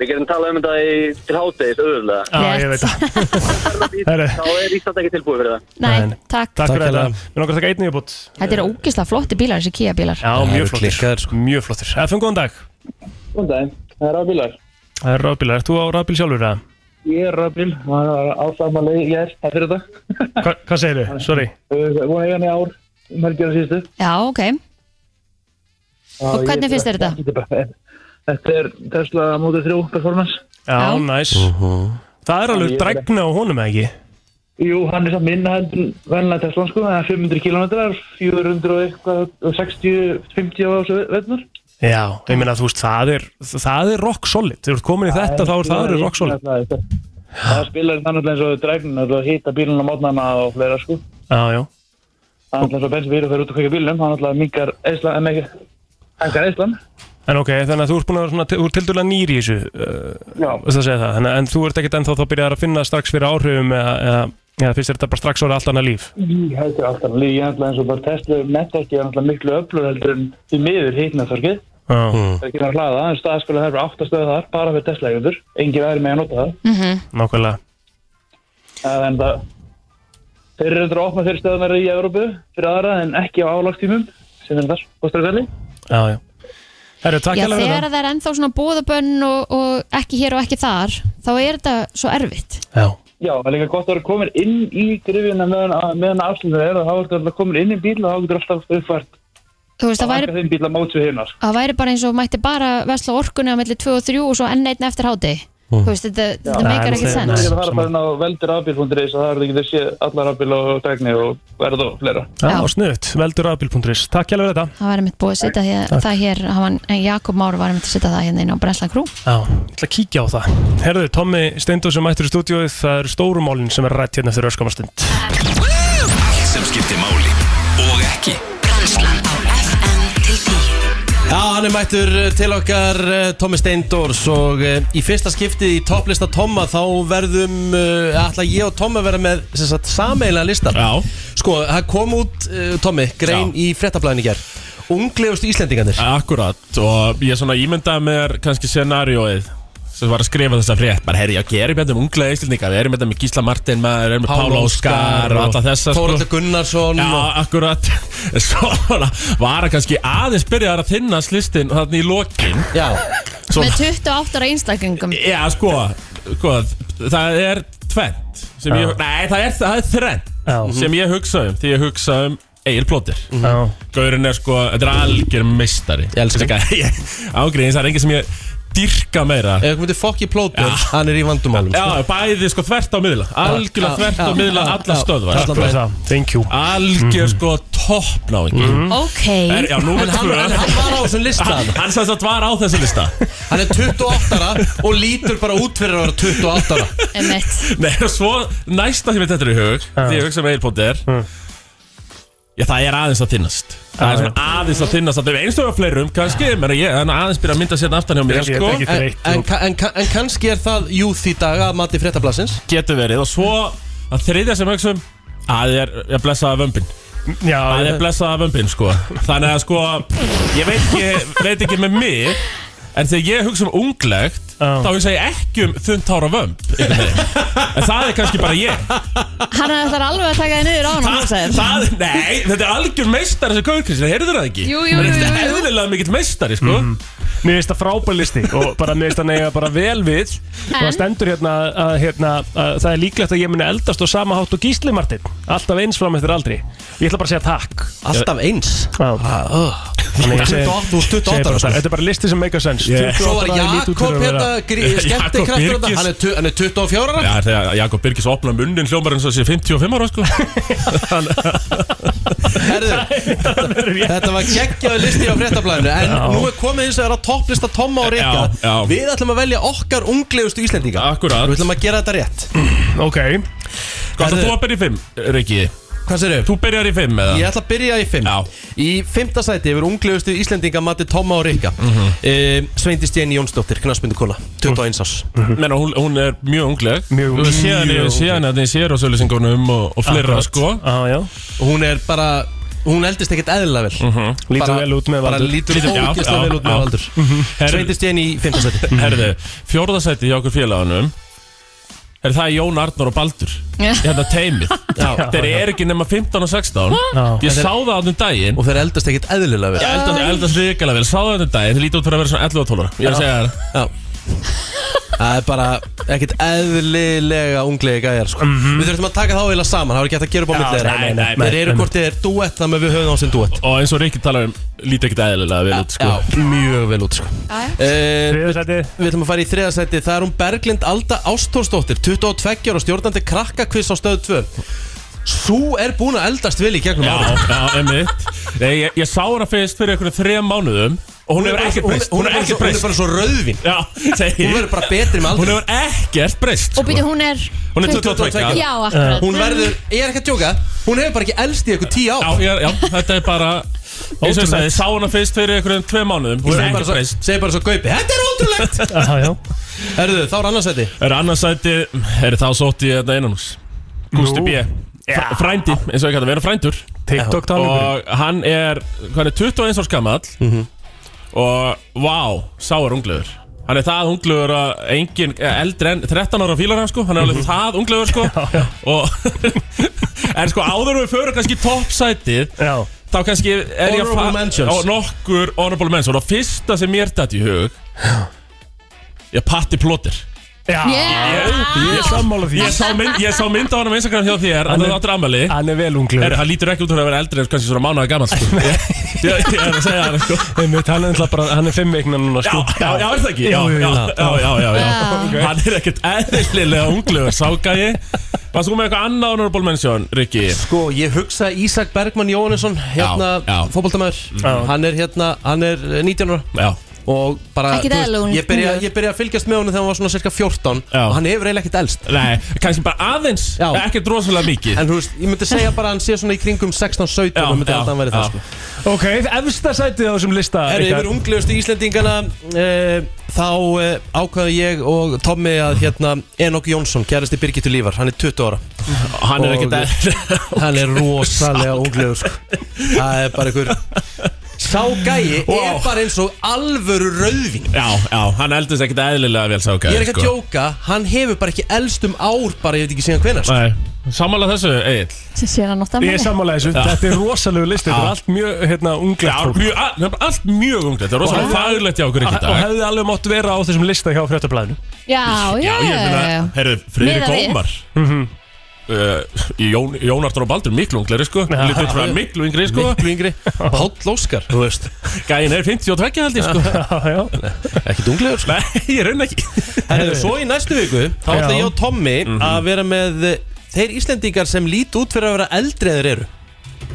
Speaker 8: Við getum talað um þetta í, til háttegis auðvöldlega.
Speaker 4: Já, ég veit það Herri.
Speaker 8: Þá er Ísland ekki tilbúið fyrir það.
Speaker 3: Nei, takk.
Speaker 4: Takk hérna. fyrir þetta Mér langar að taka einnig í bútt
Speaker 3: Þetta eru ógislega flotti bílar, þessi Kia bílar
Speaker 4: Já, mjög flottir sko. Mjög flottir FM, góðan dag
Speaker 12: Góðan dag, það er rafbílar.
Speaker 4: Það er rafbílar, ert þú á rafbíl sjálfur eða?
Speaker 12: Ég er rafbíl, það er á sama leið, ég er, það fyrir þetta.
Speaker 4: Hva, hvað segir þau? Sorry
Speaker 12: Búin að eiga hann í ár, um helgjörðu síðustu.
Speaker 3: Já, ok Og hvernig finnst þér þetta?
Speaker 12: Þetta er Tesla Model 3 Performance.
Speaker 4: Já, næs Það er alveg dregna á honum, eða ekki?
Speaker 12: Jú, hann er samt minna heldur en venlega Tesla, sko, það er 500 km, 400 og eitthvað, og 60, 50 á þessu vegnar.
Speaker 4: Já, ég meina þú veist, það er, það er rock solid Þegar þú ert komin í þetta, þá er það er rock solid
Speaker 12: hérna, Það spilar þannig eins og dregnin, það hýta bílun á mótnana og fleira, sko.
Speaker 4: Já, já
Speaker 12: Það er alltaf svo bensin fyrir að fyrir út að kveika bílum, hann alltaf mingar eðslan, en ekki, hækkar eðslan.
Speaker 4: En ok, þannig að þú ert búin að vera svona, þú ert tildulega nýr í þessu uh,
Speaker 12: Já.
Speaker 4: veist að segja það, þannig, að- en þú ert ekkert ennþá þá byrjar að finna strax fyrir áhrifum eða, eða, eða finnst þér þetta bara strax orðið allt annað líf
Speaker 12: Ég heldur alltaf, ég er alltaf eins og bara Tesla netverkið er alltaf miklu öflur heldur en því miður hýtna þorkið.
Speaker 4: Já,
Speaker 12: Það er ekki með að hlaða, en staðskulega hefur átt að stöða þar, bara fyrir Tesla eigendur, engin aðri með að nota það.
Speaker 3: Mhm.
Speaker 4: nákvæmlega
Speaker 12: Eh, En það, þeir eru endur að opna fyrir stöðunar í Európu fyrir aðra en ekki á álagtímum, sem er þar, Bóstarfelli.
Speaker 4: Já, já Herru, takk
Speaker 3: Já,
Speaker 4: hérlega fyrir
Speaker 3: þegar
Speaker 4: það
Speaker 3: það er ennþá svona búðabönn og, og ekki hér og ekki þar þá er þetta svo erfitt
Speaker 12: Já, það er líka gott að vera komin inn í grifjuna meðan, meðan afslutur er og þá ertu alltaf komin inn í bíl og þá getur alltaf uppfært
Speaker 3: Þú veist, það væri,
Speaker 12: þeim bíl að mótsu hérna sko.
Speaker 3: það væri bara eins og mætti bara vesla orkunni á milli 2 og 3 og svo enn einn eftir háti Þú veist, þetta, þetta meikar ekki
Speaker 12: Það er
Speaker 3: sens
Speaker 12: ekki að fara bara inn á veldirafbíl.is og það er ekki að sé allar afbíl og dækni og verð og fleira
Speaker 4: Já, snuðt, veldur aðbíl.is Takk hérlega fyrir þetta
Speaker 3: Það væri mitt búið að setja hér,
Speaker 4: Takk.
Speaker 3: það hér hann, Jakob Már var mitt að setja það hérna inn á Brenslan Krú
Speaker 4: Já, ég ætla að kíkja á það Herðu, Tommi Steindó sem mættur í stúdíóið það eru stórumálin sem er rætt hérna fyrir öskamastund
Speaker 1: Allt sem skiptir máli og ekki Brænslan á FM til 10
Speaker 2: Já, hann er mættur eh, til okkar eh, Tommi Steindors og eh, í fyrsta skiptið í topplista Tomma þá verðum eh, ætla ég og Tomma vera með sem sagt, sameila listar Já. Sko, það kom út uh, Tommi, grein í frettablaðin í ger Unglegust Íslendingarnir
Speaker 10: Akkurat og ég svona ímyndaði mér kannski scenarióið sem var að skrifa þessa frétt bara herri, já, gerum við þetta um unglega íslendinga við erum þetta með Gísla Martin, maður erum með Pála Óskar og alla þessa sko."
Speaker 2: Þóraldur Gunnarsson
Speaker 10: Já, akkurat <laughs> Svona var að kannski aðeins byrjaðar að þinna slistin þannig í lokin
Speaker 2: Já
Speaker 3: Með 28 ára einstaklingum
Speaker 10: Já, sko, sko það er tvent sem ég,
Speaker 4: Já.
Speaker 10: nei, það er, það er þrennt
Speaker 4: Já. Mhm.
Speaker 10: sem ég hugsa um, því ég hugsa um Egil Plóter
Speaker 4: Já.
Speaker 10: Gaurinn er sko, þetta er algjör meistari Ég elska það <laughs> Ágríðins, það er engin sem ég dyrka meira
Speaker 2: Ef þú myndir fokki Plóter, hann er í vandumálum
Speaker 10: Já, bæði sko þvert á miðla Algjörlega
Speaker 2: Já,
Speaker 10: þvert á
Speaker 2: já,
Speaker 10: miðla
Speaker 2: já,
Speaker 10: alla
Speaker 2: já,
Speaker 10: stöðvar
Speaker 2: allan veginn.
Speaker 10: Sko.
Speaker 4: Thank you Mhm.
Speaker 10: Algjör sko toppnáingi
Speaker 3: Ok
Speaker 10: Er, já, númer
Speaker 2: En hann-
Speaker 10: tvö.
Speaker 2: en hann var á þessum lista.
Speaker 10: Hann, hann sagði að var á þessum lista
Speaker 2: Hann er 28 ára og lítur bara út fyrir að vera 28 ára
Speaker 3: Emmett
Speaker 10: Nei, og svo næsta sem ég þetta er í hug Því ég hugsa með eilpóti er Já, það er aðeins að þinnast Það er svona aðeins að þinnast Það er einstöðu fleirum, kannski menn ég, Þannig að aðeins byrja að mynda sérna aftan hjá mér sko.
Speaker 2: en, en, ka- en, ka- en kannski er það júð í dag að mati frettablasins
Speaker 10: Getur verið Og svo að þriðja sem hugsa um að Það er að blessaða vömbin
Speaker 4: Já,
Speaker 10: Það er blessaða vömbin, sko Þannig að sko, ég veit ekki, veit ekki með mig En þegar ég hugsa um unglegt
Speaker 4: Já.
Speaker 10: Þá hugsa ég ekki um þundtára vömb einhvern veginn. En það er kannski bara ég
Speaker 3: Hann ætlar alveg að taka þið niður á hann og hann
Speaker 10: það,
Speaker 3: sagði
Speaker 10: það, <laughs> nei, þetta er algjör meistar þessi Gaur Kristján, heyrðu það ekki?
Speaker 3: Jú, jú, jú, jú,
Speaker 10: Þetta er
Speaker 3: jú.
Speaker 10: eðlilega mikill meistari, sko
Speaker 4: Mér finnst það frábær listi og bara mér finnst það neyja bara vel við og það stendur hérna að, hérna að það er líklegt að ég muni eldast og sama hátt og gísli Martin alltaf eins fram eftir aldri Ég ætla bara að segja takk
Speaker 2: Alltaf eins
Speaker 4: Já. Þannig ég segi- segi
Speaker 2: 28 og 28
Speaker 4: bara
Speaker 2: ára, sko.
Speaker 4: það. Þetta er bara listi sem make a sense
Speaker 10: Yeah.
Speaker 4: 28
Speaker 2: Svo var
Speaker 4: ára lítur út
Speaker 2: Jakob
Speaker 4: fyrir að vera-
Speaker 2: hérna
Speaker 10: <laughs> Jakob
Speaker 2: skemmtikraftur
Speaker 10: Birgis.
Speaker 2: hérna, hann er tu- hann er 24 ára
Speaker 10: <laughs> Já, þegar Jakob Birgis opna munnin hljómar eins og sé 55 ára, sko
Speaker 2: Þetta var geggjaðu listi á fréttablaðinu En
Speaker 10: Já.
Speaker 2: nú er komið eins og það er að topplista Tomma og Rikka
Speaker 10: Já, já.
Speaker 2: Við ætlum að velja okkar unglegustu Íslendinga
Speaker 10: Akkurat
Speaker 2: Við ætlum að gera þetta rétt
Speaker 4: Ok
Speaker 10: Hvað ætlar þú að byrja í fimm, Riki?
Speaker 2: Hvað sér
Speaker 10: Þú byrjar í fimm eða?
Speaker 2: Ég ætla að byrja í fimm já. Í fimmta sæti yfir unglegustu Íslendinga Matti Tomma og Rikka mm
Speaker 10: Mhm.
Speaker 2: Sveindi Stén Jónsdóttir, knarsmyndukola 21 árs
Speaker 10: Menna, hún, hún er mjög ungleg
Speaker 4: Mjög
Speaker 10: ungleg Síðan
Speaker 2: Mjög
Speaker 10: er
Speaker 2: ungleg.
Speaker 10: síðan að þið sér á sölusingunum og, og fleira
Speaker 2: Akkurat.
Speaker 10: sko
Speaker 4: Já, já
Speaker 2: Hún er bara Hún eldist ekkert eðla Mhm. vel
Speaker 10: Mm. Lítur
Speaker 2: Bara-
Speaker 10: vel út með
Speaker 2: Bara
Speaker 10: aldur.
Speaker 2: lítur
Speaker 10: Lítur- já,
Speaker 2: ógeðslega
Speaker 10: já,
Speaker 2: vel út með
Speaker 10: já.
Speaker 2: aldur
Speaker 10: Herru-
Speaker 2: Sveindi Stén í fimmta sæti
Speaker 10: Herðu, fjórðasæti hjá okkur félagunum Er það Jón Arnur og Baldur
Speaker 3: Já.
Speaker 10: Hérna teimið
Speaker 2: Já.
Speaker 10: <laughs> Þeir eru ekki nema 15 og 16
Speaker 2: Já.
Speaker 10: Ég
Speaker 2: Þeir-
Speaker 10: sá það á þeim daginn
Speaker 2: Og þeir eldast ekkert eðlilega vel
Speaker 10: Ég eldast, eldast líkilega vel, sá það á þeim daginn Þeir lítur út fyrir að vera svona 11 og 12 ára. Ég er að
Speaker 2: Já.
Speaker 10: segja þér
Speaker 2: Já Það er bara ekkert eðlilega unglegi gæjar sko. Við þurfum að taka þá eiginlega saman Það er ekki hægt að gera upp á
Speaker 10: Já,
Speaker 2: milli þeirra
Speaker 10: nei, nei, nei,
Speaker 2: Þeir eru
Speaker 10: nei.
Speaker 2: hvort þeir er duett þannig að við höfum á sem duett
Speaker 10: Og eins og Rikki talar um, lítur ekkert eðlilega vel út sko
Speaker 2: Já, mjög vel út sko Þriðasæti Við ætlum að fara í þriðasæti Það er hún Berglind Alda Ástórsdóttir 22 ára og stjórnandi krakkakviss á stöð 2 Sú er búin að eldast vel í gegnum
Speaker 10: Já,
Speaker 2: ára
Speaker 10: já, emitt Nei, ég, ég sá hana fyrst fyrir einhverjum þrejum mánuðum Og hún
Speaker 2: Hún er
Speaker 10: hefur
Speaker 2: bara-
Speaker 10: ekkert
Speaker 2: hún-
Speaker 10: breyst
Speaker 2: hún er bara svo- hún
Speaker 10: ekkert
Speaker 2: er
Speaker 10: breyst.
Speaker 2: bara svo rauðvín.
Speaker 10: Já, segi
Speaker 2: Hún verður bara betri með aldrei.
Speaker 10: Hún hefur ekkert breyst sko.
Speaker 3: Og býtu hún er
Speaker 10: Hún er 22
Speaker 3: Já, akkurat
Speaker 2: Hún verður, ég er ekki að djóka Hún hefur bara ekki elst í eitthvað 10 ár
Speaker 10: Já, já, þetta er bara Eins og ég sagði, ég sá hana fyrst fyrir einhverjum tveim mánuðum Hún
Speaker 2: Ég
Speaker 10: hefur
Speaker 2: segi bara
Speaker 10: ekkert
Speaker 2: svo-
Speaker 10: breyst
Speaker 2: segi bara svo gaupi Þetta er ótrúlegt
Speaker 4: <laughs> Já, já
Speaker 2: Herðu, þá er annarsæti
Speaker 10: Er annarsæti, er þá sótt ég þetta innan hús Gústi
Speaker 4: Nú.
Speaker 10: B Fr- Frændi, eins og ég kallar, við erum frændur
Speaker 4: TikTok talningurinn.
Speaker 10: Og hann er, hann er 21 árs gamall
Speaker 2: Mhm.
Speaker 10: Og, vá, sá er unglegur Hann er það unglegur að engin eldri en 13 ára fílar hann sko Hann er
Speaker 4: Mhm.
Speaker 10: alveg það unglegur
Speaker 4: <laughs>
Speaker 10: sko Og, en sko áður en við förum kannski í toppsætið
Speaker 4: Já
Speaker 10: Þá kannski er ég að
Speaker 2: Honorable mentions.
Speaker 10: Og nokkur honorable mentions Og fyrsta sem mér dætt í hug Ég patti plótir
Speaker 4: Já Ég er sammála því
Speaker 10: Ég sá, mynd, ég sá mynd á hann á Instagram hjá þér Hann er áttur ammali
Speaker 4: Hann er vel
Speaker 10: Herru,
Speaker 4: unglegur
Speaker 10: hann lítur ekki út fyrir að vera eldri en kannski svona mánuða gammal sko. Ég ég- ég er að segja það sko.
Speaker 4: Einmitt, hann er náttúrulega bara, hann er fimm veikna núna
Speaker 10: Já,
Speaker 4: sko
Speaker 10: já, já, er það ekki? Já,
Speaker 4: Jú, jú,
Speaker 10: já,
Speaker 4: jú.
Speaker 10: já, já, já, já.
Speaker 4: Ok.
Speaker 10: Hann er ekkert eðlilega unglegur Sákæði Varst þú með eitthvað annað honorable mention, Rikki?
Speaker 2: Sko, ég hugsa Ísak Bergmann Jóhannesson Hérna,
Speaker 10: já.
Speaker 2: fótboltamæður Hann er hérna, hann er 19 ára
Speaker 10: Já
Speaker 2: Og bara,
Speaker 3: Ekki
Speaker 2: þú veist,
Speaker 3: eðlilega
Speaker 2: ég, byrja,
Speaker 3: unglegur.
Speaker 2: ég byrja að fylgjast með honum þegar hann var svona cirka 14
Speaker 10: Já.
Speaker 2: Og hann hefur eiginlega ekkert elst
Speaker 10: Nei, kannski bara aðeins
Speaker 2: Já.
Speaker 10: Ekkert rosalega mikið
Speaker 2: En þú veist, ég myndi segja bara að hann sé svona í kringum 16-17
Speaker 10: Já,
Speaker 2: og myndi
Speaker 10: já,
Speaker 2: alltaf hann væri það
Speaker 10: já.
Speaker 2: sko
Speaker 4: Ok, efsta sætið á þessum lista
Speaker 2: Herru,
Speaker 4: Ríkard.
Speaker 2: yfir unglegustu Íslendingana e, Þá e, ákvaði ég og Tommi að hérna Enok Jónsson, kærasti Birgittu Lífar, hann er 20 ára
Speaker 10: Hann er ekkert eðlilega
Speaker 2: <laughs> Hann er rosalega unglegur sko. Það er bara einhver Sá gæi er
Speaker 10: Wow.
Speaker 2: bara eins og alvöru rauðvin
Speaker 10: Já, já, hann eldist ekkert eðlilega vel sko. sákæði
Speaker 2: Ég er ekki að djóka, hann hefur bara ekki elst um ár bara ég veit ekki síðan hvenær sko. <laughs>
Speaker 10: Nei, samanlega þessu, Egil
Speaker 3: Sem sé hann átt að
Speaker 4: Ég er sammála þessu,
Speaker 10: Já.
Speaker 4: þetta er rosalegu listi Þetta er allt mjög, hérna,
Speaker 10: Já,
Speaker 4: unglegt fólk
Speaker 10: mjög, a- nefnilega allt mjög ungt Þetta er
Speaker 4: Og-
Speaker 10: rosalega faglegt hjá okkur ekki í
Speaker 4: Og
Speaker 10: dag
Speaker 4: hefði alveg mátt vera á þessum lista hjá fréttablaðinu
Speaker 3: Já, já,
Speaker 10: Já, ég meina, herru, Friðrik
Speaker 3: Miðað við.
Speaker 10: Ómar
Speaker 2: Mhm.
Speaker 10: uh, Jón, Jón Artur og Baldur miklu ungleri sko Lítið frá miklu yngri sko
Speaker 2: Miklu yngri Páll Óskar, þú veist
Speaker 10: Gæin er 52 held ég sko
Speaker 4: Já, já
Speaker 2: Ekki dunglegur sko
Speaker 10: Nei, ég raun ekki
Speaker 2: Herru, svo í næstu viku Þá ætla
Speaker 4: Já.
Speaker 2: ég og Tommi
Speaker 10: Mhm.
Speaker 2: að vera með eh, Þeir Íslendingar sem lít út fyrir að vera eldri eður eru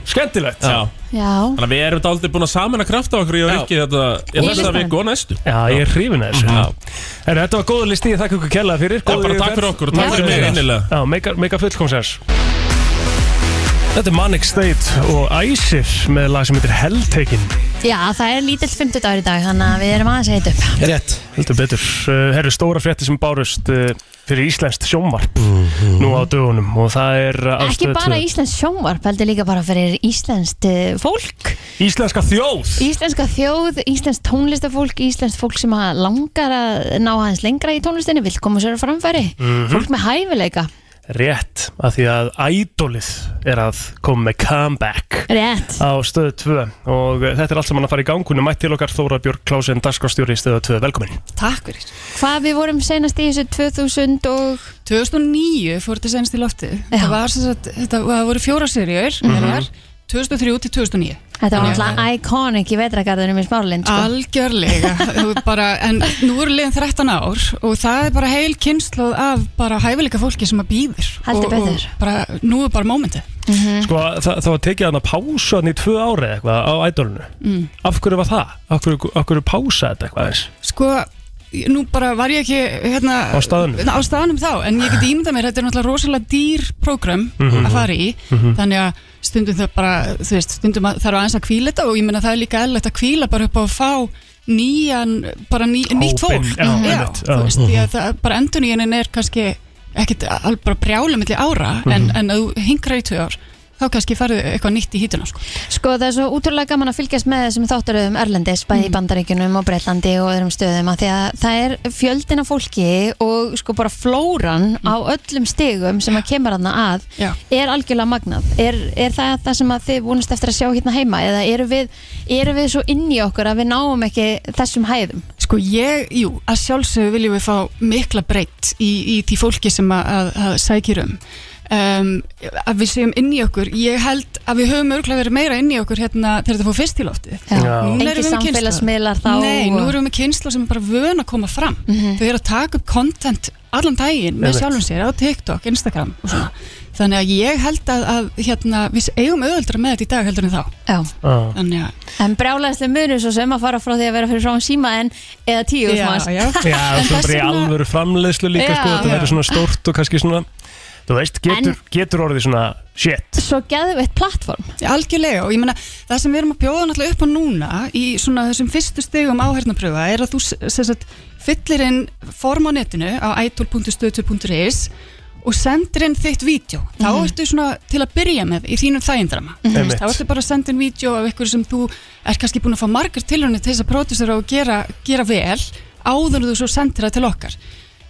Speaker 4: Skemmtilegt
Speaker 10: Já,
Speaker 3: já
Speaker 10: þannig að við erum dálítið búin að samena krafta okkur Ég og
Speaker 2: Já.
Speaker 10: Rikki þetta Ég
Speaker 3: Ég
Speaker 10: þess að
Speaker 3: vil
Speaker 10: við góða næstu
Speaker 4: Já, ég er hrifin að þessu
Speaker 10: Já.
Speaker 4: Herru, þetta var góða listi, ég þakka ykkur kella fyrir
Speaker 10: Já,
Speaker 4: góð
Speaker 10: bara takk
Speaker 4: yfirferð.
Speaker 10: fyrir okkur og takk
Speaker 3: Já.
Speaker 10: fyrir mig innilega
Speaker 4: Já, meika, meika fullkomsens Þetta er Manic State og Æsir með lag sem heitir Helltakin
Speaker 3: Já, það er lítill 50 dagur í dag Þannig að við erum aðeins að heita upp
Speaker 2: Rétt
Speaker 4: Heldur betur Uh, Herru, stóra frétti sem bárust uh, fyrir Íslenskt sjónvarp nú á dögunum og það er uh, á
Speaker 3: Ekki
Speaker 4: Stöð
Speaker 3: bara
Speaker 4: 2.
Speaker 3: Íslensk sjónvarp Heldur líka bara fyrir Íslenskt eh, fólk
Speaker 4: Íslenska þjóð
Speaker 3: Íslenska þjóð, íslensk tónlistafólk, íslensk fólk sem að langar að ná aðeins lengra í tónlistinni, vil koma sér á framfæri,
Speaker 4: Mhm.
Speaker 3: fólk með hæfileika.
Speaker 4: Rétt, af því að ædolið er að koma með comeback
Speaker 3: Rétt.
Speaker 4: á stöðu 2 og uh, þetta er allt saman að fara í gangunum mætt til okkar Þóra Björg Klásen, dagskrástjóri í stöðu 2, velkomin
Speaker 13: Takk fyrir.
Speaker 3: Hvað við vorum senast í þessu 2000 og...
Speaker 13: 2009 fór þetta senst í loftið. Það var sem sagt, þetta það voru fjóra serjur, mm
Speaker 3: Mhm.
Speaker 13: -hmm. 2003 til 2009
Speaker 3: Þetta var
Speaker 13: Já.
Speaker 3: náttúrulega iconic í vetragarðunum í Smáralind sko.
Speaker 13: Algjörlega, þú bara, en nú eru liðin 13 ár og það er bara heil kynnslóð af bara hæfileika fólki sem að býður
Speaker 3: Heldur
Speaker 13: og,
Speaker 3: betur.
Speaker 13: og bara, nú er bara mómentið
Speaker 3: Mm.
Speaker 4: Sko, það, það var tekið hann að pása hann í tvö ári eða eitthvað á ædolinu
Speaker 13: mm.
Speaker 4: Af hverju var það? Af hverju, af hverju pása þetta eitthvað eins?
Speaker 13: Sko, nú bara var ég ekki hérna,
Speaker 4: Á staðnum.
Speaker 13: á staðnum þá, en ég get ímyndað mér þetta er náttúrulega rosalega dýr prógram
Speaker 4: Mhm.
Speaker 13: að fara í,
Speaker 4: Mhm.
Speaker 13: þannig að stundum það bara, þú veist, stundum að, þarf aðeins að kvíla þetta og ég meina það er líka eðlilegt að kvíla bara upp á að fá nýjan, bara ný, nýtt
Speaker 4: Hópinn,
Speaker 13: fólk
Speaker 4: já, einmitt, já.
Speaker 13: Mhm. þú veist, því að það, bara endurnýjunin er kannski ekkit al- bara brjála milli ára en,
Speaker 4: Mhm.
Speaker 13: en að þú hingrar í tvö ár þá kannski farðu eitthvað nýtt í hítuna sko.
Speaker 3: Sko það er svo útrúlega gaman að fylgjast með þessum þáttaröðum Erlendis, bæði í
Speaker 13: Mm.
Speaker 3: Bandaríkjunum og Breitlandi og öðrum stöðum að því að það er fjöldin af fólki og sko bara flóran á öllum stigum sem að kemur hana að
Speaker 13: Mm. Já.
Speaker 3: er algjörlega magnað. Er, er það það sem að þið vonast eftir að sjá hérna heima eða eru við, eru við svo inn í okkur að við náum ekki þessum hæðum?
Speaker 13: Sko ég, jú, að sjálfsögðu viljum við fá mikla breytt í, í því fólki sem að, að, að sækir um. um að við séum inn í okkur ég held að við höfum örgulega verið meira inn í okkur hérna þegar þetta fór fyrst í loftið
Speaker 3: Já.
Speaker 13: Núna erum
Speaker 3: Engir
Speaker 13: við með kynslóð.
Speaker 3: samfélagsmiðlar þá
Speaker 13: Nei,
Speaker 3: og- Mhm.
Speaker 13: nú erum við með kynslu sem er bara vön að koma fram þau eru að taka upp content allan daginn með
Speaker 3: Einmitt.
Speaker 13: sjálfum sér á TikTok, Instagram og svona þannig að ég held að, að hérna, við eigum auðvöldra með þetta í dag heldur en þá
Speaker 3: Já.
Speaker 13: þannig að
Speaker 3: En brjálæðslega munur svo sem að fara frá því að vera fyrir frá síma en eða tíu
Speaker 13: Já,
Speaker 3: smást. <laughs>
Speaker 13: já.
Speaker 4: Já,
Speaker 3: En
Speaker 4: svo
Speaker 3: þess
Speaker 4: bara í
Speaker 3: vegna-
Speaker 4: alvöru framleiðslu líka
Speaker 3: Já.
Speaker 4: sko, þetta
Speaker 3: Já.
Speaker 4: verður svona stórt og kannski svona Þú veist, getur, getur orðið svona shit
Speaker 3: Svo geðum við eitt plattform
Speaker 13: Algjörlega og ég meina það sem við erum að bjóða náttúrulega upp á núna í svona þessum fyrstu stegum áhernarpröfa er að þú s- sem sagt, fyllir inn form á netinu á idol.stötu.is og sendir inn þitt vídeo þá
Speaker 14: Mhm.
Speaker 13: ertu svona til að byrja með í þínum þægindrama
Speaker 14: Mhm.
Speaker 13: mm.
Speaker 14: Einmitt.
Speaker 13: þá ertu bara að senda inn vídeo af einhverju sem þú er kannski búin að fá margar tilhörni til þess að pródusera og gera, gera vel áður en þú svo sendir það til okkar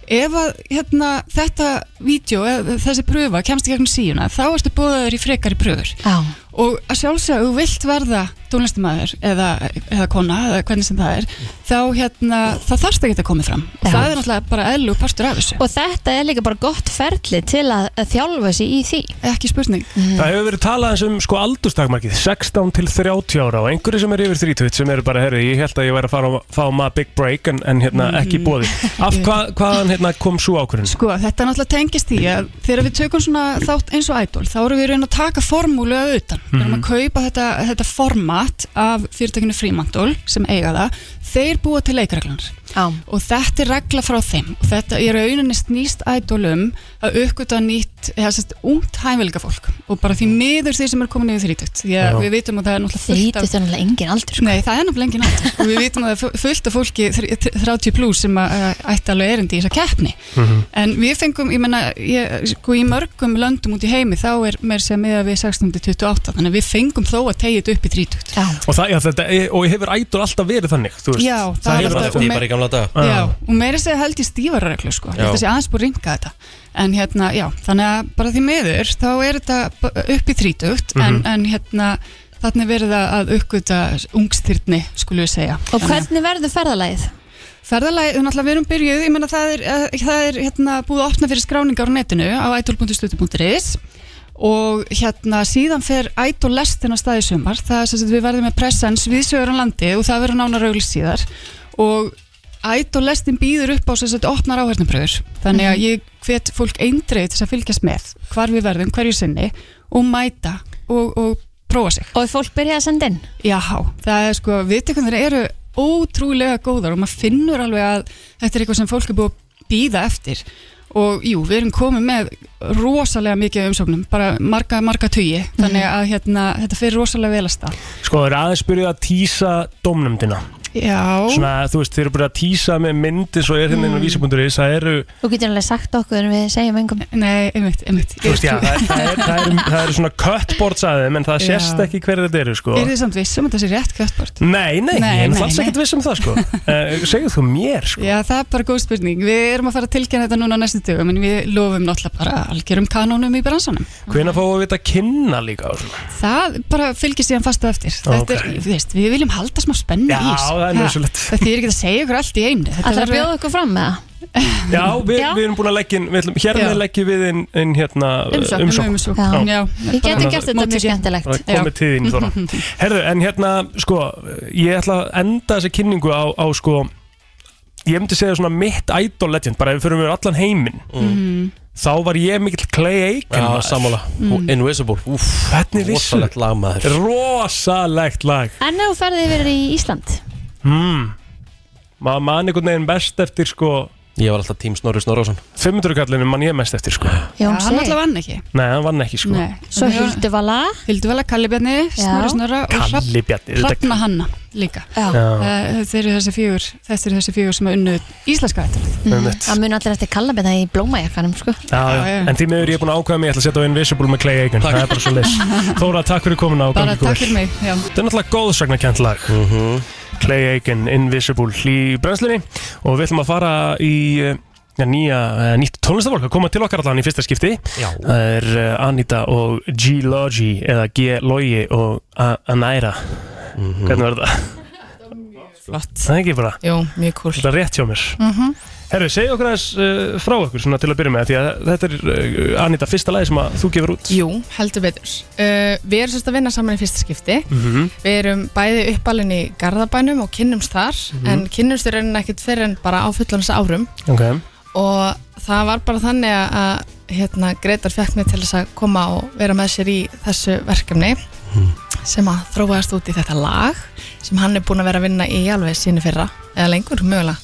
Speaker 13: ef að hérna, þetta vídeo, eða þessi pröfa kemst í gegnum síuna, þá ertu búið í frekari pröfur
Speaker 3: Já.
Speaker 13: og að sjálfsögðu, ef þú vilt verða tónlistamæður eða, eða kona eða hvernig sem það er, þá hérna þá þarfst ekki að koma fram og það er náttúrulega bara eðlu partur af þessu
Speaker 3: Og þetta er líka bara gott ferli til að, að þjálfa sig í því Mhm.
Speaker 13: Ekki spurning
Speaker 4: Það hefur verið talað eins um sko aldurstakmarkið 16 til 30 ára og einhverju sem er yfir 30 sem eru bara, herri, ég held að ég væri að fara að fá maður big break en, en hérna ekki bóði Af hvað, hvaðan hérna kom svo ákvörðin?
Speaker 13: Sko, þetta náttúrulega tengist í að þegar við tökum svona þátt eins og idol þá erum við reyna að taka formúlu að utan við erum að kaupa þetta, þetta format af fyrirtækinu Fremantle sem eiga það þeir búa til leikreglunar
Speaker 3: Já.
Speaker 13: og þetta er regla frá þeim og þetta er rauninni snýst idol um að aukvita nýtt, eða sérst ungt hæfileika fólk og bara því miður því sem er komin yfir þrítugt því að
Speaker 3: Já.
Speaker 13: við vitum að það er náttúrulega fullt af
Speaker 3: Þrítist er náttúrulega engin aldur sko.
Speaker 13: Nei, það er náttúrulega engin aldur og við vitum að það er fu- fullt af fólki þr- þr- 30 pluss sem að, að, ætti alveg erindi í þessa keppni En við fengum, ég menna, ég, sko í mörgum löndum út í heimi þá er meir sem miða við 16-28 þannig að við fengum þó að tegja þetta upp í 30
Speaker 3: Já,
Speaker 4: Og, það, já, þetta, er- og hefur ædol alltaf verið þannig, þú veist
Speaker 13: Já, það
Speaker 4: það
Speaker 13: er
Speaker 4: hefur
Speaker 13: alltaf-
Speaker 4: alltaf
Speaker 13: Því bara í gamla
Speaker 2: daga.
Speaker 13: já og meira segja held ég stífara reglu sko,
Speaker 2: Já.
Speaker 13: þetta sé aðeins búið að ringa þetta En hérna, já, þannig að bara því miður þá er þetta b- upp í 30 en,
Speaker 3: Mhm.
Speaker 13: en hérna, þannig verið að- að uppgöta ungstyrni, skulum við segja
Speaker 3: Og hvernig verður ferðalagið?
Speaker 13: Ferðalagið, náttúrulega við erum byrjuð, ég meina það er, eh, það er hérna, búið að opna fyrir skráningar á netinu á idol.stutu.is og hérna síðan fer idol lestin að staði sumar, það er sem sagt við verðum með presens við sögur á landi og það verður nánar auglýst síðar og idol lestin býður upp á sem sagt opnar áhörnubröður, þannig að ég hvet fólk eindreið til þess að fylgjast með hvar við verðum, hverju sinni og mæta og, og prófa sig
Speaker 3: Og fólk byrja að senda inn?
Speaker 13: Já, það er sko, viðtökunir eru ótrúlega góðar og maður finnur alveg að þetta er eitthvað sem fólk er búið að býða eftir og jú, við erum komið með rosalega mikið af umsóknum, bara marga, marga tugi, þannig að hérna, þetta fer rosalega vel að stað.
Speaker 4: Sko, þeir eru aðeins byrjuð að tísa dómnefndina
Speaker 13: Já,
Speaker 4: Svona, þú veist, þeir eru búin að tísa með myndi svo er hérna inn á vísi.is, það eru
Speaker 3: Þú getur alveg sagt okkur en við segjum engum
Speaker 13: Nei, einmitt, einmitt
Speaker 4: Þú veist, já, það, það, er, það, er, það er svona cutboards aðeim en það
Speaker 13: Já.
Speaker 4: sést ekki hverju þetta eru sko.
Speaker 13: er þið samt vissum að það sé rétt kjöttbort?
Speaker 4: Nei, nei,
Speaker 13: Nei,
Speaker 4: ég er
Speaker 13: nei,
Speaker 4: náttúrulega
Speaker 13: nei.
Speaker 4: ekkert viss um það
Speaker 13: <laughs>
Speaker 4: sko uh, Segðu þú mér sko
Speaker 13: Já, það er bara góð spurning. Við erum að fara að tilkynna þetta núna á næstu dögum, en við lofum náttúrulega bara algjörum kanónum í bransanum.
Speaker 4: Hvenær fáum við þetta að kynna líka og svona?
Speaker 13: Það bara fylgir síðan fasta eftir Þetta er,
Speaker 4: Ókei.
Speaker 13: þú veist, Við viljum halda smá spennu
Speaker 4: Já,
Speaker 13: í þessu.
Speaker 4: það er
Speaker 13: Ha,
Speaker 4: nauðsynlegt.
Speaker 13: Það þýðir ekki að segja ykkur allt í einu
Speaker 3: Ætlarðu að bjóða okkur fram með það?
Speaker 4: Já, við, við erum búin að leggja inn, við ætlum, hérna
Speaker 13: Já.
Speaker 4: leggjum við inn, inn hérna,
Speaker 13: Umsókn, um umsókn, já. Já. Við
Speaker 3: getum gert þetta mjög skemmtilegt.
Speaker 4: Það komið
Speaker 3: Já.
Speaker 4: til þín, Þóra.
Speaker 13: <laughs>
Speaker 4: Herðu, en hérna, sko, ég ætla að enda þessa kynningu á, á sko, ég myndi segja svona mitt idol legend, bara ef við fyrir við allan heiminn.
Speaker 13: Mhm.
Speaker 4: Þá var ég mikill Clay Aiken.
Speaker 2: Já,
Speaker 4: maður.
Speaker 2: sammála.
Speaker 4: Mm.
Speaker 2: Invisible Úf,
Speaker 4: Hvernig vissu?
Speaker 2: Rosalegt lag maður
Speaker 4: Rosalegt lag.
Speaker 3: En ef þú ferði verið í Ísland
Speaker 4: Hmm. Maður man einhvern veginn best eftir, sko.
Speaker 2: Ég var alltaf tím Snorri Snorrásson
Speaker 4: 500 kallinu man ég mest eftir, sko.
Speaker 13: Já, hann
Speaker 3: Sig.
Speaker 13: alltaf vann ekki
Speaker 4: Nei, hann vann ekki, sko.
Speaker 13: Nei.
Speaker 3: Svo Hilduvala
Speaker 13: Hilduvala, Kalli Bjarni, Snorri Snorra og Hrafn-
Speaker 4: Kalli Bjarni, þetta-
Speaker 13: Hrafna Hanna líka
Speaker 3: Já.
Speaker 13: Eh, Þetta eru þessi fjögur Þetta eru þessi fjögur sem að unnu íslenska ætlið
Speaker 4: Mm.
Speaker 3: Það mun allir eftir kalla með það í
Speaker 13: um,
Speaker 3: blómajakkanum sko.
Speaker 4: Já, já,
Speaker 13: já.
Speaker 4: en því miður ég er búin að ákvæða mig, ég ætla að setja á Invisible með Clay Aiken, það er bara svo leys. Þóra, takk fyrir komuna og
Speaker 13: Bara
Speaker 4: gangi ykkur
Speaker 13: takk
Speaker 4: vel.
Speaker 13: fyrir mig já.
Speaker 4: Þetta er náttúrulega góðsagnakent lag Clay Aiken, Invisible í brennslunni og við ætlum að fara í eh, já, nýja, eh, nýtt tónlistafólk að koma til okkar allan í fyrsta skipti
Speaker 2: Já.
Speaker 4: það er eh, Anita og G-Logi eða G-Logi og A- Anaira hvernig verður það?
Speaker 14: Flott
Speaker 4: Það er ekki bara
Speaker 14: Jú, mjög cool
Speaker 4: Þetta er rétt hjá mér
Speaker 14: Mhm.
Speaker 4: Herru, segja okkur aðeins uh, frá okkur svona til að byrja með því að þetta er uh, Anita fyrsta lagi sem að þú gefur út
Speaker 14: Jú, heldur betur uh, Við erum sérst að vinna saman í fyrsta skipti
Speaker 4: Mhm.
Speaker 14: Við erum bæði uppalinn í Garðabænum og kynnumst þar
Speaker 4: Mhm.
Speaker 14: En kynnumst í rauninni ekkit fyrir en bara á fullans árum
Speaker 4: okay.
Speaker 14: Og það var bara þannig að- að hérna, Gretar fekk mig til þess að koma og vera með sér í þessu verkefni
Speaker 4: Mhm.
Speaker 14: sem að þróaðast út í þetta lag sem hann er búin að vera að vinna í alveg sínu fyrra eða lengur mögulega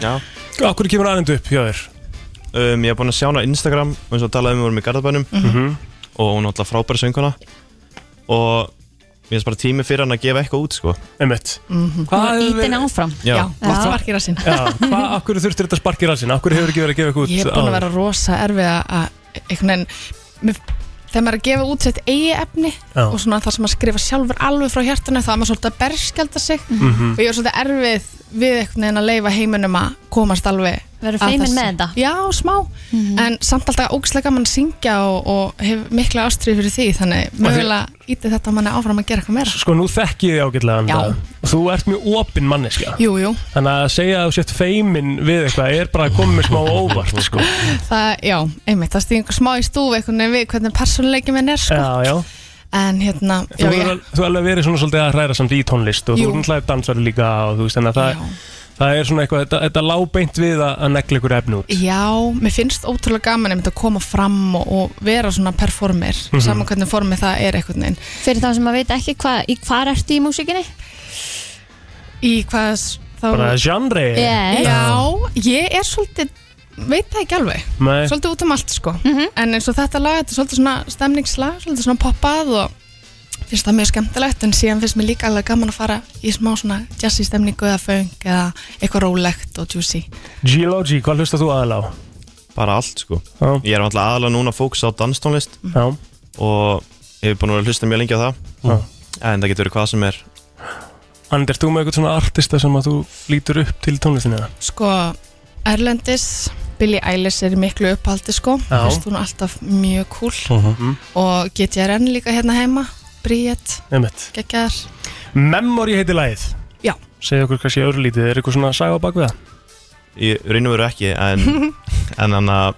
Speaker 15: Já
Speaker 4: Akkur Mhm. kemur aðeins upp hjá þér?
Speaker 15: Um, ég hef búin að sjá hana á Instagram eins og talaði um við vorum í Garðabænum
Speaker 4: Mhm.
Speaker 15: og hún er alltaf frábæri sönguna og ég finnst bara tími fyrir hann að gefa eitthvað út sko
Speaker 4: Einmitt
Speaker 14: Ítin áfram
Speaker 15: Já.
Speaker 14: Já,
Speaker 15: Já.
Speaker 14: gott spark í rassinn.
Speaker 4: Já, hvað, akkur þurftir þetta spark í rassin? Akkur hefur ekki verið að gefa eitthvað út
Speaker 14: Ég er búin að
Speaker 4: áður?
Speaker 14: vera rosa erfið að- að einhvern veginn mér- þegar maður er að gefa út sitt eigi efni
Speaker 4: Já.
Speaker 14: og svona þar sem maður skrifa sjálfur alveg frá hjartanu þá er maður svolítið að berskjálta sig
Speaker 4: Mhm.
Speaker 14: og ég er svolítið erfið við einhvern veginn að leifa heiminum að komast alveg
Speaker 3: Verður
Speaker 14: að
Speaker 3: feiminn
Speaker 14: þessu.
Speaker 3: með þetta? Mhm.
Speaker 14: Já, smá en samt alltaf ógislega gaman að syngja og, og hef mikla ástrið fyrir því þannig mögulega íti þetta manni áfram að gera eitthvað meira
Speaker 4: Sko, nú þekki ég þig ágætlega
Speaker 14: Já.
Speaker 4: Anita. og Þú ert mjög opinn manneskja
Speaker 14: Jú, jú,
Speaker 4: Þannig að segja að þú sett feimin við eitthvað er bara að koma með smá óvart sko.
Speaker 14: það, já, einmitt það stýðingur smá í stúfi einhvern veginn við hvernig persónuleiki minn er sko.
Speaker 4: Já, já
Speaker 14: en hérna
Speaker 4: Þú
Speaker 14: já,
Speaker 4: hefur
Speaker 14: ég-
Speaker 4: al- þú hefur alveg verið svona svolítið að hræra samt í tónlist og
Speaker 14: Jú.
Speaker 4: þú er náttúrulega dansari líka og þú veist þannig að það, það er svona eitthvað, þetta, þetta lábeint við að, að negla ykkur efni út
Speaker 14: Já, mér finnst ótrúlega gaman einmitt að koma fram og, og vera svona performer,
Speaker 4: Mhm.
Speaker 14: saman hvernig formi það er einhvern veginn.
Speaker 3: Fyrir þá sem að veit ekki hva, í hvar ertu í músikinni
Speaker 14: Í hvað s- þá...
Speaker 4: Bara genre
Speaker 14: Já, ég er svolítið, veit það ekki alveg,
Speaker 4: Nei.
Speaker 14: svolítið út um allt sko.
Speaker 3: Mhm.
Speaker 14: En eins og þetta lag, þetta er svolítið svona stemningslag, svolítið svona poppað og finnst það mjög skemmtilegt en síðan finnst mér líka alveg gaman að fara í smá svona jazzy stemningu eða funk eða eitthvað rólegt og juicy.
Speaker 4: G-Logi, hvað hlustar þú aðal á?
Speaker 15: bara allt sko
Speaker 4: Já.
Speaker 15: ég er alltaf aðalega núna að fókusa á danstónlist
Speaker 4: Já.
Speaker 15: og ég hef búin að vera að hlusta mjög lengi á það
Speaker 4: Já.
Speaker 15: en það getur verið hvað sem er
Speaker 4: Andi, ert þú með eitthvað svona artista sem að þú lítur upp til tónlistinu? eða?
Speaker 14: sko Erlendis Billie Eilish er í miklu upphaldi sko
Speaker 4: Já.
Speaker 14: finnst hún alltaf mjög cool
Speaker 4: Mhm.
Speaker 14: og GTRN líka hérna heima Bríett,
Speaker 4: Einmitt.
Speaker 14: geggjar
Speaker 4: Memory heiti lagið
Speaker 14: Já.
Speaker 4: Segðu okkur hvað sé örlítið, er eitthvað svona saga á bak við það?
Speaker 15: í raun og veru ekki en, en hann að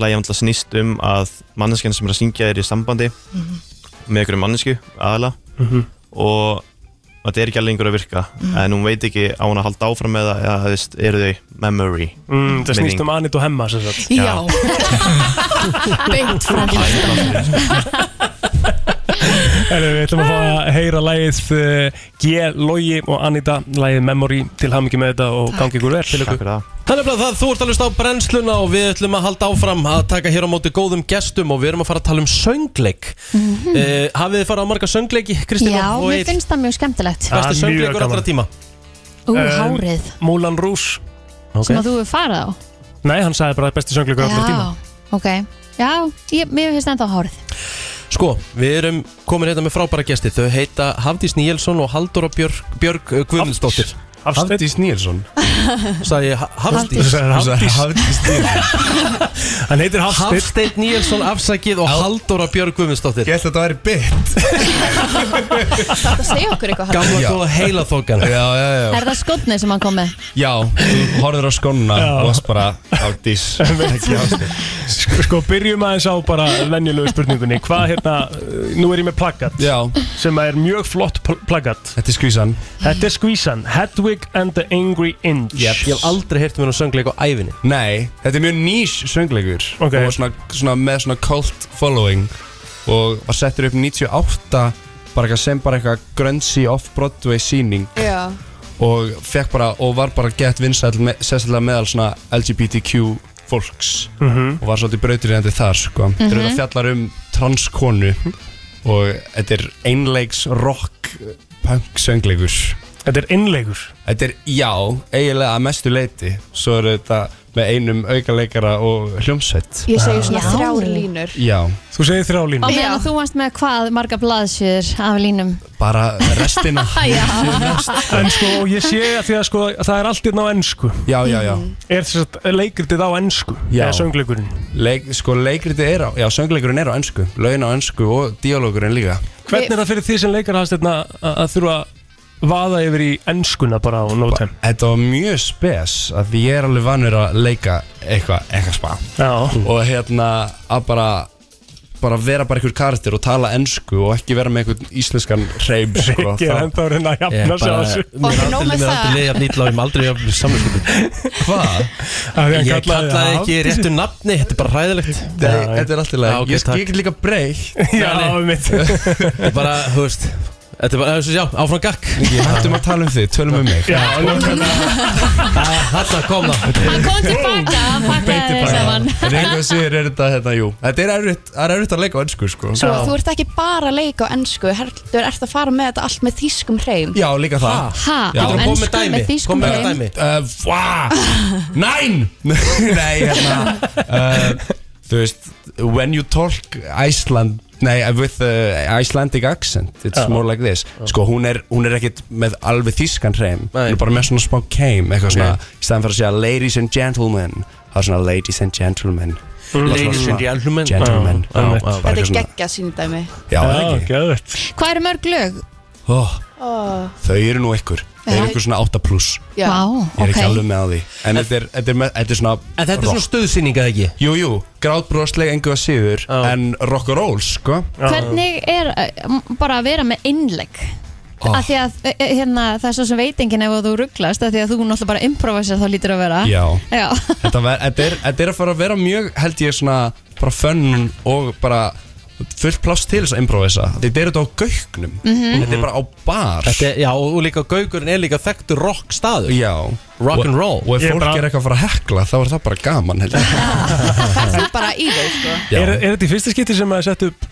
Speaker 15: lægja alltaf snýst um að manneskjan sem er að syngja er í sambandi
Speaker 14: Mhm.
Speaker 15: með einhverju mannesku aðala
Speaker 4: Mhm.
Speaker 15: og þetta er ekki alveg einhver að virka
Speaker 4: Mhm.
Speaker 15: en hún veit ekki á hún að halda áfram með það eða þú veist, eru þau memory
Speaker 4: Mm, það snýst um Anit og Hemma sem sagt
Speaker 15: Já.
Speaker 14: beint frá
Speaker 4: Herru, við ætlum að fá að heyra lagið eh, G. Logi og Anita lagið Memory til hamingi með þetta og gangi ykkur vel til ykkur
Speaker 2: Þannig að það, þú ert að hlusta á brennsluna og við ætlum að halda áfram að taka hér á móti góðum gestum og við erum að fara að tala um söngleik
Speaker 3: Mhm.
Speaker 2: eh, Hafið þið farið á marga söngleiki, Kristín
Speaker 3: Já,
Speaker 2: og
Speaker 3: mér
Speaker 2: Eir?
Speaker 3: finnst það mjög skemmtilegt
Speaker 2: Besti söngleikur allra
Speaker 4: gaman.
Speaker 2: tíma
Speaker 3: Ú,
Speaker 4: Eh,
Speaker 3: hárið
Speaker 4: Moulin Rouge
Speaker 3: sem að þú hefur farið á
Speaker 4: Nei, hann sagði bara besti söngleikur allra tíma
Speaker 3: ok Já, ég, mér finnst ennþá
Speaker 13: <laughs>
Speaker 3: hárið
Speaker 2: Sko, við erum komin hérna með frábæra gesti Þau heita Hafdís Níelsson og Haldur og Björg, Björg Guðmundsdóttir Hafdís
Speaker 16: Níelsson
Speaker 2: <laughs> Sæði ég Ha-
Speaker 16: Þú
Speaker 2: Hafdís
Speaker 16: sagðir Hafdís. Hafdís
Speaker 2: <laughs> Níelsson
Speaker 16: Hann heitir Hafsteinn.
Speaker 2: Hafsteinn Níelsson afsakið og Halldóra Björg Guðmundsdóttir
Speaker 16: Gæst þetta væri bytt
Speaker 3: Þetta segja okkur eitthvað
Speaker 2: Gamla
Speaker 16: Já.
Speaker 2: góða heila þókan
Speaker 16: Já, já, já
Speaker 3: Er það skotni sem hann kom með?
Speaker 16: Já, þú horfður á skónuna og varst bara Hafdís
Speaker 4: <laughs>
Speaker 16: Ekki Hafsteinn.
Speaker 4: Sko, <laughs> sko, byrjum aðeins á bara venjulegu spurningunni Hvað hérna, uh, nú er ég með plakat
Speaker 16: Já.
Speaker 4: Sem er mjög flott pl plakat
Speaker 16: Þetta er skvísan
Speaker 4: Þetta er skvísan Hedwig and the Angry Inch
Speaker 2: Ég hef aldrei heyrt um hennar söngleik á ævinni
Speaker 16: Nei, þetta er mjög nýs söngleikur okay. og svona, svona með svona cult following og var settur upp 98 bara eitthvað sem bara eitthvað grönsi off-Broadway síning
Speaker 17: Já.
Speaker 16: og fekk bara og var bara gett vinsæl me, sérstaklega meðal svona LGBTQ fólks
Speaker 4: Mhm.
Speaker 16: og var svolítið brautirjandi þar sko.
Speaker 4: Mhm.
Speaker 16: Þeir eru að fjallar um transkonu og þetta er einleiks rock punk söngleikur
Speaker 4: Þetta er einleikur?
Speaker 16: Þetta er, já, eiginlega að mestu leiti svo er þetta með einum aukaleikara og hljómsveit
Speaker 17: Ég segi svona
Speaker 3: Já.
Speaker 17: þrjár línur
Speaker 16: Já
Speaker 4: Þú segir þrjá
Speaker 3: Á meðan þú varst með hvað marga blaðsjur af línum?
Speaker 16: Bara
Speaker 4: <laughs>
Speaker 16: restina
Speaker 3: Já.
Speaker 4: En sko, og ég sé að því að sko, það er allt hérna á ennsku
Speaker 16: Já, já, já
Speaker 4: Er þess að leikritið á ennsku?
Speaker 16: Já.
Speaker 4: Eða söngleikurinn?
Speaker 16: Leik, sko, leikritið er á, já, söngleikurinn er á ennsku Laun á ennsku og díalógurinn líka
Speaker 4: Hvernig er það fyrir því sem leikar hafst hérna að að þurfa að vaða yfir í ennskuna bara á no time?
Speaker 16: Þetta var mjög spes að því ég er alveg vanur að leika eitthvað, eitthvað spa
Speaker 4: Já.
Speaker 16: Og hérna að bara bara vera bara einhver karakter og tala ennsku og ekki vera með einhvern íslenskan hreim sko,
Speaker 4: Rikki er ennþá að reyna að jafna sig á þessu.
Speaker 2: Mér er aldrei- mér er aldrei leiðið jafn ítla og ég mér aldrei jafn samvinskupin
Speaker 16: Hvað?
Speaker 4: hann
Speaker 2: Ég
Speaker 4: kallaði
Speaker 2: kallaði ekki
Speaker 4: Hafdísi.
Speaker 2: réttu nafni, þetta er bara hræðilegt
Speaker 16: Nei, þetta er alltaf leið.
Speaker 2: Já, ok,
Speaker 16: Ég- ég
Speaker 2: takk.
Speaker 16: get líka breytt.
Speaker 4: <laughs> Já, einmitt.
Speaker 2: Þetta er bara, þú veist Þetta er bara, þessu, já, áfram gakk
Speaker 16: Hættum að tala um þig, tölum um mig
Speaker 2: Já, Þetta kom það
Speaker 3: Hann kom tilbaka, hann pakkaði þeir saman
Speaker 16: En einhvað sér er þetta, hérna, jú Þetta er erfitt, það er erfitt að leika á ennsku, sko
Speaker 17: Svo þú ert ekki bara að leika á ennsku heldur ert að fara með þetta allt með þýskum hreim
Speaker 16: Já, líka það
Speaker 17: Ha?
Speaker 16: Já.
Speaker 17: Á Geturðu komið með ensku dæmi? með þýskum Komið með hreim? dæmi.
Speaker 16: Uh,
Speaker 17: <laughs>
Speaker 16: Vá, næn <laughs> Nei, hérna uh, Þú veist, when you talk Iceland Nei, with uh, Icelandic accent It's
Speaker 4: Já.
Speaker 16: more like this Sko, hún er, hún er ekkit með alveg þýskan hreim Hún er bara með svona smá keim Eitthvað svona, í staðan fyrir að segja ladies and gentlemen Það er svona ladies and gentlemen
Speaker 2: Ladies and gentlemen.
Speaker 16: Gentlemen
Speaker 2: Já,
Speaker 16: Já, bara
Speaker 2: einmitt.
Speaker 17: Þetta
Speaker 16: eitthvað
Speaker 17: er
Speaker 16: svona-
Speaker 17: geggja sínudæmi
Speaker 16: Já, er það ekki
Speaker 4: Gæðvett
Speaker 3: Hvað eru mörg lög?
Speaker 16: oh,
Speaker 17: oh.
Speaker 16: Þau eru nú ykkur Þau
Speaker 3: Já.
Speaker 16: eru ykkur svona 8 pluss
Speaker 3: Já. Vá,
Speaker 16: Ég er ekki
Speaker 3: ok.
Speaker 16: alveg með á því En þetta er, þetta er, með, þetta er svona
Speaker 2: En þetta er svona stuðsýning eða ekki?
Speaker 16: Jú, jú, grátbrosleg engu að síður En rock and roll, sko
Speaker 3: Hvernig er eh, m- bara að vera með innlegg?
Speaker 16: Ó.
Speaker 3: Oh. Því að eh, eh, hérna, það er svo sem veitingin ef þú rugglast af Því að þú náttúrulega bara improvisar þá lítur að vera
Speaker 16: Já,
Speaker 3: Já.
Speaker 16: þetta, ver, þetta, er, þetta er að fara að vera mjög, held ég, svona Bara fönn og bara fullt pláss til þess að improvisa Þetta er þetta á gaugnum
Speaker 2: Mhm.
Speaker 16: Þetta er bara á bar
Speaker 2: Þetta er, já, og líka Gaugurinn er líka þekktur rock staður
Speaker 16: Já
Speaker 2: Rock and roll
Speaker 16: Og ef fólk er eitthvað að fara að hekla, þá er það bara gaman, held
Speaker 2: <laughs>
Speaker 16: ég
Speaker 17: Það fer þú bara í þau sko
Speaker 16: Já.
Speaker 4: Er, er þetta í fyrsta skipti sem að setja upp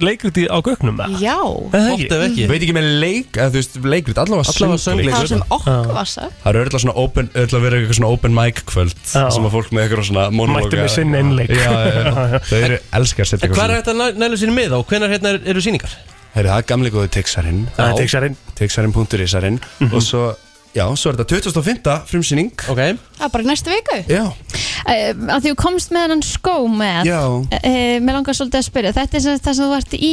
Speaker 4: leikriti á gögnum?
Speaker 17: Já
Speaker 16: Veit ekki með leik, eða þú veist, leikrit, allavega
Speaker 2: Allavega söngleik.
Speaker 17: Það sem okkur var sagt
Speaker 16: Það eru öll að svona open, öll að vera eitthvað svona open mic kvöld
Speaker 4: Já.
Speaker 16: sem að fólk með eitthvað svona monológa
Speaker 4: Mættu með sinn einleik.
Speaker 16: Já, já,
Speaker 4: <laughs>
Speaker 16: já, þau eru elskar að setja
Speaker 2: En
Speaker 16: eitthvað
Speaker 2: hvað er þetta að nælu sinni mið á? Hvenær hérna eru- eru sýningar?
Speaker 16: Heyrðu, það er gamli góðu Tixarinn
Speaker 4: Það er Mhm. Tixarinn.
Speaker 16: Tixarinn.isarinn Og svo, já, svo er þetta 2005. frumsýning
Speaker 2: Ok
Speaker 17: Það er bara í næstu viku
Speaker 16: Já
Speaker 3: Eh, Að því þú komst með hennan skó með
Speaker 16: Já.
Speaker 3: eh, Mér langar svolítið að spyrja Þetta er sem sagt það sem þú vart í,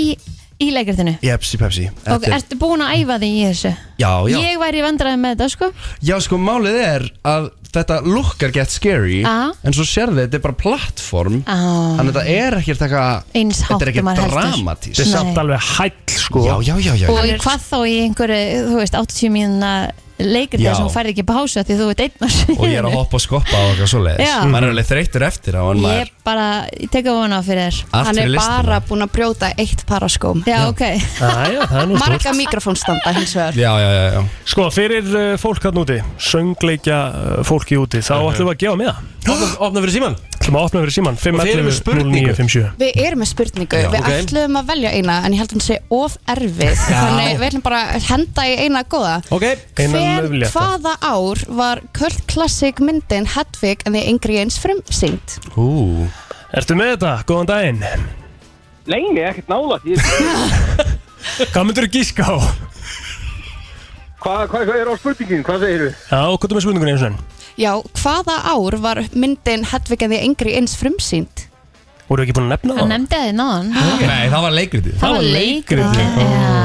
Speaker 3: í leikritinu
Speaker 16: Jepsi pepsi
Speaker 3: Og
Speaker 16: Þetta er-
Speaker 3: ertu búin að æfa þig í þessu?
Speaker 16: Já, já
Speaker 3: Ég væri vandræði með þetta sko
Speaker 16: Já, sko, málið er að þetta lukkar get scary
Speaker 3: Ah.
Speaker 16: En svo sérðu, þetta er bara plattform
Speaker 3: Ah.
Speaker 16: Þannig að þetta er ekkert eitthvað
Speaker 3: Eins hátt
Speaker 16: Þetta er
Speaker 3: og
Speaker 16: ekkert
Speaker 3: maður heldur.
Speaker 16: dramatískt
Speaker 3: Þetta er samt Nei.
Speaker 4: alveg hæll, sko
Speaker 16: Já, já, já, já
Speaker 3: og í hvað þá í einhverju, þú veist, 80 mínuna leikrið
Speaker 16: Já.
Speaker 3: þess að hún færði ekki pásu af því þú veit einn á sviðinu.
Speaker 16: og ég er að hoppa og skoppa á eitthvað svoleiðis
Speaker 3: Já.
Speaker 16: maður er alveg þreytur eftir á en maður
Speaker 3: Ég bara, ég tek að vona á fyrir
Speaker 16: Allt Hann
Speaker 3: þér
Speaker 16: er fyrir listina. bara
Speaker 17: búin að brjóta eitt par af skóm
Speaker 3: Já, ok
Speaker 4: Æja, það er nú stórt
Speaker 17: Marga mikrofónstanda hins vegar
Speaker 16: Já, já, já, já.
Speaker 4: Sko, fyrir uh, fólk hann úti, söngleikja uh, fólki úti, þá ætlum við að gefa með
Speaker 2: það. Opna fyrir síman.
Speaker 4: Ætlum að opna fyrir síman,
Speaker 2: þið eruð með
Speaker 4: 511
Speaker 2: spurningu.
Speaker 4: 0957.
Speaker 17: Við erum með spurningu,
Speaker 4: Já,
Speaker 17: við
Speaker 4: ok.
Speaker 17: ætlum að velja eina en ég held að hún sé of erfið
Speaker 4: Já.
Speaker 17: þannig við ætlum bara að henda í eina góða
Speaker 2: Ok,
Speaker 17: Hver, hvaða ár var Kurt Classic myndin Hedvig en þið yngri eins frumsýnd?
Speaker 16: Ú.
Speaker 4: Ertu með þetta? Góðan daginn
Speaker 5: Nei, nei, ekkert nála Ég
Speaker 4: Hvað myndur þú gíska á?
Speaker 18: Hvað hva, hva er á spurningin? Hvað segir þú?
Speaker 4: Já, hvað er með spurningunni eins og enn?
Speaker 17: Já, hvaða ár var myndin Hedvig en því engri eins frumsýnd?
Speaker 4: Voru ekki búin að nefna
Speaker 3: Hann
Speaker 4: það?
Speaker 3: nefndi að þið náðan
Speaker 16: Nei, það var leikritið
Speaker 3: Það var leikritið Já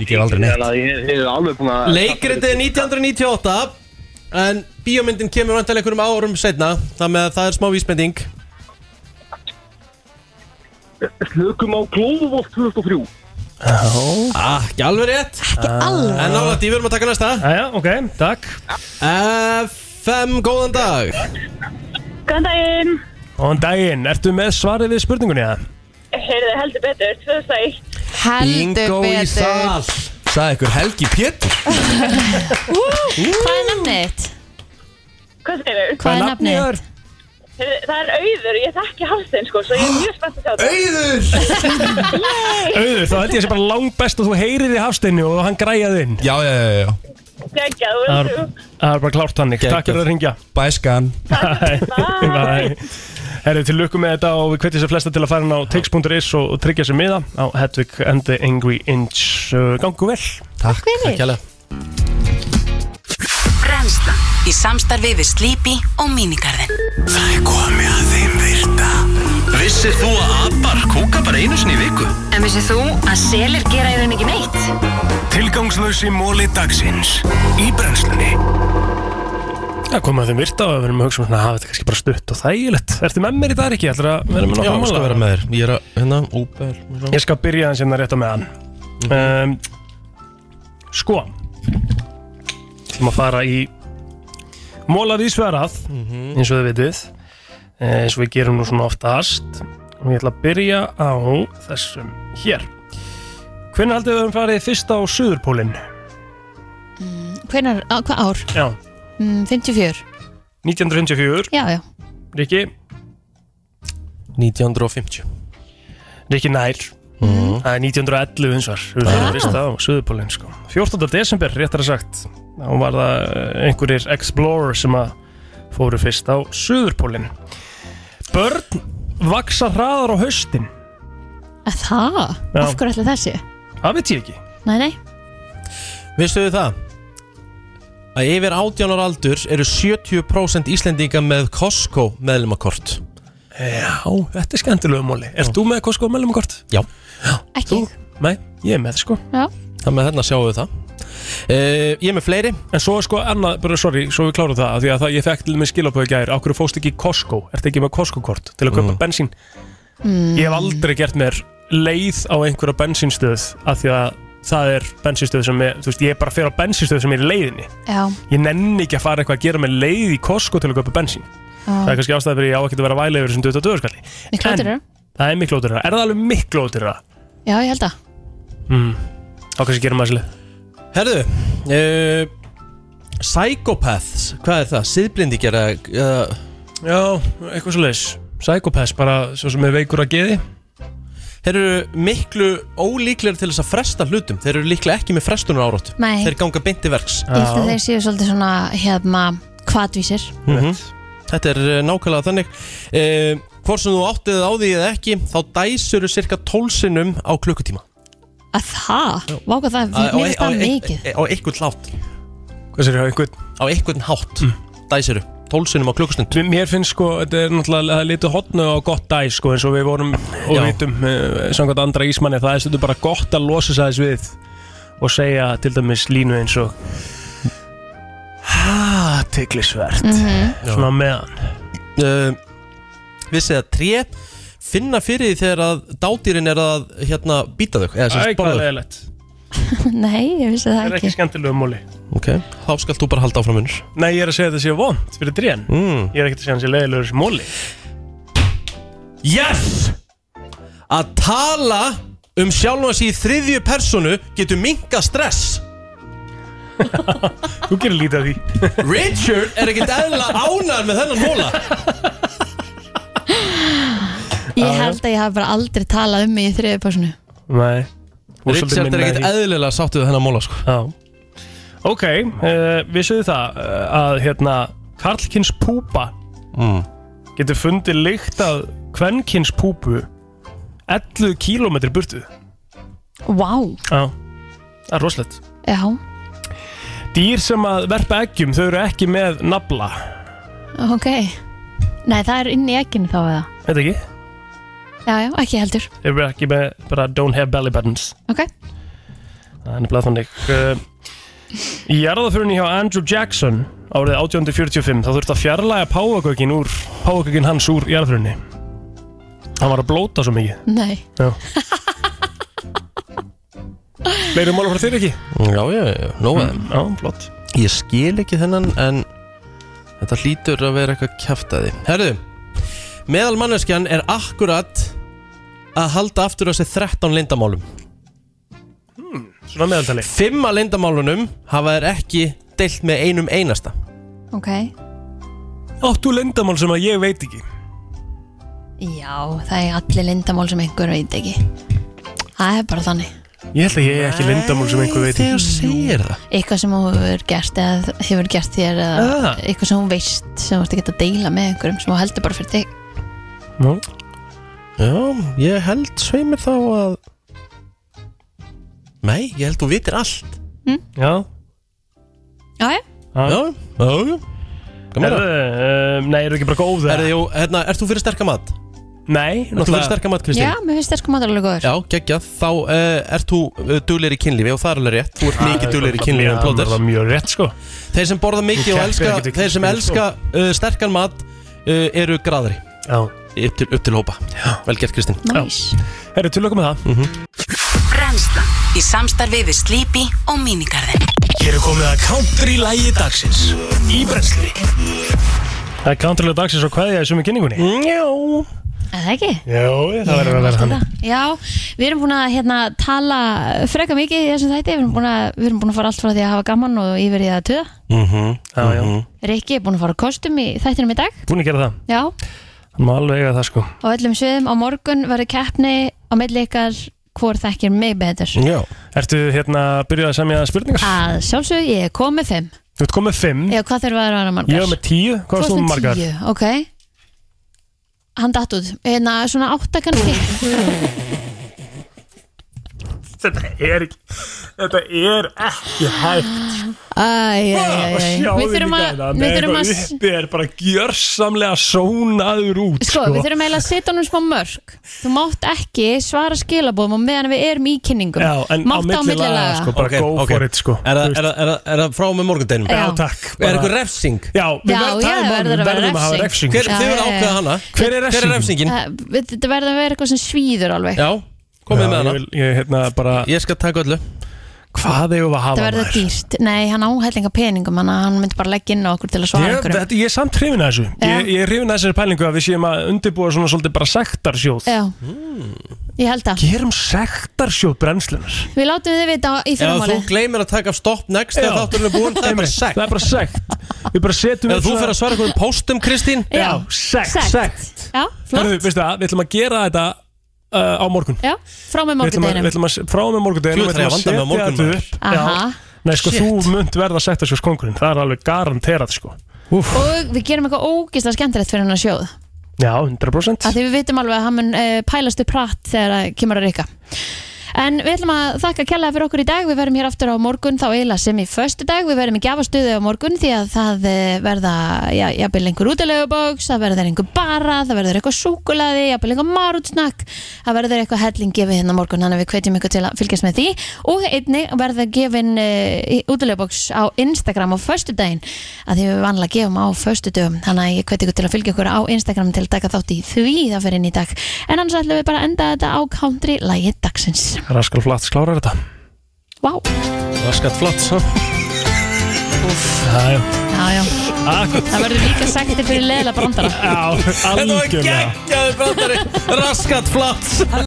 Speaker 16: Ég ger aldrei neitt
Speaker 18: Ég er alveg búin
Speaker 6: Ah,
Speaker 18: að
Speaker 2: Leikritið er 1998 En bíómyndin kemur vantilega einhverjum árum setna Þannig að það er smá vísbending
Speaker 18: Slökum á Glóðuvolt 2003
Speaker 2: ah, Ekki alveg rétt Ekki
Speaker 4: alveg.
Speaker 2: En nála því, við erum að taka næsta
Speaker 4: Jæja, ok, takk
Speaker 2: FM, góðan dag
Speaker 9: Góðan daginn
Speaker 4: Góðan daginn, ertu með svarið við spurningunni það?
Speaker 9: Heyrðu, heldur betur, 2001
Speaker 17: Heldur betur
Speaker 16: Sæði ykkur Helgi Pétur
Speaker 9: Hvað
Speaker 3: er nafnið þitt?
Speaker 9: Hvað segir þau?
Speaker 3: Hvað er nafnið þitt?
Speaker 9: Heyrðu, Það er auður, ég þekki halsinn sko, svo ég er mjög spennt að sjá það Auður!
Speaker 4: Auður, þá held ég að sé bara langbest og þú heyrir í hafsteinu og hann græjaði inn
Speaker 16: Já, já, já, já
Speaker 9: Gægjað, þú
Speaker 4: Það
Speaker 9: veist
Speaker 4: er- það er bara klárt þannig, takk fyrir að ringja
Speaker 16: Bæskan
Speaker 4: Bye Herru, til lukku með þetta og við hvetjum sér flesta til að fara hann á tix.is og, og tryggja sér miða á Hedvig and the Angry Inch Uh, Gangu vel
Speaker 16: Takk,
Speaker 2: takk hérlega
Speaker 19: Brennslan í samstarfi við Sleepy og Minigarðin
Speaker 1: Það er komið að þeim virta Vissir þú að abar kúka bara einu sinni í viku?
Speaker 19: En vissið þú að selir gera í rauninni ekki neitt?
Speaker 1: Tilgangslösi móli dagsins Í brennslunni
Speaker 4: Það komið að þeim virta og við erum að hugsa um svona hafa þetta kannski bara stutt og þægilegt Ertu með mér í dag ekki? Ætlar að vera með
Speaker 2: Já,
Speaker 4: nokkuð
Speaker 2: ég skal vera með þér Ég er að, hérna, Uber
Speaker 4: Ég skal byrja hans hérna rétt á meðan
Speaker 2: Mhm.
Speaker 4: um, Sko Við ætlum að fara í Mólar í sverað
Speaker 2: Mhm.
Speaker 4: Eins og þið vitið eh, Eins og við gerum nú svona oftast Og ég ætla að byrja á þessum hér Hvernig haldið við höfum farið fyrst á Suðurpólinn?
Speaker 3: Hvenar, á, hvað ár?
Speaker 4: Já,
Speaker 3: Mm, 54
Speaker 4: 1954
Speaker 3: Já, já
Speaker 4: Rikki?
Speaker 2: 1950
Speaker 4: Rikki Nær Það er 1911 einsvar Við fyrir fyrst á Suðupólinn sko. 14. desember, réttar að sagt þá var það eh, einhverjir Explorer sem að fóru fyrst á Suðurpólinn Börn vaksa hraðar á haustin
Speaker 3: Að Það?
Speaker 4: Já.
Speaker 3: Af hverju ætla þessi?
Speaker 4: Það veit ég ekki
Speaker 3: Nei, nei
Speaker 2: Vistu þið það? Að yfir 18 ára aldur eru 70% Íslendinga með Costco meðlumakort
Speaker 4: Já, þetta er skemmtilega móli Er þú með Costco meðlumakort?
Speaker 2: Já
Speaker 3: Ekki
Speaker 4: Nei, ég er með sko
Speaker 3: Já
Speaker 2: Það með hérna sjáum við það uh, Ég er með fleiri
Speaker 4: En svo er sko annað, bara sorry, svo við klárum það af Því að það, ég fekk til með skilaböðu gær Á hverju fóst ekki í Costco, ertu ekki með Costco-kort Til að kaupa bensín
Speaker 3: mm.
Speaker 4: Ég hef aldrei gert mér leið á einhverja bensinstöð af því að það er bensinstöð sem er, þú veist, ég er bara að fyrir á bensinstöð sem er í leiðinni.
Speaker 3: Já
Speaker 4: Ég nenni ekki að fara eitthvað að gera mér leið í Costco til að köpa bensín. Það er kannski ástæði fyrir ég á ekki að vera vælega yfir þessum 22 skalli.
Speaker 3: Miklu
Speaker 4: En-
Speaker 3: ódýrara.
Speaker 4: Það er miklu ódurra. Er það alveg miklu ódurra?
Speaker 3: Já, ég held að
Speaker 4: Mm. Þá kannski gerum maður svolítið.
Speaker 2: Herðu uh, Psychopaths Hvað er það? Siðblindingar uh,
Speaker 4: Já, eitthvað svo leis Psychopaths, bara svo sem er veikur að geði
Speaker 2: Þeir eru miklu ólíklegir til þess að fresta hlutum Þeir eru líklega ekki með frestunar árótt
Speaker 3: Nei.
Speaker 2: Þeir ganga beinti verks
Speaker 3: Ég held að þeir séu svolítið svona hérna hvatvísir
Speaker 2: -hmm. Þetta er eh, nákvæmlega þannig eh, Hvort sem þú áttið á því eða ekki Þá dæsuru cirka tólsinum á klukkutíma
Speaker 3: Að það? Váka það,
Speaker 2: Á- á-
Speaker 3: mér
Speaker 2: á-
Speaker 3: finnst það
Speaker 2: á-
Speaker 3: mikið
Speaker 2: Á einhvern hátt
Speaker 4: Hvað sér ég á einhvern? Mm.
Speaker 2: Á einhvern hátt Dæsuru Tólsinum á klukkustund
Speaker 4: Mér finnst sko, þetta er náttúrulega litið hotnu og gott dæ sko, eins og við vorum og
Speaker 2: Já.
Speaker 4: vitum eh, samkvæmt andra ísmanni það er stundu bara gott að losa sæðis við og segja til dæmis línu eins og Aðtiklisvert
Speaker 2: Mhm.
Speaker 4: Svona meðan
Speaker 2: uh, Vissið að tré finna fyrir því þegar að dádýrin er að hérna býta þau eða sem
Speaker 4: Æ,
Speaker 2: sagt borða
Speaker 4: hvað
Speaker 2: þau.
Speaker 4: leðilegt
Speaker 3: <laughs> Nei, ég vissi
Speaker 4: Það
Speaker 3: það
Speaker 4: er
Speaker 3: ekki
Speaker 4: ekki skemmtilegu múli
Speaker 2: Ok, þá skalt þú bara halda áfram unnur
Speaker 4: Nei, ég er að segja þetta sé vond fyrir drén
Speaker 2: mm.
Speaker 4: Ég er ekkert að segja hann sé leiðilegur sem múli
Speaker 2: Yes! Að tala um sjálfan sig í þriðju personu getur minka stress
Speaker 4: Þú gerir lítið af því
Speaker 2: <laughs> Richard er ekkert eðla ánæður með þennan móla
Speaker 3: Ég held að ég hafi bara aldrei talað um mig í þriðið personu
Speaker 4: Nei Þú svolítið
Speaker 2: Richard
Speaker 4: minna
Speaker 2: er ekkert
Speaker 4: í-
Speaker 2: eðlilega sáttu við þennan móla sko.
Speaker 4: Já Ok, uh, vissuðu það uh, að hérna Karlkins púpa
Speaker 2: mm.
Speaker 4: getur fundið lykt af kvenkins púpu 11 km burtu
Speaker 3: Vá,
Speaker 4: Já, það er rosalegt
Speaker 3: já
Speaker 4: Dýr sem að verpa eggjum, þau eru ekki með nafla
Speaker 3: ok Nei, það er inn í egginu þá eða
Speaker 4: Veit ekki?
Speaker 3: Já, já, ekki heldur
Speaker 4: Þau eru ekki með, bara don't have belly buttons
Speaker 3: Ok,
Speaker 4: Það er nefnilega þannig uh, Í jarðaförunni hjá Andrew Jackson árið 1845 þá þurfti að fjarlæga páfagökin úr páfagökin hans úr jarðaförunni Hann var að blóta svo
Speaker 2: <laughs>
Speaker 4: mikið
Speaker 3: nei
Speaker 4: Já Leirum mála frá þér ekki?
Speaker 2: Já, já, já, nóga mm,
Speaker 4: Já, flott
Speaker 2: Ég skil ekki þennan en þetta hlýtur að vera eitthvað kjaftaði Herðu, meðal manneskjan er akkurat að halda aftur af sér 13 lindamálum
Speaker 4: Hmm, Svona meðaltali
Speaker 2: Fimm af lindamálunum hafa þær ekki deilt með einum einasta
Speaker 3: Ok,
Speaker 4: Áttu lindamál sem að ég veit ekki
Speaker 3: já, það er allir lindamál sem einhver veit ekki Það er bara þannig
Speaker 4: Ég held að ég er ekki lindamál sem einhver veit
Speaker 2: Þegar segir það
Speaker 3: Eitthvað sem hún hefur gert eða hefur gert þér eða
Speaker 4: Ah.
Speaker 3: eitthvað sem hún veist sem þú ert ekki að deila með einhverjum sem hún heldur bara fyrir þig
Speaker 4: Nú.
Speaker 2: Já, ég held sveimir þá að Nei, ég held þú vitir allt
Speaker 4: Já
Speaker 3: Já, já
Speaker 2: Já, já, já Gaman
Speaker 4: Erðu, um, nei, eru ekki bara góð
Speaker 2: Erðu, jú, hérna, ert þú fyrir sterka mat?
Speaker 4: Nei,
Speaker 2: Ert þú fyrir sterka mat, Kristín?
Speaker 3: Já, mér finnst sterkum matur alveg góður
Speaker 2: Já, geggja, þá uh, ert þú uh, dugleir í kynlífi og það er alveg rétt Þú ert
Speaker 4: Já,
Speaker 2: mikið
Speaker 4: það er
Speaker 2: dugleir í
Speaker 4: bara-
Speaker 2: kynlífi
Speaker 4: já,
Speaker 2: en plóter
Speaker 4: það er mjög rétt sko
Speaker 2: Þeir sem borða mikið
Speaker 4: Þú
Speaker 2: og
Speaker 4: keppir
Speaker 2: elska,
Speaker 4: ekkert í
Speaker 2: þeir sem
Speaker 4: kynlífi, sko.
Speaker 2: elska uh, sterkan mat uh, eru graðri
Speaker 4: Já
Speaker 2: Upp til, upp til hópa já. Vel gert Kristinn
Speaker 3: Næs
Speaker 4: Herru, til okkur með það
Speaker 2: mm
Speaker 19: Brennslan í samstarfi við Sleepy og Minigarðin
Speaker 1: Hér er komið að country lægi dagsins Í brensli
Speaker 4: Það er kanturlega dagsins og hvað ég sem í kynningunni
Speaker 2: Já
Speaker 3: Er það ekki?
Speaker 4: Já, það verður að vera hann
Speaker 3: Já, við erum búin að hérna, tala freka mikið í þessum þætti, við erum, búin að, við erum búin að fara allt frá því að hafa gaman og yfir í það töða.
Speaker 2: Mhm,
Speaker 4: já, já
Speaker 3: Rikki er búin að fara á kostum í þættinum í dag.
Speaker 4: Búin að gera það,
Speaker 3: Já,
Speaker 4: hann má alveg eiga það sko
Speaker 3: á öllum sviðum á morgun verður keppni á milli ykkar hvort þekkir mig betur.
Speaker 4: Já Ertu hérna að byrja að semja spurningar?
Speaker 3: Að sjálfsög, ég er komið fimm.
Speaker 4: Þú ert komið fimm,
Speaker 3: Já, hvað þurfa að vera margar?
Speaker 4: ég er með tíu, Mm. hvað varst þú með margar?
Speaker 3: Tíu, ok. Hann datt út. Hérna, svona átta
Speaker 4: <laughs>
Speaker 3: kannski.
Speaker 4: Þetta er ekki, þetta er ekki hægt
Speaker 3: Æj, æj,
Speaker 4: Og
Speaker 3: æj.
Speaker 4: sjáðu
Speaker 3: Við þurfum
Speaker 4: um líka
Speaker 3: að,
Speaker 4: þetta,
Speaker 3: við þurfum
Speaker 4: eitthvað
Speaker 3: að,
Speaker 4: uppi er bara gjörsamlega sónaður út
Speaker 3: sko, við þurfum eiginlega að setja honum smá mörg. Þú mátt ekki svara skilabóðum og meðan við erum í kynningum.
Speaker 2: Já, en á
Speaker 3: mátt á
Speaker 2: milli
Speaker 3: milli
Speaker 2: laga,
Speaker 3: laga.
Speaker 2: sko, bara
Speaker 4: Ok,
Speaker 2: go
Speaker 4: ok.
Speaker 2: for it, sko.
Speaker 4: Er það- er
Speaker 2: það- er það frá með morgundeginum?
Speaker 3: Já,
Speaker 4: takk
Speaker 2: Er eitthvað refsing?
Speaker 4: Já,
Speaker 3: Já, já,
Speaker 4: um
Speaker 3: verður að vera refsing.
Speaker 2: Hver,
Speaker 3: Já,
Speaker 2: Þið verður
Speaker 3: já, Eh, já.
Speaker 2: ákveða hana
Speaker 4: Hver er
Speaker 2: Hver er refsingin?
Speaker 3: Það- við- Þetta verður að vera eitthvað sem svíður alveg.
Speaker 2: Já, komið með
Speaker 4: Ég,
Speaker 2: hana
Speaker 4: vil- ég, hérna, bara,
Speaker 2: ég skal taka öllu
Speaker 4: Hvað eigum við að hafa
Speaker 3: Þetta verður dýrt. Nei, hann áhællinga peningum, hann, hann myndi bara leggja inn á okkur til að svara
Speaker 4: Ég,
Speaker 3: okkur.
Speaker 4: þetta, ég er samt hrifin að þessu Ég, ég er hrifin að þessari pælingu að við séum að undirbúa svona svolítið bara sektarsjóð
Speaker 3: Já,
Speaker 4: Hmm.
Speaker 3: ég held að.
Speaker 4: Gerum sektarsjóð brennslunar
Speaker 3: Við látum þið vita í
Speaker 2: Ef þú
Speaker 3: fyrramáli.
Speaker 2: gleymir að taka stopp next þegar
Speaker 4: Já.
Speaker 2: þátturinn er búinn, það er bara sekt
Speaker 4: Það er bara sekt Við bara setjum
Speaker 2: Ef
Speaker 4: upp
Speaker 2: þú
Speaker 4: svona-
Speaker 2: fer að svara einhverjum póstum, Kristín
Speaker 4: Já, sekt, sekt.
Speaker 3: Já, flott.
Speaker 4: Hörðu, veistu það, við ætlum að gera þetta uh, á morgun
Speaker 3: Já, frá með
Speaker 4: Við ætlum að, við
Speaker 3: morgundeginum.
Speaker 4: ætlum að frá með morgundeginum
Speaker 2: Þú ætlar að vanda með á morgun, maður.
Speaker 3: Aha.
Speaker 4: Nei, sko, þú munt verða sektarsjóðskongurinn Það er alveg garanterað, sko
Speaker 3: Og við gerum eitthvað ógislega skemmtilegt fyrir hann að sjóð.
Speaker 4: Já, 100%
Speaker 3: að því við vitum alveg að hann mun uh, pælast upp hratt þegar það kemur að reyka en við ætlum að þakka kjallaði fyrir okkur í dag við verðum hér aftur á morgun þá eiginlega sem í föstu dag, við verðum í gjafastuði á morgun því að það eh, verða já, jafnvel einhver útilegubóks, það verður einhver bara það verður eitthvað súkulaði, jafnvel einhver marútsnakk, það verður eitthvað helling gefið hérna á morgun, þannig að við hvetjum ykkur til að fylgjast með því og einni verða gefin uh, útilegubóks á Instagram á föstu að því við vanlega gefum á föstu þannig að ég hveti ykkur til að fylgja ykkur á Instagram til að taka þátt í því það fyrir inn í dag en annars ætlum við bara að enda þetta á country lægi dagsins
Speaker 4: Raskal Flats klárar þetta
Speaker 3: Vá,
Speaker 2: Raskat flott svo
Speaker 4: Já, já
Speaker 3: já já Það verður líka sektir fyrir leila brandara
Speaker 4: Já,
Speaker 2: Þetta var geggjaður brandari Raskat flott